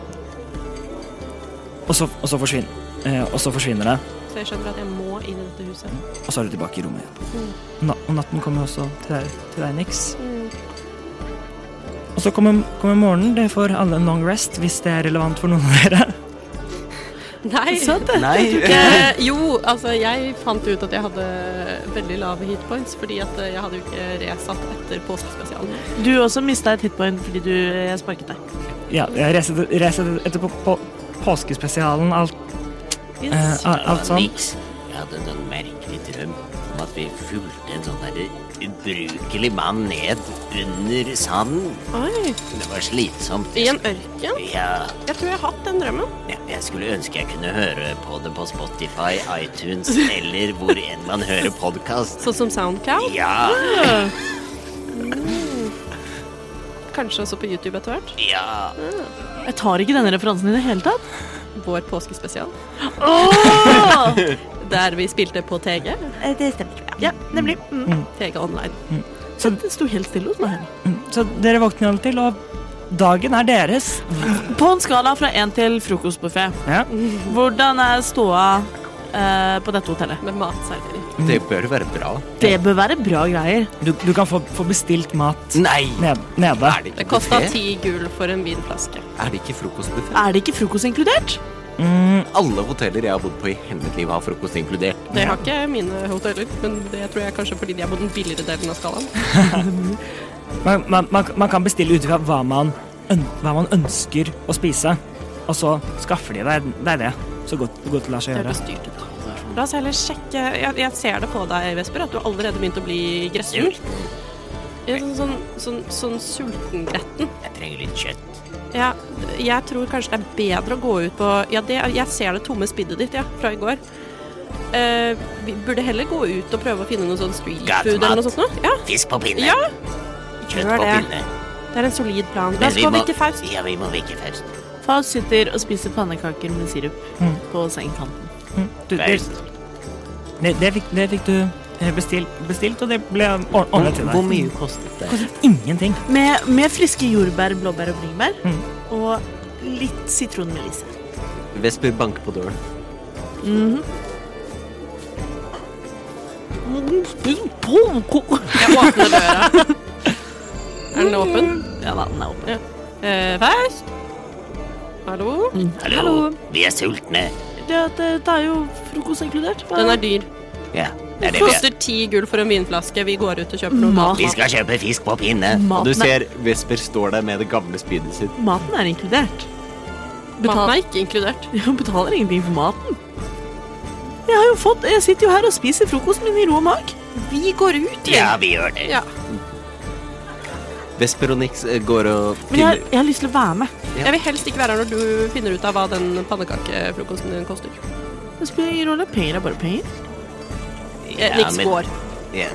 [SPEAKER 3] Og så, og så forsvinner eh, Og så forsvinner det,
[SPEAKER 2] Så jeg skjønner at jeg må inn i dette huset.
[SPEAKER 3] og så er du tilbake i rommet igjen. Na, og natten kommer også til deg, til deg Nix. Og så kommer, kommer morgenen. Dere får alle en long rest hvis det er relevant for noen av dere.
[SPEAKER 2] Nei!
[SPEAKER 10] Nei.
[SPEAKER 2] Eh, jo, altså jeg fant ut at jeg hadde veldig lave hit points, fordi at eh, jeg hadde jo ikke resatt etter påskespesialen.
[SPEAKER 1] Du også mista et hitpoint fordi du, jeg sparket deg.
[SPEAKER 3] Ja, jeg reiser reiser etter på, på påskespesialen, alt, eh,
[SPEAKER 10] ah.
[SPEAKER 1] Yes.
[SPEAKER 3] alt sånn.
[SPEAKER 6] Niks. Jeg hadde en sånn merkelig drøm om at vi fulgte en sånn derre ubrukelig mann ned under sanden.
[SPEAKER 2] Oi,
[SPEAKER 6] Det var slitsomt.
[SPEAKER 2] I en ørken?
[SPEAKER 6] Ja,
[SPEAKER 2] Jeg tror jeg har hatt den drømmen.
[SPEAKER 6] ja, jeg skulle ønske jeg kunne høre på det på Spotify, iTunes eller hvor enn man hører podkast.
[SPEAKER 2] Sånn som Soundcloud.
[SPEAKER 6] Ja,
[SPEAKER 2] Kanskje også på YouTube etter hvert.
[SPEAKER 6] ja.
[SPEAKER 1] Jeg tar ikke denne referansen i det hele tatt.
[SPEAKER 2] Vår påskespesial. Der vi spilte på TG.
[SPEAKER 1] Det stemmer. Ja, nemlig. Mm.
[SPEAKER 2] TG online.
[SPEAKER 3] Så,
[SPEAKER 1] Det sto helt stille hos meg.
[SPEAKER 3] så dere våkner alle til, og dagen er deres.
[SPEAKER 1] På en skala fra én til frokostbuffé,
[SPEAKER 3] Ja.
[SPEAKER 1] hvordan er ståa eh, på dette hotellet?
[SPEAKER 2] Med matservering.
[SPEAKER 10] Det bør være bra.
[SPEAKER 1] Det bør være bra greier.
[SPEAKER 3] Du, du kan få, få bestilt mat
[SPEAKER 10] Nei!
[SPEAKER 3] ned, nede.
[SPEAKER 10] Er det
[SPEAKER 2] Det
[SPEAKER 10] ikke
[SPEAKER 2] kosta
[SPEAKER 10] buffet?
[SPEAKER 2] ti gull for en vinflaske.
[SPEAKER 10] Er det ikke frokostbuffé?
[SPEAKER 1] Er det ikke frokost inkludert?
[SPEAKER 3] Mm,
[SPEAKER 10] Alle hoteller jeg har bodd på i hele mitt liv, har frokost inkludert.
[SPEAKER 2] Det har ikke mine hoteller, men det tror jeg kanskje fordi de er på den billigere delen av skalaen.
[SPEAKER 3] Man, man, man, man kan bestille ut ifra hva, man øn- hva man ønsker å spise, og så skaffer de deg deg det. Så godt, godt det lar seg
[SPEAKER 2] Det er
[SPEAKER 3] gjøre.
[SPEAKER 2] bestyrt ut. La oss heller sjekke jeg, jeg ser det på deg, Vesper, at du har allerede begynt å bli gressen. Ja, sånn, sånn, sånn, sånn sultengretten.
[SPEAKER 6] Jeg trenger litt kjøtt.
[SPEAKER 2] Ja, jeg tror kanskje det er bedre å gå ut på Ja, det, jeg ser det tomme spiddet ditt, ja, fra i går. Eh, vi burde heller gå ut og prøve å finne noe sånn street food eller noe sånt noe. Ja,
[SPEAKER 6] Fisk på pinne.
[SPEAKER 2] Ja.
[SPEAKER 6] Kjøtt
[SPEAKER 2] Gjør
[SPEAKER 6] på
[SPEAKER 2] det.
[SPEAKER 6] pinne.
[SPEAKER 2] det er en solid plan. La
[SPEAKER 6] Men
[SPEAKER 2] oss
[SPEAKER 6] vi
[SPEAKER 2] gå
[SPEAKER 6] må-
[SPEAKER 2] vekk til Faust.
[SPEAKER 6] Ja, vi må vikke først.
[SPEAKER 1] Faust sitter og spiser pannekaker med sirup på sengekanten.
[SPEAKER 3] Du, det,
[SPEAKER 6] Faust.
[SPEAKER 3] det, det, fikk, det fikk du eh, bestilt, bestilt og det ble or- ordnet til deg.
[SPEAKER 6] Hvor mye kostet det?
[SPEAKER 3] Ingenting.
[SPEAKER 1] Med, med friske jordbær, blåbær og bringebær.
[SPEAKER 3] Mm.
[SPEAKER 1] Og litt sitronmelisse.
[SPEAKER 10] Vesper banker på døren.
[SPEAKER 2] Jeg åpner døra. Er den åpen?
[SPEAKER 1] Ja da, den er åpen.
[SPEAKER 2] Eh, Faust? Hallo?
[SPEAKER 1] Mm.
[SPEAKER 6] Hallo. Vi er sultne.
[SPEAKER 1] Det, det, det er jo frokost inkludert. Hva-
[SPEAKER 2] Den er dyr.
[SPEAKER 6] Ja, det er det vi er.
[SPEAKER 2] Koster ti gull for en vinflaske. Vi går ut og kjøper noe
[SPEAKER 1] Mat.
[SPEAKER 2] mat.
[SPEAKER 6] Vi skal kjøpe fisk på pinne.
[SPEAKER 10] Og du
[SPEAKER 1] maten, er,
[SPEAKER 10] ser Vesper står der med det gamle spydet sitt.
[SPEAKER 1] maten er inkludert.
[SPEAKER 2] Maten
[SPEAKER 1] Betal,
[SPEAKER 2] er ikke inkludert.
[SPEAKER 1] jeg betaler ingenting for maten. Jeg, har jo fått, jeg sitter jo her og spiser frokosten min i ro mag.
[SPEAKER 2] Vi går ut,
[SPEAKER 6] Ja, vi gjør det.
[SPEAKER 2] Ja.
[SPEAKER 10] Vesper og Nix eh, går og
[SPEAKER 1] Men jeg,
[SPEAKER 10] finner
[SPEAKER 1] jeg har lyst til å være med.
[SPEAKER 2] Jeg vil helst ikke være her når du finner ut av hva den pannekakefrokosten din koster.
[SPEAKER 1] Det spiller ingen rolle. Penger er bare penger.
[SPEAKER 2] Eh, Nix
[SPEAKER 6] men-
[SPEAKER 2] går.
[SPEAKER 10] Ja,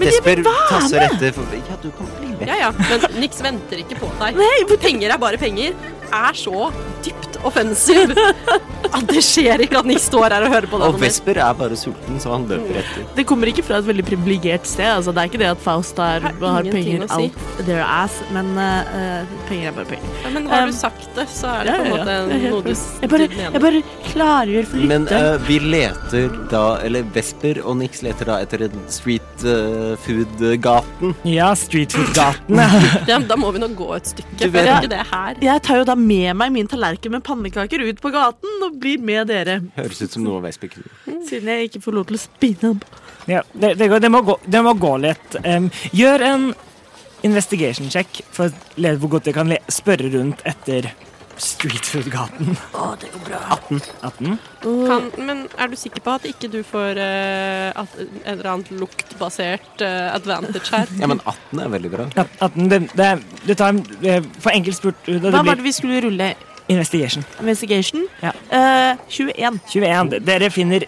[SPEAKER 1] vil
[SPEAKER 10] Vesper
[SPEAKER 1] være
[SPEAKER 10] tasser
[SPEAKER 1] med!
[SPEAKER 10] etter for Ja, du kan bli med.
[SPEAKER 2] Ja ja, men Nix venter ikke på deg.
[SPEAKER 1] Nei, hvor-
[SPEAKER 2] Penger er bare penger. er så dypt offensiv at det skjer ikke at Nick står her og hører på det.
[SPEAKER 10] Og Vesper er bare sulten, så han løper etter.
[SPEAKER 1] Det kommer ikke fra et veldig privilegert sted. Altså, det er ikke det at Faust har,
[SPEAKER 2] Har
[SPEAKER 1] har penger
[SPEAKER 2] ingenting å si.
[SPEAKER 1] out their ass, men eh, eh, penger er bare penger.
[SPEAKER 2] Ja, Men
[SPEAKER 1] Um,
[SPEAKER 2] har du sagt det, så er det
[SPEAKER 1] Ja,
[SPEAKER 2] på en
[SPEAKER 1] ja,
[SPEAKER 2] måte
[SPEAKER 1] ja. Det er helt
[SPEAKER 2] noe du
[SPEAKER 1] fint. jeg, bare,
[SPEAKER 2] du
[SPEAKER 1] jeg bare klargjør for
[SPEAKER 10] Men
[SPEAKER 1] lytteren.
[SPEAKER 10] eh, vi leter da Eller Vesper og Nix leter da etter en street eh, food-gaten.
[SPEAKER 3] Ja, Street Food-gaten.
[SPEAKER 2] Ja, men da må vi nå gå et stykke.
[SPEAKER 10] Du
[SPEAKER 2] for
[SPEAKER 10] vet-
[SPEAKER 2] det er ikke det her.
[SPEAKER 1] jeg tar jo da med meg min tallerken med pannekaker ut på gaten og blir med dere.
[SPEAKER 10] Høres ut som noe Vesper kunne
[SPEAKER 2] Mm.
[SPEAKER 1] Siden jeg ikke får lov til å spinne opp.
[SPEAKER 3] Ja, det, det, går- det, må gå, det må gå litt. Em, gjør en investigation check for å lede hvor godt du kan le spørre rundt etter Street Food-gaten. Å, det går bra. 18. 18.
[SPEAKER 2] Kan, men er du sikker på at ikke du får eh, at, en eller annet luktbasert eh, advantage her?
[SPEAKER 10] Ja, men 18 er veldig bra.
[SPEAKER 3] Ja, 18 det, det, du tar en eh, for enkelt spurt da det
[SPEAKER 1] Hva var
[SPEAKER 3] blir
[SPEAKER 1] det vi skulle rulle?
[SPEAKER 3] investigation.
[SPEAKER 1] Investigation?
[SPEAKER 3] Ja.
[SPEAKER 1] Eh, 21.
[SPEAKER 3] 21. Dere finner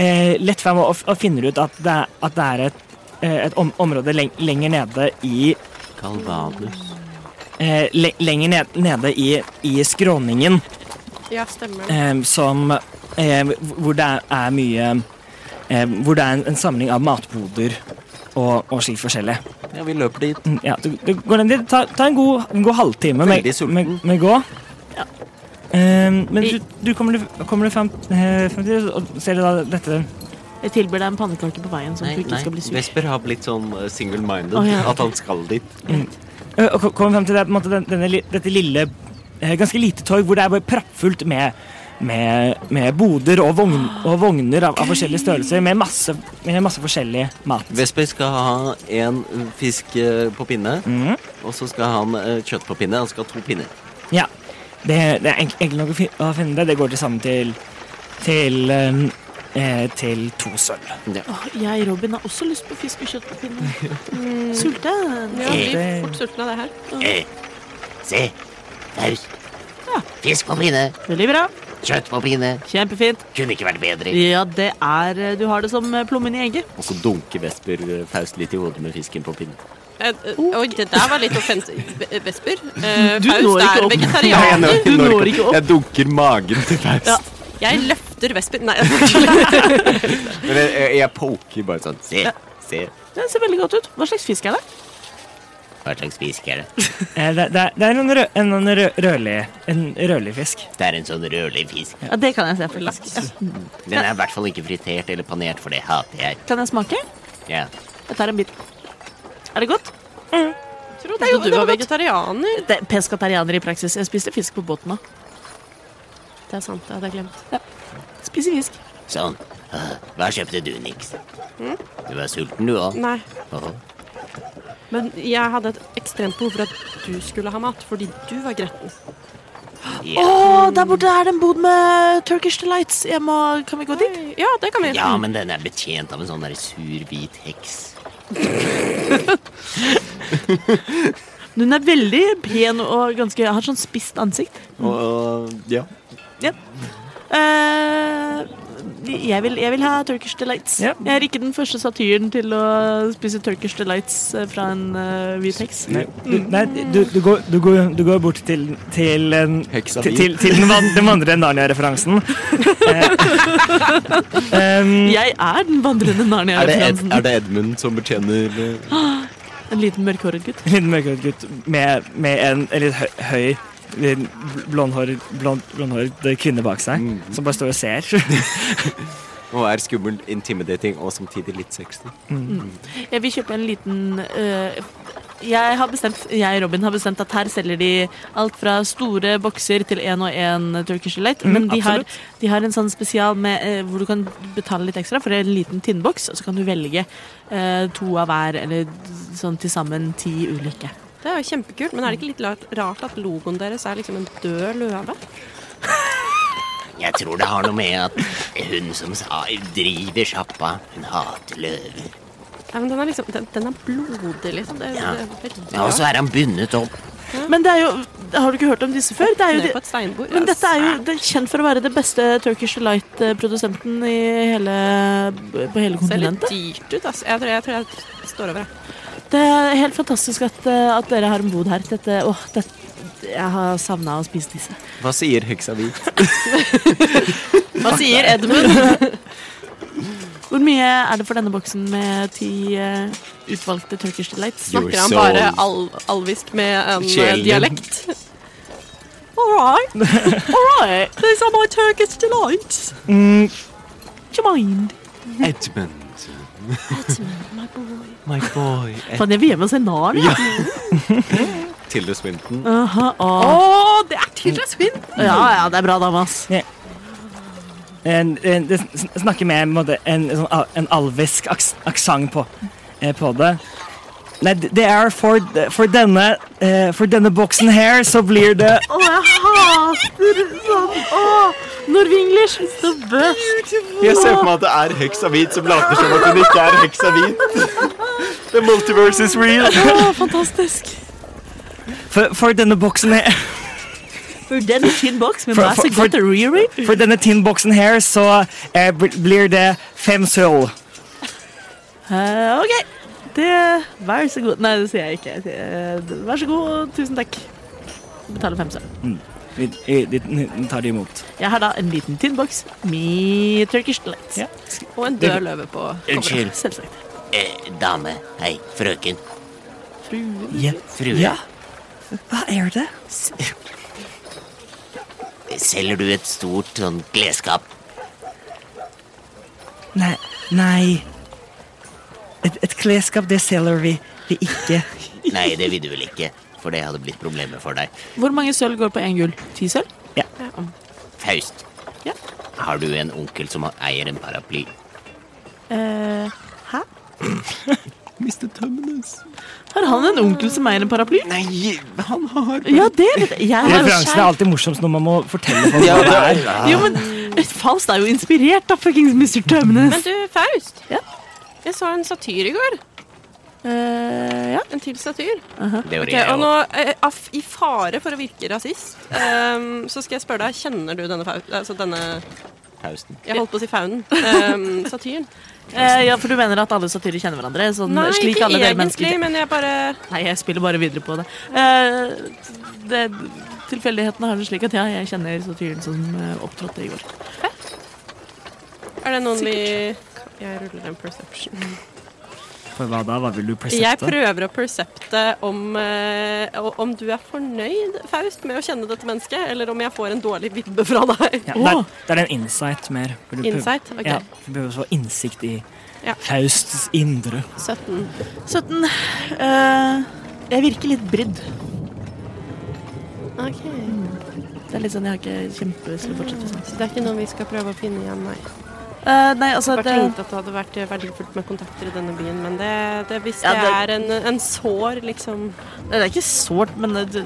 [SPEAKER 3] eh, lett frem og, og finner ut at det, er- at det er et, eh, et om, område leng, lenger nede i
[SPEAKER 10] Galvanus.
[SPEAKER 3] eh, le, Lenger ned, nede i, i skråningen.
[SPEAKER 2] Ja, stemmer det.
[SPEAKER 3] eh, som eh, Hvor det er mye eh, Hvor det er en, en samling av matboder og, og slikt forskjellig.
[SPEAKER 10] Ja, vi løper dit.
[SPEAKER 3] Mm, Ja, du, du går ned dit. Ta, ta en god, en god halvtime med,
[SPEAKER 10] Veldig sulten.
[SPEAKER 3] med, med gå. Eh, men
[SPEAKER 1] I-
[SPEAKER 3] du, du kommer, du- kommer du frem, eh, frem til og ser du da dette
[SPEAKER 1] Jeg tilbyr deg en pannekake på veien, sånn at du ikke skal bli sur.
[SPEAKER 10] Vesper har blitt sånn eh, single-minded.
[SPEAKER 1] Å, ja.
[SPEAKER 10] At han skal dit.
[SPEAKER 3] eh, Og ko- kommer frem til det, på en måte, den- denne, li- dette lille, eh, ganske lite torg hvor det er bare prappfullt med med, med boder og, vogn, og vogner av, av forskjellige størrelser med masse, med masse forskjellig mat.
[SPEAKER 10] Vesper skal ha en fisk eh, på pinne,
[SPEAKER 3] Mhm.
[SPEAKER 10] og så skal han eh, kjøtt på pinne. Han skal ha to pinner.
[SPEAKER 3] Ja. Det, det er enk- enkelt nok å, fin å finne det. Det går til sammen til til, um, eh, til to sølv.
[SPEAKER 1] Åh, jeg, Robin, har også lyst på fisk og kjøtt på pinne. Sulten.
[SPEAKER 2] Ja, jeg blir fort sulten av det her.
[SPEAKER 6] Eh, se. Faust. Fisk på pinne.
[SPEAKER 1] Veldig bra.
[SPEAKER 6] Kjøtt på pinne.
[SPEAKER 1] Kjempefint.
[SPEAKER 6] Kunne ikke vært bedre.
[SPEAKER 1] Ja, det er eh, Du har det som plommen i egget.
[SPEAKER 10] Og så dunker Vesper eh, Faust litt i hodet med fisken på pinnen.
[SPEAKER 2] Eh, eh, Oi, det der var litt offensivt. Ve- Vesper? Eh,
[SPEAKER 1] Du når
[SPEAKER 2] Faust
[SPEAKER 1] ikke
[SPEAKER 2] er
[SPEAKER 1] opp.
[SPEAKER 2] vegetarianer.
[SPEAKER 1] Du når ikke opp.
[SPEAKER 10] Jeg dunker magen til Faust.
[SPEAKER 1] Ja.
[SPEAKER 2] Jeg løfter Vesper Nei, jeg-
[SPEAKER 10] Men jeg, jeg, jeg poker bare sånn. Se, se.
[SPEAKER 1] Det ser veldig godt ut. Hva slags fisk er det?
[SPEAKER 6] Hva slags fisk er det?
[SPEAKER 3] Eh, det, det, er- det er en, rø en, en rø rødlig en rødlig fisk.
[SPEAKER 6] Det er en sånn rødlig fisk.
[SPEAKER 1] Ja, Det kan jeg se, faktisk.
[SPEAKER 6] Den er i hvert fall ikke fritert eller panert, for det hater jeg.
[SPEAKER 1] Kan jeg smake?
[SPEAKER 6] Ja.
[SPEAKER 1] Jeg tar en bit. Er det godt?
[SPEAKER 2] trodde du var vegetarianer.
[SPEAKER 1] Det er Pescatarianer i praksis. Jeg spiste fisk på båten òg.
[SPEAKER 2] Det er sant, det hadde jeg glemt.
[SPEAKER 1] Spiser fisk.
[SPEAKER 6] Sånn. Ah, Hva kjøpte du, Nix?
[SPEAKER 2] Hm?
[SPEAKER 6] Du var sulten, du òg.
[SPEAKER 2] Nei,
[SPEAKER 6] Åhå.
[SPEAKER 2] men jeg hadde et ekstremt behov for at du skulle ha mat, fordi du var gretten.
[SPEAKER 1] Å,
[SPEAKER 6] Ja.
[SPEAKER 1] der borte er det en bod med Turkish Delights. Jeg må, kan vi gå dit?
[SPEAKER 2] Ja, det kan vi.
[SPEAKER 6] ja, men den er betjent av en sånn der sur, hvit heks.
[SPEAKER 1] Hun er veldig pen og ganske, har sånn spisst ansikt.
[SPEAKER 10] Og, og ja.
[SPEAKER 1] Eh, jeg, vil, jeg vil ha Turkish Delights.
[SPEAKER 3] Ja.
[SPEAKER 1] Jeg er ikke den første satyren til å spise Turkish Delights eh, fra en eh, hvit heks.
[SPEAKER 3] Nei, du, nei, du, du, går, du, går, du går bort til til, en-
[SPEAKER 10] Heksa
[SPEAKER 3] til,
[SPEAKER 10] mi.
[SPEAKER 3] til, til den, van den vandre Narnia-referansen. Eh, um,
[SPEAKER 1] Jeg er den vandrende
[SPEAKER 10] Er det, Ed,
[SPEAKER 1] Narnia-referansen.
[SPEAKER 10] er det Edmund som betjener eh,
[SPEAKER 1] En liten mørkhåret gutt.
[SPEAKER 3] En liten mørkhåret gutt med, med en, en litt hø høy en bl- blondhåret blond, blondhåret kvinne bak seg, som bare står og ser.
[SPEAKER 10] Og er skummel, intimidating og samtidig litt sexy?
[SPEAKER 1] Jeg vil kjøpe en liten øh, jeg, har bestemt, jeg og Robin har bestemt at her selger de alt fra store bokser til én og én Turkish Delight. Men de har, de har en sånn spesial med, øh, hvor du kan betale litt ekstra for en liten tinnboks, og så kan du velge øh, to av hver, eller sånn til sammen ti ulike.
[SPEAKER 2] Det er jo kjempekult, men er det ikke litt rart- rart at logoen deres er liksom en død løve?
[SPEAKER 6] Jeg tror det har noe med at hun som sa, driver sjappa, hun hater løver.
[SPEAKER 2] Nei, men den er liksom, den, den er blodig, liksom. Det,
[SPEAKER 6] Ja.
[SPEAKER 2] det er veldig
[SPEAKER 6] Ja, og så
[SPEAKER 2] rart.
[SPEAKER 6] er han bundet opp.
[SPEAKER 1] Men det er jo Har du ikke hørt om disse før? Det er jo
[SPEAKER 2] Ned
[SPEAKER 1] de,
[SPEAKER 2] på et steinbord.
[SPEAKER 1] men
[SPEAKER 2] ja.
[SPEAKER 1] dette er jo det er kjent for å være det beste Turkish Delight-produsenten i hele, på hele
[SPEAKER 2] ser litt
[SPEAKER 1] kontinentet.
[SPEAKER 2] dyrt ut, ass. Jeg tror jeg, tror jeg står over, jeg.
[SPEAKER 1] Det er helt fantastisk at, eh, at dere har en bod her. Dette, åh, det, Jeg har savna å spise disse.
[SPEAKER 10] Hva sier heksa hvit?
[SPEAKER 2] Hva sier Edmund?
[SPEAKER 1] Hvor mye er det for denne boksen med ti eh, utvalgte Turkish Delights?
[SPEAKER 2] Snakker han bare al alvisk med en eh,
[SPEAKER 10] Sjelen din.
[SPEAKER 2] dialekt?
[SPEAKER 1] All right. All right. These are my Turkish Delights.
[SPEAKER 3] Mm,
[SPEAKER 1] Do you mind?
[SPEAKER 10] Edmund. My boy. Ed
[SPEAKER 1] Faen, jeg vil hjem og se Nar, jeg.
[SPEAKER 10] Tilde Swinton.
[SPEAKER 1] Aha,
[SPEAKER 2] Å,
[SPEAKER 1] ah.
[SPEAKER 2] det er Tilda Swin!
[SPEAKER 1] Ja, ja, det er bra dame, ass.
[SPEAKER 3] en, en, det sn- snakker med en, måte, en, sånn, al- en alvisk aks, aksang på, eh, på det. Nei, d- det er for, d- for denne eh, For denne boksen her, så blir det
[SPEAKER 1] Å, jeg hater sånn. Å, Norwenglish is the best.
[SPEAKER 10] Jeg ser for meg at det er heksa hvit som later som at hun ikke er heksa hvit. The multiverse is real.
[SPEAKER 1] Å, fantastisk.
[SPEAKER 3] For, for denne boksen her
[SPEAKER 1] For den tynn boks med
[SPEAKER 3] For-
[SPEAKER 1] masse
[SPEAKER 3] for- for-
[SPEAKER 1] godt rearing.
[SPEAKER 3] For denne tinnboksen her, så eh, bl- blir det fem sølv.
[SPEAKER 1] Eh, ok. Det Vær så god. Nei, det sier jeg ikke. Jeg sier, eh, Vær så god, tusen takk. Betaler fem sølv.
[SPEAKER 3] Vi, vi, vi tar det imot.
[SPEAKER 1] Jeg har da en liten tynn boks med Turkish delights.
[SPEAKER 3] Ja.
[SPEAKER 2] Og en død løve på coveret.
[SPEAKER 1] Selvsagt.
[SPEAKER 6] Eh, dame. Hei, frøken.
[SPEAKER 3] Ja.
[SPEAKER 6] Frue.
[SPEAKER 3] ja. Hva er det?
[SPEAKER 6] Selger du et stort sånn klesskap?
[SPEAKER 3] Nei, nei. Et, et klesskap, det selger vi, vi ikke.
[SPEAKER 6] Nei, det vil du vel ikke, for det hadde blitt problemer for deg.
[SPEAKER 1] Hvor mange sølv går på én gull? Ti sølv?
[SPEAKER 6] Faust.
[SPEAKER 1] Ja.
[SPEAKER 6] Har du en onkel som eier en paraply?
[SPEAKER 1] Eh, hæ?
[SPEAKER 10] Mr. Tømnes.
[SPEAKER 1] Har han en onkel som eier en paraply?
[SPEAKER 10] Nei, han har
[SPEAKER 1] Ja, det vet jeg. Jeg har jo
[SPEAKER 3] Referansen er
[SPEAKER 1] skjær.
[SPEAKER 3] alltid morsomst når man må fortelle folk hva det er.
[SPEAKER 1] Jo, men Faust er jo inspirert av fuckings Mr. Tømnes.
[SPEAKER 2] Men du, Faust.
[SPEAKER 1] Ja.
[SPEAKER 2] Jeg så en satyr i går.
[SPEAKER 1] Eh, ja.
[SPEAKER 2] En til satyr.
[SPEAKER 6] Det gjorde
[SPEAKER 2] Ok,
[SPEAKER 6] jeg
[SPEAKER 2] og
[SPEAKER 6] òg.
[SPEAKER 2] nå, eh, af, i fare for å virke rasist, ehm, så skal jeg spørre deg, kjenner du denne faun... Altså denne
[SPEAKER 6] Fausten.
[SPEAKER 2] Jeg holdt på å si faunen. ehm, satyren.
[SPEAKER 1] Eh, ja, for du mener at alle satyrer kjenner hverandre? Sånn,
[SPEAKER 2] Nei,
[SPEAKER 1] slik
[SPEAKER 2] ikke
[SPEAKER 1] alle dere mennesker
[SPEAKER 2] egentlig, men jeg bare
[SPEAKER 1] Nei, jeg spiller bare videre på det. Eh, det tilfeldighetene har det slik at ja, jeg kjenner satyren som eh, opptrådte i går.
[SPEAKER 2] Er det noen vi Jeg ruller en perception.
[SPEAKER 3] For hva da? Hva vil du
[SPEAKER 2] Jeg
[SPEAKER 3] presette?
[SPEAKER 2] prøver å persepte om, eh, o- om du er fornøyd, Faust, med å kjenne dette mennesket, eller om jeg får en dårlig vibbe fra deg.
[SPEAKER 3] Ja, det, er, det er en insight mer. Vil du prøve-
[SPEAKER 2] Insight? OK.
[SPEAKER 3] Ja, vi behøver få innsikt i
[SPEAKER 2] Ja.
[SPEAKER 3] Fausts indre.
[SPEAKER 2] 17.
[SPEAKER 1] 17. Eh, jeg virker litt brydd.
[SPEAKER 2] Ok,
[SPEAKER 1] Det er litt sånn jeg har ikke kjempelyst til å fortsette sånn.
[SPEAKER 2] Så det er ikke noe vi skal prøve å finne igjen, nei. Jeg
[SPEAKER 1] Eh, nei, altså
[SPEAKER 2] bare
[SPEAKER 1] det,
[SPEAKER 2] tenkte at det hadde vært eh, verdifullt med kontakter i denne byen, men det, det, hvis
[SPEAKER 1] Ja,
[SPEAKER 2] det
[SPEAKER 1] det-
[SPEAKER 2] er en, en sår, liksom
[SPEAKER 1] det er ikke sårt, men eh, det,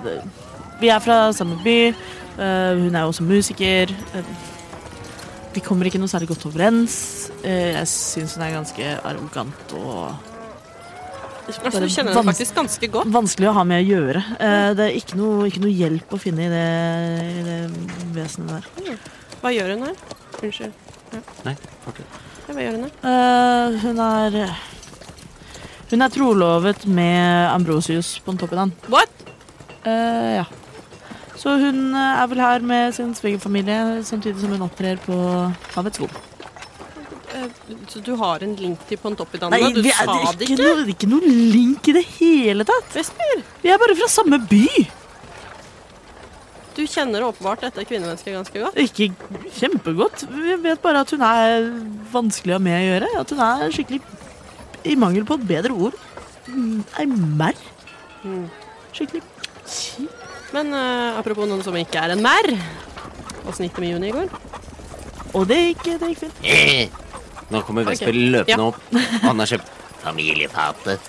[SPEAKER 1] det, vi er fra samme by. Eh, hun er jo også musiker. Eh, vi kommer ikke noe særlig godt overens. Eh, jeg syns hun er ganske arrogant og
[SPEAKER 2] Altså, Du kjenner den
[SPEAKER 1] vans-
[SPEAKER 2] faktisk ganske godt.
[SPEAKER 1] Vanskelig å ha med å gjøre. Eh, det er ikke noe, ikke noe hjelp å finne i det, i det vesenet der.
[SPEAKER 2] Hva gjør hun her? Unnskyld. Ja.
[SPEAKER 10] Nei, fortsett.
[SPEAKER 2] Ja, Hva gjør hun her?
[SPEAKER 1] Eh, hun er Hun er trolovet med Ambrosius på toppen av den.
[SPEAKER 2] What?
[SPEAKER 1] Eh, ja. Så hun eh, er vel her med sin svigerfamilie, samtidig som hun opptrer på havets sko.
[SPEAKER 2] Eh, Så du har en link til Pontoppidan?
[SPEAKER 1] Nei,
[SPEAKER 2] Du
[SPEAKER 1] vi er,
[SPEAKER 2] sa
[SPEAKER 1] det er ikke,
[SPEAKER 2] det ikke?
[SPEAKER 1] noe, det er ikke noe link i det hele tatt.
[SPEAKER 2] Vesper,
[SPEAKER 1] Vi er bare fra samme by.
[SPEAKER 2] du kjenner åpenbart dette kvinnemennesket ganske godt.
[SPEAKER 1] Ikke kjempegodt. Vi vet bare at hun er vanskelig å ha med å gjøre. At hun er skikkelig, i mangel på et bedre ord, mm, ei merr. Skikkelig kjip.
[SPEAKER 2] Men eh, apropos noen som ikke er en merr. Åssen gikk det med Juni i går?
[SPEAKER 1] Og det gikk, det gikk fint.
[SPEAKER 6] Eh,
[SPEAKER 10] Nå kommer Vesper løpende
[SPEAKER 2] Ja.
[SPEAKER 10] opp. Han har kjøpt
[SPEAKER 6] familiefatet.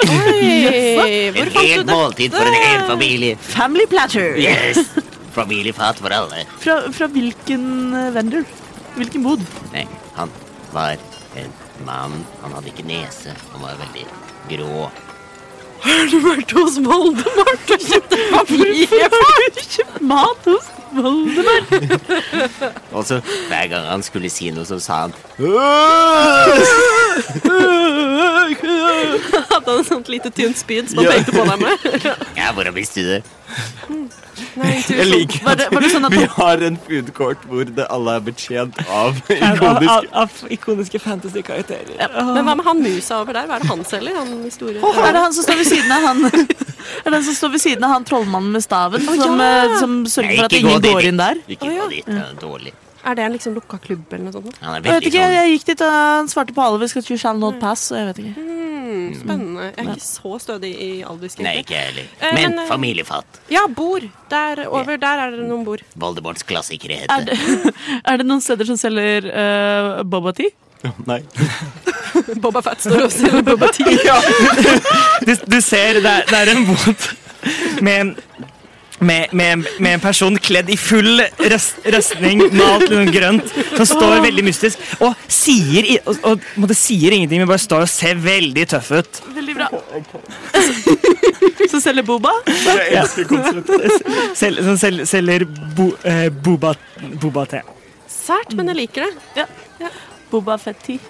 [SPEAKER 2] Oi,
[SPEAKER 6] En
[SPEAKER 2] hvor
[SPEAKER 6] hel
[SPEAKER 2] fant du det?
[SPEAKER 6] måltid for en hel familie.
[SPEAKER 1] Family platter!
[SPEAKER 6] Yes! Familiefat for alle.
[SPEAKER 1] Fra, fra hvilken eh, vendor? Hvilken bod?
[SPEAKER 6] Nei, han var en mann. Han hadde ikke nese. Han var veldig grå.
[SPEAKER 1] Har du vært hos Voldemort og kjøpt mat hos Voldemort?
[SPEAKER 10] Og så
[SPEAKER 6] Hver gang han
[SPEAKER 10] Øh!
[SPEAKER 6] skulle si noe, så sa han
[SPEAKER 10] «Åh!»
[SPEAKER 2] Hadde han et sånt lite tynt spyd som han pekte på deg med?
[SPEAKER 6] Ja, hvordan visste du det?
[SPEAKER 2] Nei,
[SPEAKER 10] Jeg
[SPEAKER 2] intuisjon.
[SPEAKER 10] liker at vi har en food court hvor det alle er betjent av
[SPEAKER 3] Av,
[SPEAKER 10] ikonisk
[SPEAKER 3] av, av ikoniske fantasy-karakterer.
[SPEAKER 2] Men hva med han musa over der? Hva er det han selger? Han store
[SPEAKER 1] Å, er det han som står ved siden av han Er det han som står ved siden av han trollmannen med staven? Som, eh, som
[SPEAKER 6] Nei,
[SPEAKER 1] sørger for at
[SPEAKER 6] ikke gå
[SPEAKER 1] ingen
[SPEAKER 6] dit.
[SPEAKER 1] går inn der?
[SPEAKER 6] Ikke gå dit, det er dårlig.
[SPEAKER 2] Er det en liksom lukka klubb eller noe sånt?
[SPEAKER 6] Han er
[SPEAKER 1] Jeg vet
[SPEAKER 6] veldig
[SPEAKER 1] ikke,
[SPEAKER 6] sånn
[SPEAKER 1] jeg gikk dit, og han svarte på alle. Vi skal shall not pass. Så jeg vet ikke.
[SPEAKER 2] Mm, spennende. Jeg er ikke så stødig i aldersgrense.
[SPEAKER 6] sånn- Nei, ikke jeg heller.
[SPEAKER 2] Eh,
[SPEAKER 6] Men
[SPEAKER 2] men, eh,
[SPEAKER 6] familiefat.
[SPEAKER 2] Ja, bord. Der over der er det noen bord.
[SPEAKER 6] Voldemorts klassikere
[SPEAKER 1] Er
[SPEAKER 6] heter det.
[SPEAKER 1] det, er det noen steder som selger uh, boba tea?
[SPEAKER 10] Nei.
[SPEAKER 2] Boba Fett står og selger Boba Tea.
[SPEAKER 3] du, du ser, det er, det er en båt med en med, med, med en person kledd i full røst, røstning, malt i noe grønt, som står veldig mystisk og sier, i- og, og, på en måte sier ingenting, men bare står og ser veldig tøff ut.
[SPEAKER 1] Veldig bra. Som selger boba?
[SPEAKER 10] Jeg elsker konseptet.
[SPEAKER 3] Sel, som sel, selger bo, eh, boba, boba-te.
[SPEAKER 2] Sært, men jeg liker det.
[SPEAKER 1] Boba fett tea.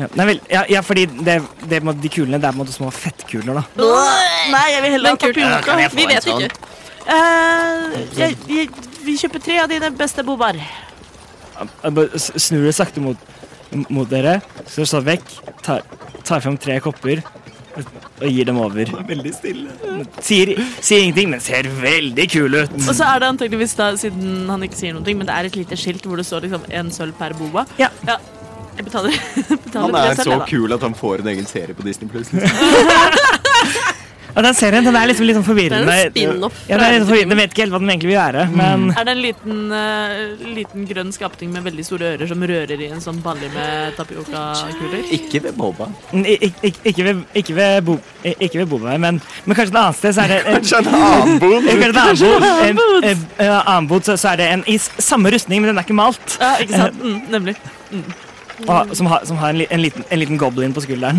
[SPEAKER 3] Ja, nei vel, ja, ja, fordi det, det, er på en måte de kulene, det er på en måte små fettkuler, da.
[SPEAKER 1] Nei, jeg vil heller ha
[SPEAKER 2] Men kult.
[SPEAKER 1] tapioca.
[SPEAKER 6] Ja, kan jeg få
[SPEAKER 2] Vi
[SPEAKER 6] en
[SPEAKER 2] vet
[SPEAKER 6] sånn?
[SPEAKER 2] ikke.
[SPEAKER 1] Eh, jeg, jeg, vi kjøper tre av dine beste bobar.
[SPEAKER 3] Jeg bare s- Snur det sakte mot, mot dere, så står vekk, tar, tar frem tre kopper og, og gir dem over.
[SPEAKER 10] Veldig stille.
[SPEAKER 3] Sier, sier ingenting, men ser veldig kul ut.
[SPEAKER 1] Og så er det antakeligvis da, siden han ikke sier noe, men det er et lite skilt hvor det står liksom en sølv per boba.
[SPEAKER 3] Ja.
[SPEAKER 1] Jeg betaler, betaler for
[SPEAKER 10] Han
[SPEAKER 1] det
[SPEAKER 10] er
[SPEAKER 1] selv,
[SPEAKER 10] så
[SPEAKER 1] jeg, da.
[SPEAKER 10] kul at han får en egen serie på Disney Plus.
[SPEAKER 3] Og den serien den er liksom litt sånn
[SPEAKER 2] Det er
[SPEAKER 3] forvirrende.
[SPEAKER 2] en spin-off.
[SPEAKER 3] Ja, den er litt sånn forvirrende. Jeg vet ikke helt hva den egentlig vil være, men
[SPEAKER 1] Er det en liten, eh, liten grønn skapning med veldig store ører som rører i en sånn balje med tapioca-kuler?
[SPEAKER 10] Ikke ved Boba.
[SPEAKER 3] ik- ik- ik- ikke ved, ikke ved, bo, i- ikke ved Bobøy, men, men kanskje et annet sted så er det en,
[SPEAKER 10] Kanskje en annen bod.
[SPEAKER 3] kanskje et annet bod, en, en, en annen bod så, så er det en i s- samme rustning, men den er ikke malt,
[SPEAKER 1] Ja, ikke sant? Mm, nemlig.
[SPEAKER 3] og, som, har, som har en, li- en, liten, en liten goblin på skulderen.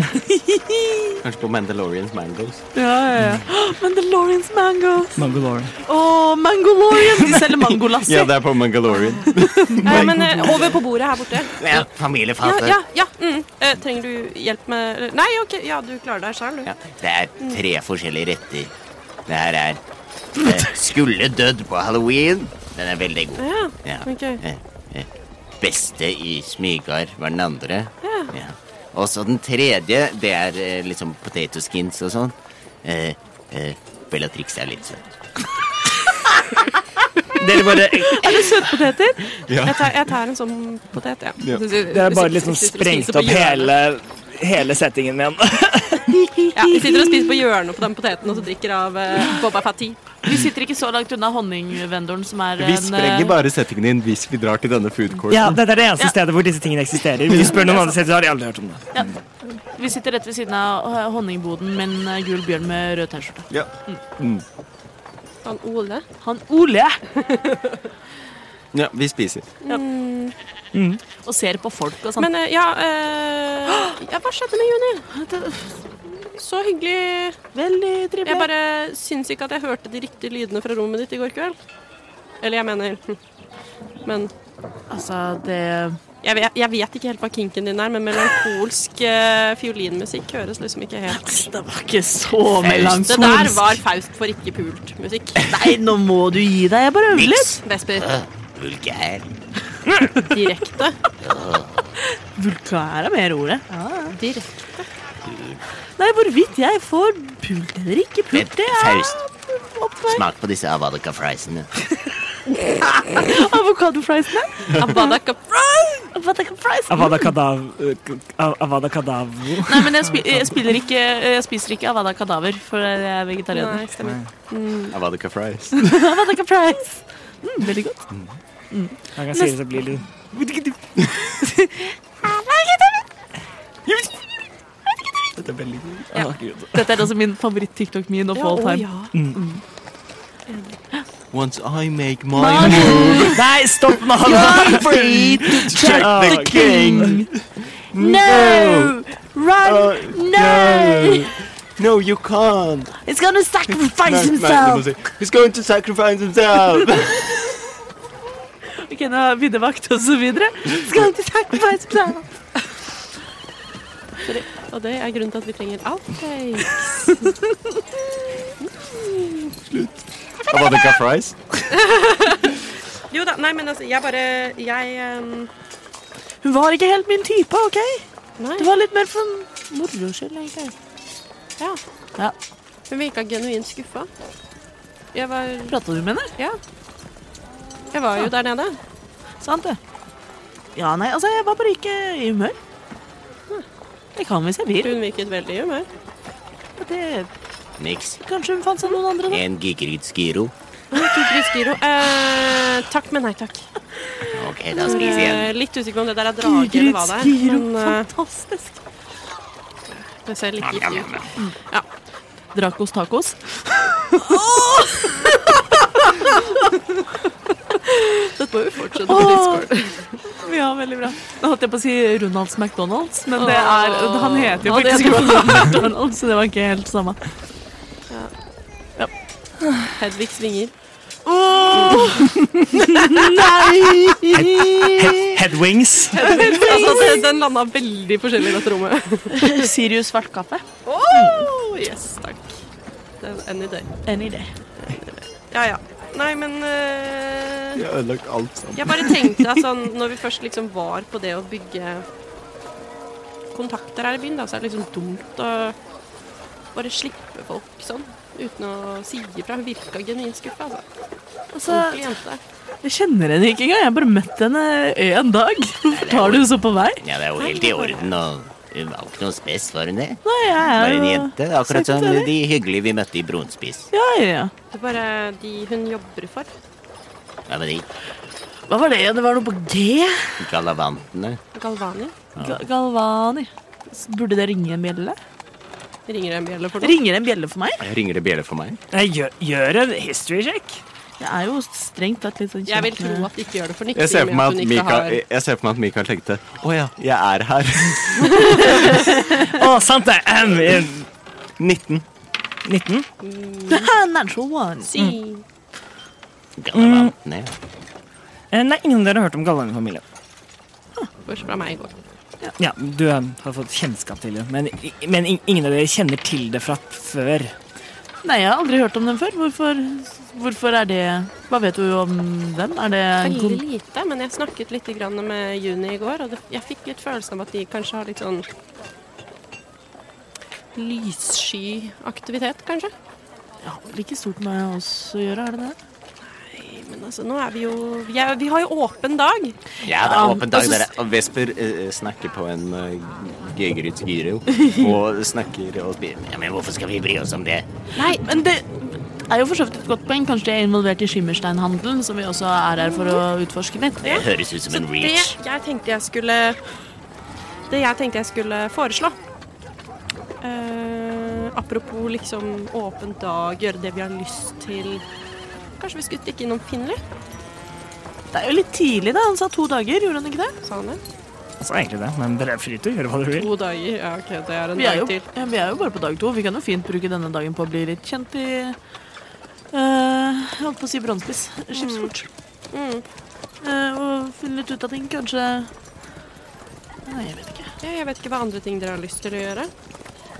[SPEAKER 10] Kanskje på Mandalorians Mangoes.
[SPEAKER 1] Ja, ja, ja. Mandalorians mangoes!
[SPEAKER 3] Mongolore.
[SPEAKER 1] Å, Mangolorian! De selger mangolassi.
[SPEAKER 10] Ja, det er på Mandalorian.
[SPEAKER 2] Eh, men eh, over på bordet her borte.
[SPEAKER 6] Ja,
[SPEAKER 2] Ja,
[SPEAKER 6] familiefat.
[SPEAKER 2] ja, ja. Mm. Eh, trenger du hjelp med Nei, OK. Ja, du klarer deg sjøl, du.
[SPEAKER 6] Ja, det er tre forskjellige retter. Det her er eh, Skulle dødd på halloween. Den er veldig god.
[SPEAKER 2] Ja,
[SPEAKER 6] Ja.
[SPEAKER 2] ok.
[SPEAKER 6] Eh, eh, Beste i Smygard var den andre. Ja. Og så den tredje, det er eh, liksom potato skins og sånn. Eh, eh, Bellatrix er litt søt.
[SPEAKER 3] Dere bare,
[SPEAKER 2] Søtpoteter?
[SPEAKER 10] Ja.
[SPEAKER 2] Jeg, tar, jeg tar en sånn potet, ja.
[SPEAKER 10] Ja.
[SPEAKER 3] dere bare liksom sprengt opp hele, hele settingen med en.
[SPEAKER 2] Ja, vi sitter og spiser på hjørnet på den poteten og så drikker av eh, Boba Fatti.
[SPEAKER 1] Vi sitter ikke så langt unna honningvenderen som er
[SPEAKER 10] Vi
[SPEAKER 1] en,
[SPEAKER 10] sprenger
[SPEAKER 1] eh,
[SPEAKER 10] bare settingen din hvis vi drar til denne food courten.
[SPEAKER 3] Ja, dette er det eneste
[SPEAKER 1] Ja.
[SPEAKER 3] stedet hvor disse tingene eksisterer. Hvis du spør noen andre steder, så har de aldri hørt om det.
[SPEAKER 1] Vi sitter rett ved siden av eh, honningboden med en eh, gul bjørn med rød T-skjorte.
[SPEAKER 10] Ja.
[SPEAKER 2] Han Ole.
[SPEAKER 1] Han Ole!
[SPEAKER 10] ja, vi spiser.
[SPEAKER 1] Og ser på folk og sånn.
[SPEAKER 2] Men eh, ja, eh, ja Hva skjedde med Juni? Så hyggelig.
[SPEAKER 1] Veldig trivelig.
[SPEAKER 2] Jeg bare syns ikke at jeg hørte de riktige lydene fra rommet ditt i går kveld. Eller jeg mener hm. Men
[SPEAKER 1] Altså, det
[SPEAKER 2] jeg vet, jeg vet ikke helt hva kinken din er, men melankolsk eh, fiolinmusikk høres liksom ikke helt
[SPEAKER 1] Det var ikke så
[SPEAKER 2] Det der var Faust for ikke pult-musikk.
[SPEAKER 1] Nei, nå må du gi deg. Jeg bare øver litt.
[SPEAKER 2] Vesper.
[SPEAKER 6] Vulgær.
[SPEAKER 2] Direkte.
[SPEAKER 1] Vulkær er mer ordet. Nei, hvorvidt jeg får pult eller ikke
[SPEAKER 6] Men
[SPEAKER 1] pult, det er
[SPEAKER 6] Faust,
[SPEAKER 1] opp til meg.
[SPEAKER 6] smak på disse avadaka friesene.
[SPEAKER 1] Avokadofriesene.
[SPEAKER 2] Avada Kedavra.
[SPEAKER 1] Avokadofriesene.
[SPEAKER 3] Avada Kadav... Av- Avada Kadavro.
[SPEAKER 1] Nei, men jeg, spi jeg, spiller ikke, jeg spiser ikke avada kadaver, for jeg er vegetarianer.
[SPEAKER 2] Nei, stemmer.
[SPEAKER 10] Avadaka fries.
[SPEAKER 1] Avada kaprais. Mm, veldig godt.
[SPEAKER 3] Jeg kan si det så blir det
[SPEAKER 10] Dette er veldig god.
[SPEAKER 3] Å, Gud.
[SPEAKER 1] Dette er også min favoritt-TikTok-min of all time.
[SPEAKER 10] Once I make my move,
[SPEAKER 3] Nei, stopp nå! da.
[SPEAKER 10] check the
[SPEAKER 3] Å,
[SPEAKER 10] king.
[SPEAKER 1] Oh,
[SPEAKER 10] Oh,
[SPEAKER 1] No! Run! No!
[SPEAKER 10] No, you can't.
[SPEAKER 1] He's gonna sacrifice
[SPEAKER 10] Nei, nei, du må
[SPEAKER 1] himself!
[SPEAKER 10] si, He's going to sacrifice himself.
[SPEAKER 1] Ok, nå er vinnevakt og så videre. He's going to sacrifice himself!
[SPEAKER 2] Sorry. Og det er grunnen til at vi trenger outtake.
[SPEAKER 10] Avadika fries.
[SPEAKER 2] Jo da, nei, men altså, jeg bare Jeg ehm,
[SPEAKER 1] Hun var ikke helt min type, OK?
[SPEAKER 2] Nei.
[SPEAKER 1] Det var litt mer for moro skyld, egentlig.
[SPEAKER 2] Ja.
[SPEAKER 1] Ja.
[SPEAKER 2] Hun virka genuint skuffa. Jeg var
[SPEAKER 1] Prata du med henne?
[SPEAKER 2] Ja. Jeg var jo der nede.
[SPEAKER 1] Sant det? Ja, nei, altså, jeg var bare ikke i humør. Jeg kan hvis jeg vil.
[SPEAKER 2] Hun virket veldig i humør.
[SPEAKER 1] Det,
[SPEAKER 6] Niks.
[SPEAKER 1] kanskje hun fant seg noen andre, da.
[SPEAKER 6] En gigrydsgyro.
[SPEAKER 2] Gris Giro. Eh, takk, men nei takk.
[SPEAKER 6] Ok, da spiser jeg en.
[SPEAKER 2] Eh, litt usikker på om det der er drage eller hva det er. Men eh,
[SPEAKER 1] fantastisk.
[SPEAKER 2] det ser litt giftig ut.
[SPEAKER 1] Dracos tacos.
[SPEAKER 2] Dette må vi fortsette på Discord.
[SPEAKER 1] Ja, veldig bra. Nå holdt jeg på å si Ronalds McDonald's, men det er, han heter jo
[SPEAKER 2] Åh, det
[SPEAKER 1] faktisk Ronald McDonald, så det var ikke helt samme.
[SPEAKER 2] Hedvig svinger.
[SPEAKER 3] Headwings.
[SPEAKER 2] Altså, det, den landa veldig forskjellig i dette rommet.
[SPEAKER 1] Sirius svart kaffe.
[SPEAKER 2] Oh, yes, takk. Det er Any day.
[SPEAKER 1] Any day.
[SPEAKER 2] Ja, ja. Nei, men eh,
[SPEAKER 10] Jeg har ødelagt alt sammen.
[SPEAKER 2] Jeg bare tenkte at sånn, når vi først liksom var på det å bygge kontakter her i byen, da, så er det liksom dumt å bare slippe folk sånn. Uten å si ifra. Hun virka genuint skuffa, altså.
[SPEAKER 1] Altså,
[SPEAKER 2] Ordentlig jente.
[SPEAKER 1] jeg kjenner henne ikke engang. Jeg har bare møtt henne én dag. Hvorfor tar du henne så på vei?
[SPEAKER 6] Ja, det er jo helt i orden. og Hun var jo ikke noe spes, var hun det?
[SPEAKER 1] Nei, jeg er
[SPEAKER 6] Bare en
[SPEAKER 1] jo-
[SPEAKER 6] jente. Akkurat som de hyggelige vi møtte i Bronspiss.
[SPEAKER 1] Ja, ja, ja.
[SPEAKER 2] Det er bare de hun jobber for.
[SPEAKER 6] Hva med de
[SPEAKER 1] Hva var det? Det var noe på G.
[SPEAKER 6] galavantene?
[SPEAKER 2] Galvani.
[SPEAKER 1] Ga- Galvani. S- Burde det ringe en bjelle?
[SPEAKER 2] Ringer en bjelle for noe.
[SPEAKER 1] Ringer det en bjelle for meg?
[SPEAKER 10] Ringer det bjelle for meg?
[SPEAKER 3] Nei, gjør, gjør en history check.
[SPEAKER 1] Det er jo strengt tatt litt sånn
[SPEAKER 2] Jeg vil
[SPEAKER 1] kjent
[SPEAKER 2] tro
[SPEAKER 1] med-
[SPEAKER 2] at de ikke gjør det for niks.
[SPEAKER 10] Jeg ser
[SPEAKER 2] i
[SPEAKER 10] for
[SPEAKER 2] og med
[SPEAKER 10] meg at
[SPEAKER 2] hun ikke
[SPEAKER 10] Mikael,
[SPEAKER 2] har-
[SPEAKER 10] jeg ser for meg at Mikael tenkte Å ja, jeg er her.
[SPEAKER 3] Å, sant det. Ahem, eh,
[SPEAKER 10] 19.
[SPEAKER 3] 19.
[SPEAKER 1] Natural one.
[SPEAKER 2] Si.
[SPEAKER 6] Galavantene, ja.
[SPEAKER 3] Eh, Nei, ingen av dere har hørt om Gallangen-familien.
[SPEAKER 2] Bortsett fra meg i går.
[SPEAKER 3] Ja, du eh, har fått kjennskap til det, men, i- men in- ingen av dere kjenner til det fra før.
[SPEAKER 1] Nei, jeg har aldri hørt om dem før. Hvorfor, hvorfor er det Hva vet du om dem? Er det en
[SPEAKER 2] Veldig
[SPEAKER 1] kon-
[SPEAKER 2] lite, men jeg snakket litt grann med Juni i går, og det, jeg fikk litt følelsen av at de kanskje har litt sånn lyssky aktivitet, kanskje.
[SPEAKER 1] ja, vel ikke stort med oss å gjøre, er det det?
[SPEAKER 2] Nei, Men altså, nå er vi jo Vi, er, vi har jo åpen dag.
[SPEAKER 6] Ja, det er åpen dag, dere.
[SPEAKER 10] Og Vesper eh, snakker på en uh, gegrytsgyro og snakker og spiller.
[SPEAKER 6] Ja, men hvorfor skal vi bry oss om det?
[SPEAKER 1] Nei, men det er jo for så vidt et godt poeng. Kanskje de er involvert i skimmersteinhandelen, som vi også er her for å utforske litt.
[SPEAKER 6] Det høres ut som en
[SPEAKER 2] Det
[SPEAKER 6] reach.
[SPEAKER 2] jeg tenkte jeg skulle Det jeg tenkte jeg skulle foreslå eh, Apropos liksom åpen dag, gjøre det vi har lyst til Kanskje vi skulle stikke innom Finley?
[SPEAKER 1] Det er jo litt tidlig, da. Han sa to dager, gjorde han ikke det?
[SPEAKER 2] Sa han det?
[SPEAKER 3] Altså, egentlig det, men dere er fri til å gjøre hva dere vil.
[SPEAKER 2] To dager. Ja, OK, det er en
[SPEAKER 1] Vi er,
[SPEAKER 2] dag
[SPEAKER 1] jo,
[SPEAKER 2] til.
[SPEAKER 1] ja, vi er jo bare på dag to. Vi kan jo fint bruke denne dagen på å bli litt kjent i eh, Jeg holdt på å si bronsepiss. Skipsfort.
[SPEAKER 2] Mm.
[SPEAKER 1] Eh, og finne litt ut av ting, kanskje Nei, jeg vet ikke.
[SPEAKER 2] Ja, jeg vet ikke hva andre ting dere har lyst til å gjøre.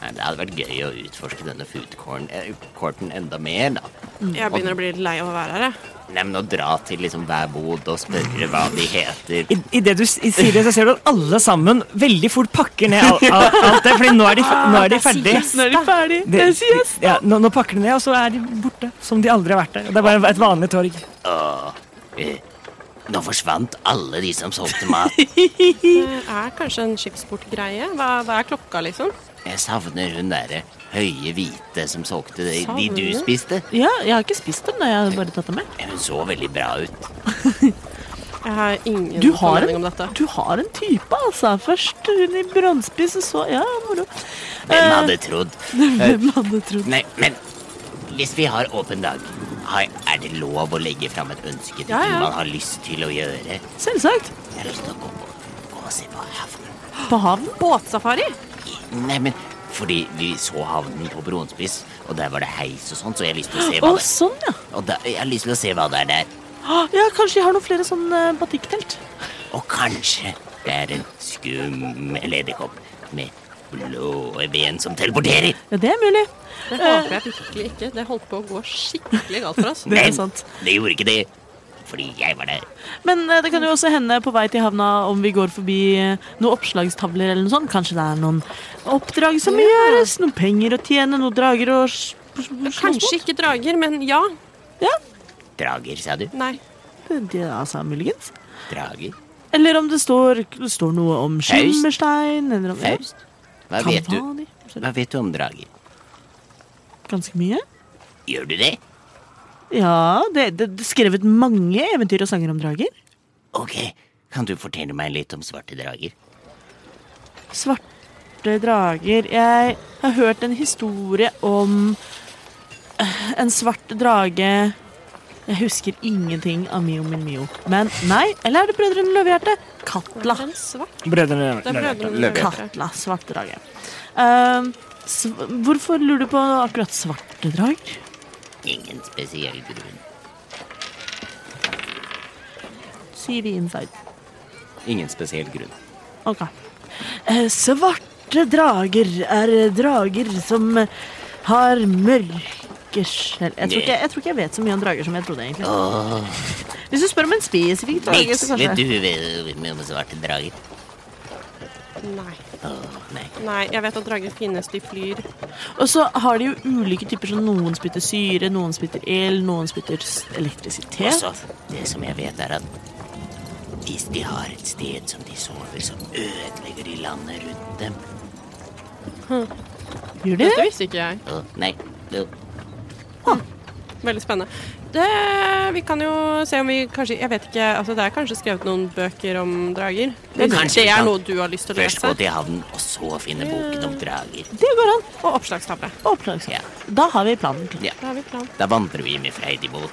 [SPEAKER 6] Nei, det hadde vært gøy å utforske denne foodcourten eh, courten enda mer, da.
[SPEAKER 2] Jeg begynner å bli litt lei av å være her. jeg.
[SPEAKER 6] Nei, men å dra til liksom hver bod og spørre hva de heter.
[SPEAKER 3] I- Idet du s- sier det, så ser du at alle sammen veldig fort pakker ned al- al- alt det, fordi nå er de, f- nå er de ferdig.
[SPEAKER 1] Nå sånn, er de ferdige.
[SPEAKER 3] Det-
[SPEAKER 1] sånn.
[SPEAKER 3] ja, nå, nå pakker de ned, og så er de borte, som de aldri har vært der. Det er bare et vanlig torg.
[SPEAKER 6] Eh, Nå forsvant alle de som solgte mat.
[SPEAKER 2] Det er kanskje en skipsportgreie. Hva, hva er klokka, liksom?
[SPEAKER 6] Jeg savner hun derre høye hvite som solgte de, de
[SPEAKER 2] Savner
[SPEAKER 6] du
[SPEAKER 2] du?
[SPEAKER 6] spiste.
[SPEAKER 1] Ja, jeg har ikke spist dem, da. Jeg har bare tatt dem med.
[SPEAKER 6] Ja, Hun så veldig bra ut.
[SPEAKER 2] Jeg har ingen
[SPEAKER 1] Du har
[SPEAKER 2] formening
[SPEAKER 1] en,
[SPEAKER 2] om dette.
[SPEAKER 1] du har en type, altså. Først hun i bronsepiss, og så Ja, moro. Eh,
[SPEAKER 6] Hvem
[SPEAKER 2] Eh.
[SPEAKER 6] hadde trodd?
[SPEAKER 1] Hvem hadde trodd
[SPEAKER 6] Nei, men hvis vi har åpen dag, har- er det lov å legge fram et ønske til
[SPEAKER 2] Ja, ja.
[SPEAKER 6] ting man har lyst til å gjøre?
[SPEAKER 1] Selvsagt.
[SPEAKER 6] Jeg har lyst til å gå, på- gå og se på havnen.
[SPEAKER 1] På havnen.
[SPEAKER 2] Båtsafari?
[SPEAKER 6] Nei, men fordi vi så havnen på Bronspiss, og der var det heis og sånn, så jeg har lyst til å se
[SPEAKER 1] Å,
[SPEAKER 6] hva det
[SPEAKER 1] sånn, ja.
[SPEAKER 6] Og da, jeg har lyst til å se hva det er der.
[SPEAKER 1] Ah, Ja, Kanskje de har noen flere sånn eh, batikkfelt.
[SPEAKER 6] Og kanskje det er en skummel edderkopp med blå ben som teleporterer.
[SPEAKER 12] Ja, det er mulig.
[SPEAKER 2] Det håper jeg virkelig ikke. Det holdt på å gå skikkelig galt for oss.
[SPEAKER 12] Det er
[SPEAKER 6] Men
[SPEAKER 12] sant.
[SPEAKER 6] det gjorde ikke det, fordi jeg var der.
[SPEAKER 1] Men eh, det kan jo også hende på vei til havna om vi går forbi eh, noen oppslagstavler eller noe sånt. Kanskje det er noen oppdrag som må gjøres, noen penger å tjene, noen drager å s- s- slåss
[SPEAKER 2] Kanskje ikke drager, men ja.
[SPEAKER 6] Drager, sa du?
[SPEAKER 2] Nei.
[SPEAKER 1] mot. Det, altså, muligens.
[SPEAKER 6] Drager?
[SPEAKER 1] Eller om det står, det står noe om skimmerstein, eller om ja,
[SPEAKER 6] Faust? Hva vet du,
[SPEAKER 1] Kavani.
[SPEAKER 6] hva vet du om drager?
[SPEAKER 1] Ganske mye.
[SPEAKER 6] Gjør du det?
[SPEAKER 1] Ja, det det- det er skrevet mange eventyr og sanger om drager.
[SPEAKER 6] Ok, kan du fortelle meg litt om svarte drager?
[SPEAKER 1] Svarte drager Jeg har hørt en historie om eh, en svart drage Jeg husker ingenting av Mio min Mio. Men nei, eller er det Brødrene Løvehjerte? Katla.
[SPEAKER 2] En svart.
[SPEAKER 3] Brødrene
[SPEAKER 2] Det er brødrene
[SPEAKER 10] Løvehjerte.
[SPEAKER 2] Løvehjerte.
[SPEAKER 1] Katla, svart drage. Ehm, sv hvorfor lurer du på akkurat svarte drager?
[SPEAKER 6] Ingen spesiell grunn.
[SPEAKER 1] Sier vi inside.
[SPEAKER 10] Ingen spesiell grunn.
[SPEAKER 1] Ok. Eh, Svarte drager er drager som har mørke skjell jeg, tror ikke- jeg tror ikke jeg vet så mye om drager som jeg trodde, egentlig. Hvis du spør om en spesifikk drage,
[SPEAKER 6] Niks,
[SPEAKER 1] så
[SPEAKER 6] vet
[SPEAKER 1] kanskje
[SPEAKER 6] du vet mye om svarte drager?
[SPEAKER 2] Nei.
[SPEAKER 6] Åh, nei.
[SPEAKER 2] Nei, jeg vet at drager finnes, de flyr.
[SPEAKER 1] Og så har de jo ulike typer, så noen spytter syre, noen spytter el, noen spytter s- elektrisitet.
[SPEAKER 6] Også, det som jeg vet er at hvis de har et sted som de sover, så ødelegger de landet rundt dem.
[SPEAKER 1] Gjør de
[SPEAKER 2] Dette
[SPEAKER 1] det?
[SPEAKER 2] visste ikke jeg.
[SPEAKER 6] Åh, nei, jo.
[SPEAKER 2] Veldig spennende. Det, vi kan jo se om vi kanskje Jeg vet ikke, altså det er kanskje skrevet noen bøker om drager?
[SPEAKER 6] Det
[SPEAKER 2] Hvis
[SPEAKER 6] kanskje
[SPEAKER 2] det
[SPEAKER 6] vi
[SPEAKER 2] er
[SPEAKER 6] kan.
[SPEAKER 2] noe du har lyst til å
[SPEAKER 6] først gå
[SPEAKER 2] lese?
[SPEAKER 6] til havnen, og så finne boken om drager.
[SPEAKER 1] Det går an.
[SPEAKER 2] Og oppslagstavle.
[SPEAKER 1] Opplag.
[SPEAKER 6] Ja.
[SPEAKER 1] Da har vi planen. klar.
[SPEAKER 2] Da har vi plan.
[SPEAKER 6] Da vandrer vi med Freid imot.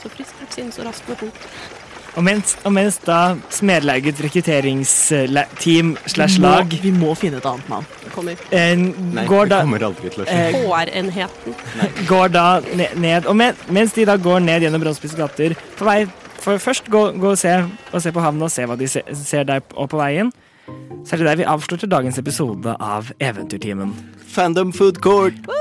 [SPEAKER 2] Så frisk opp sinn, så raskt med fot.
[SPEAKER 3] Og mens, og mens da Smedlaugets rekrutteringsteam slash
[SPEAKER 1] Vi må-
[SPEAKER 3] lag
[SPEAKER 1] Vi må finne et annet navn.
[SPEAKER 2] Det kommer.
[SPEAKER 3] eh,
[SPEAKER 10] Nei,
[SPEAKER 3] går,
[SPEAKER 10] det
[SPEAKER 3] da,
[SPEAKER 10] kommer aldri til å skje.
[SPEAKER 3] eh,
[SPEAKER 2] HR-enheten.
[SPEAKER 3] går da ne- ned Og men, mens de da går ned gjennom bråspisse gater På vei for Først gå, gå og, se, og se på havna og se hva de se, ser der p- og på veien. Så er det der vi avslutter dagens episode av Eventyrtimen.
[SPEAKER 10] Fandom food court!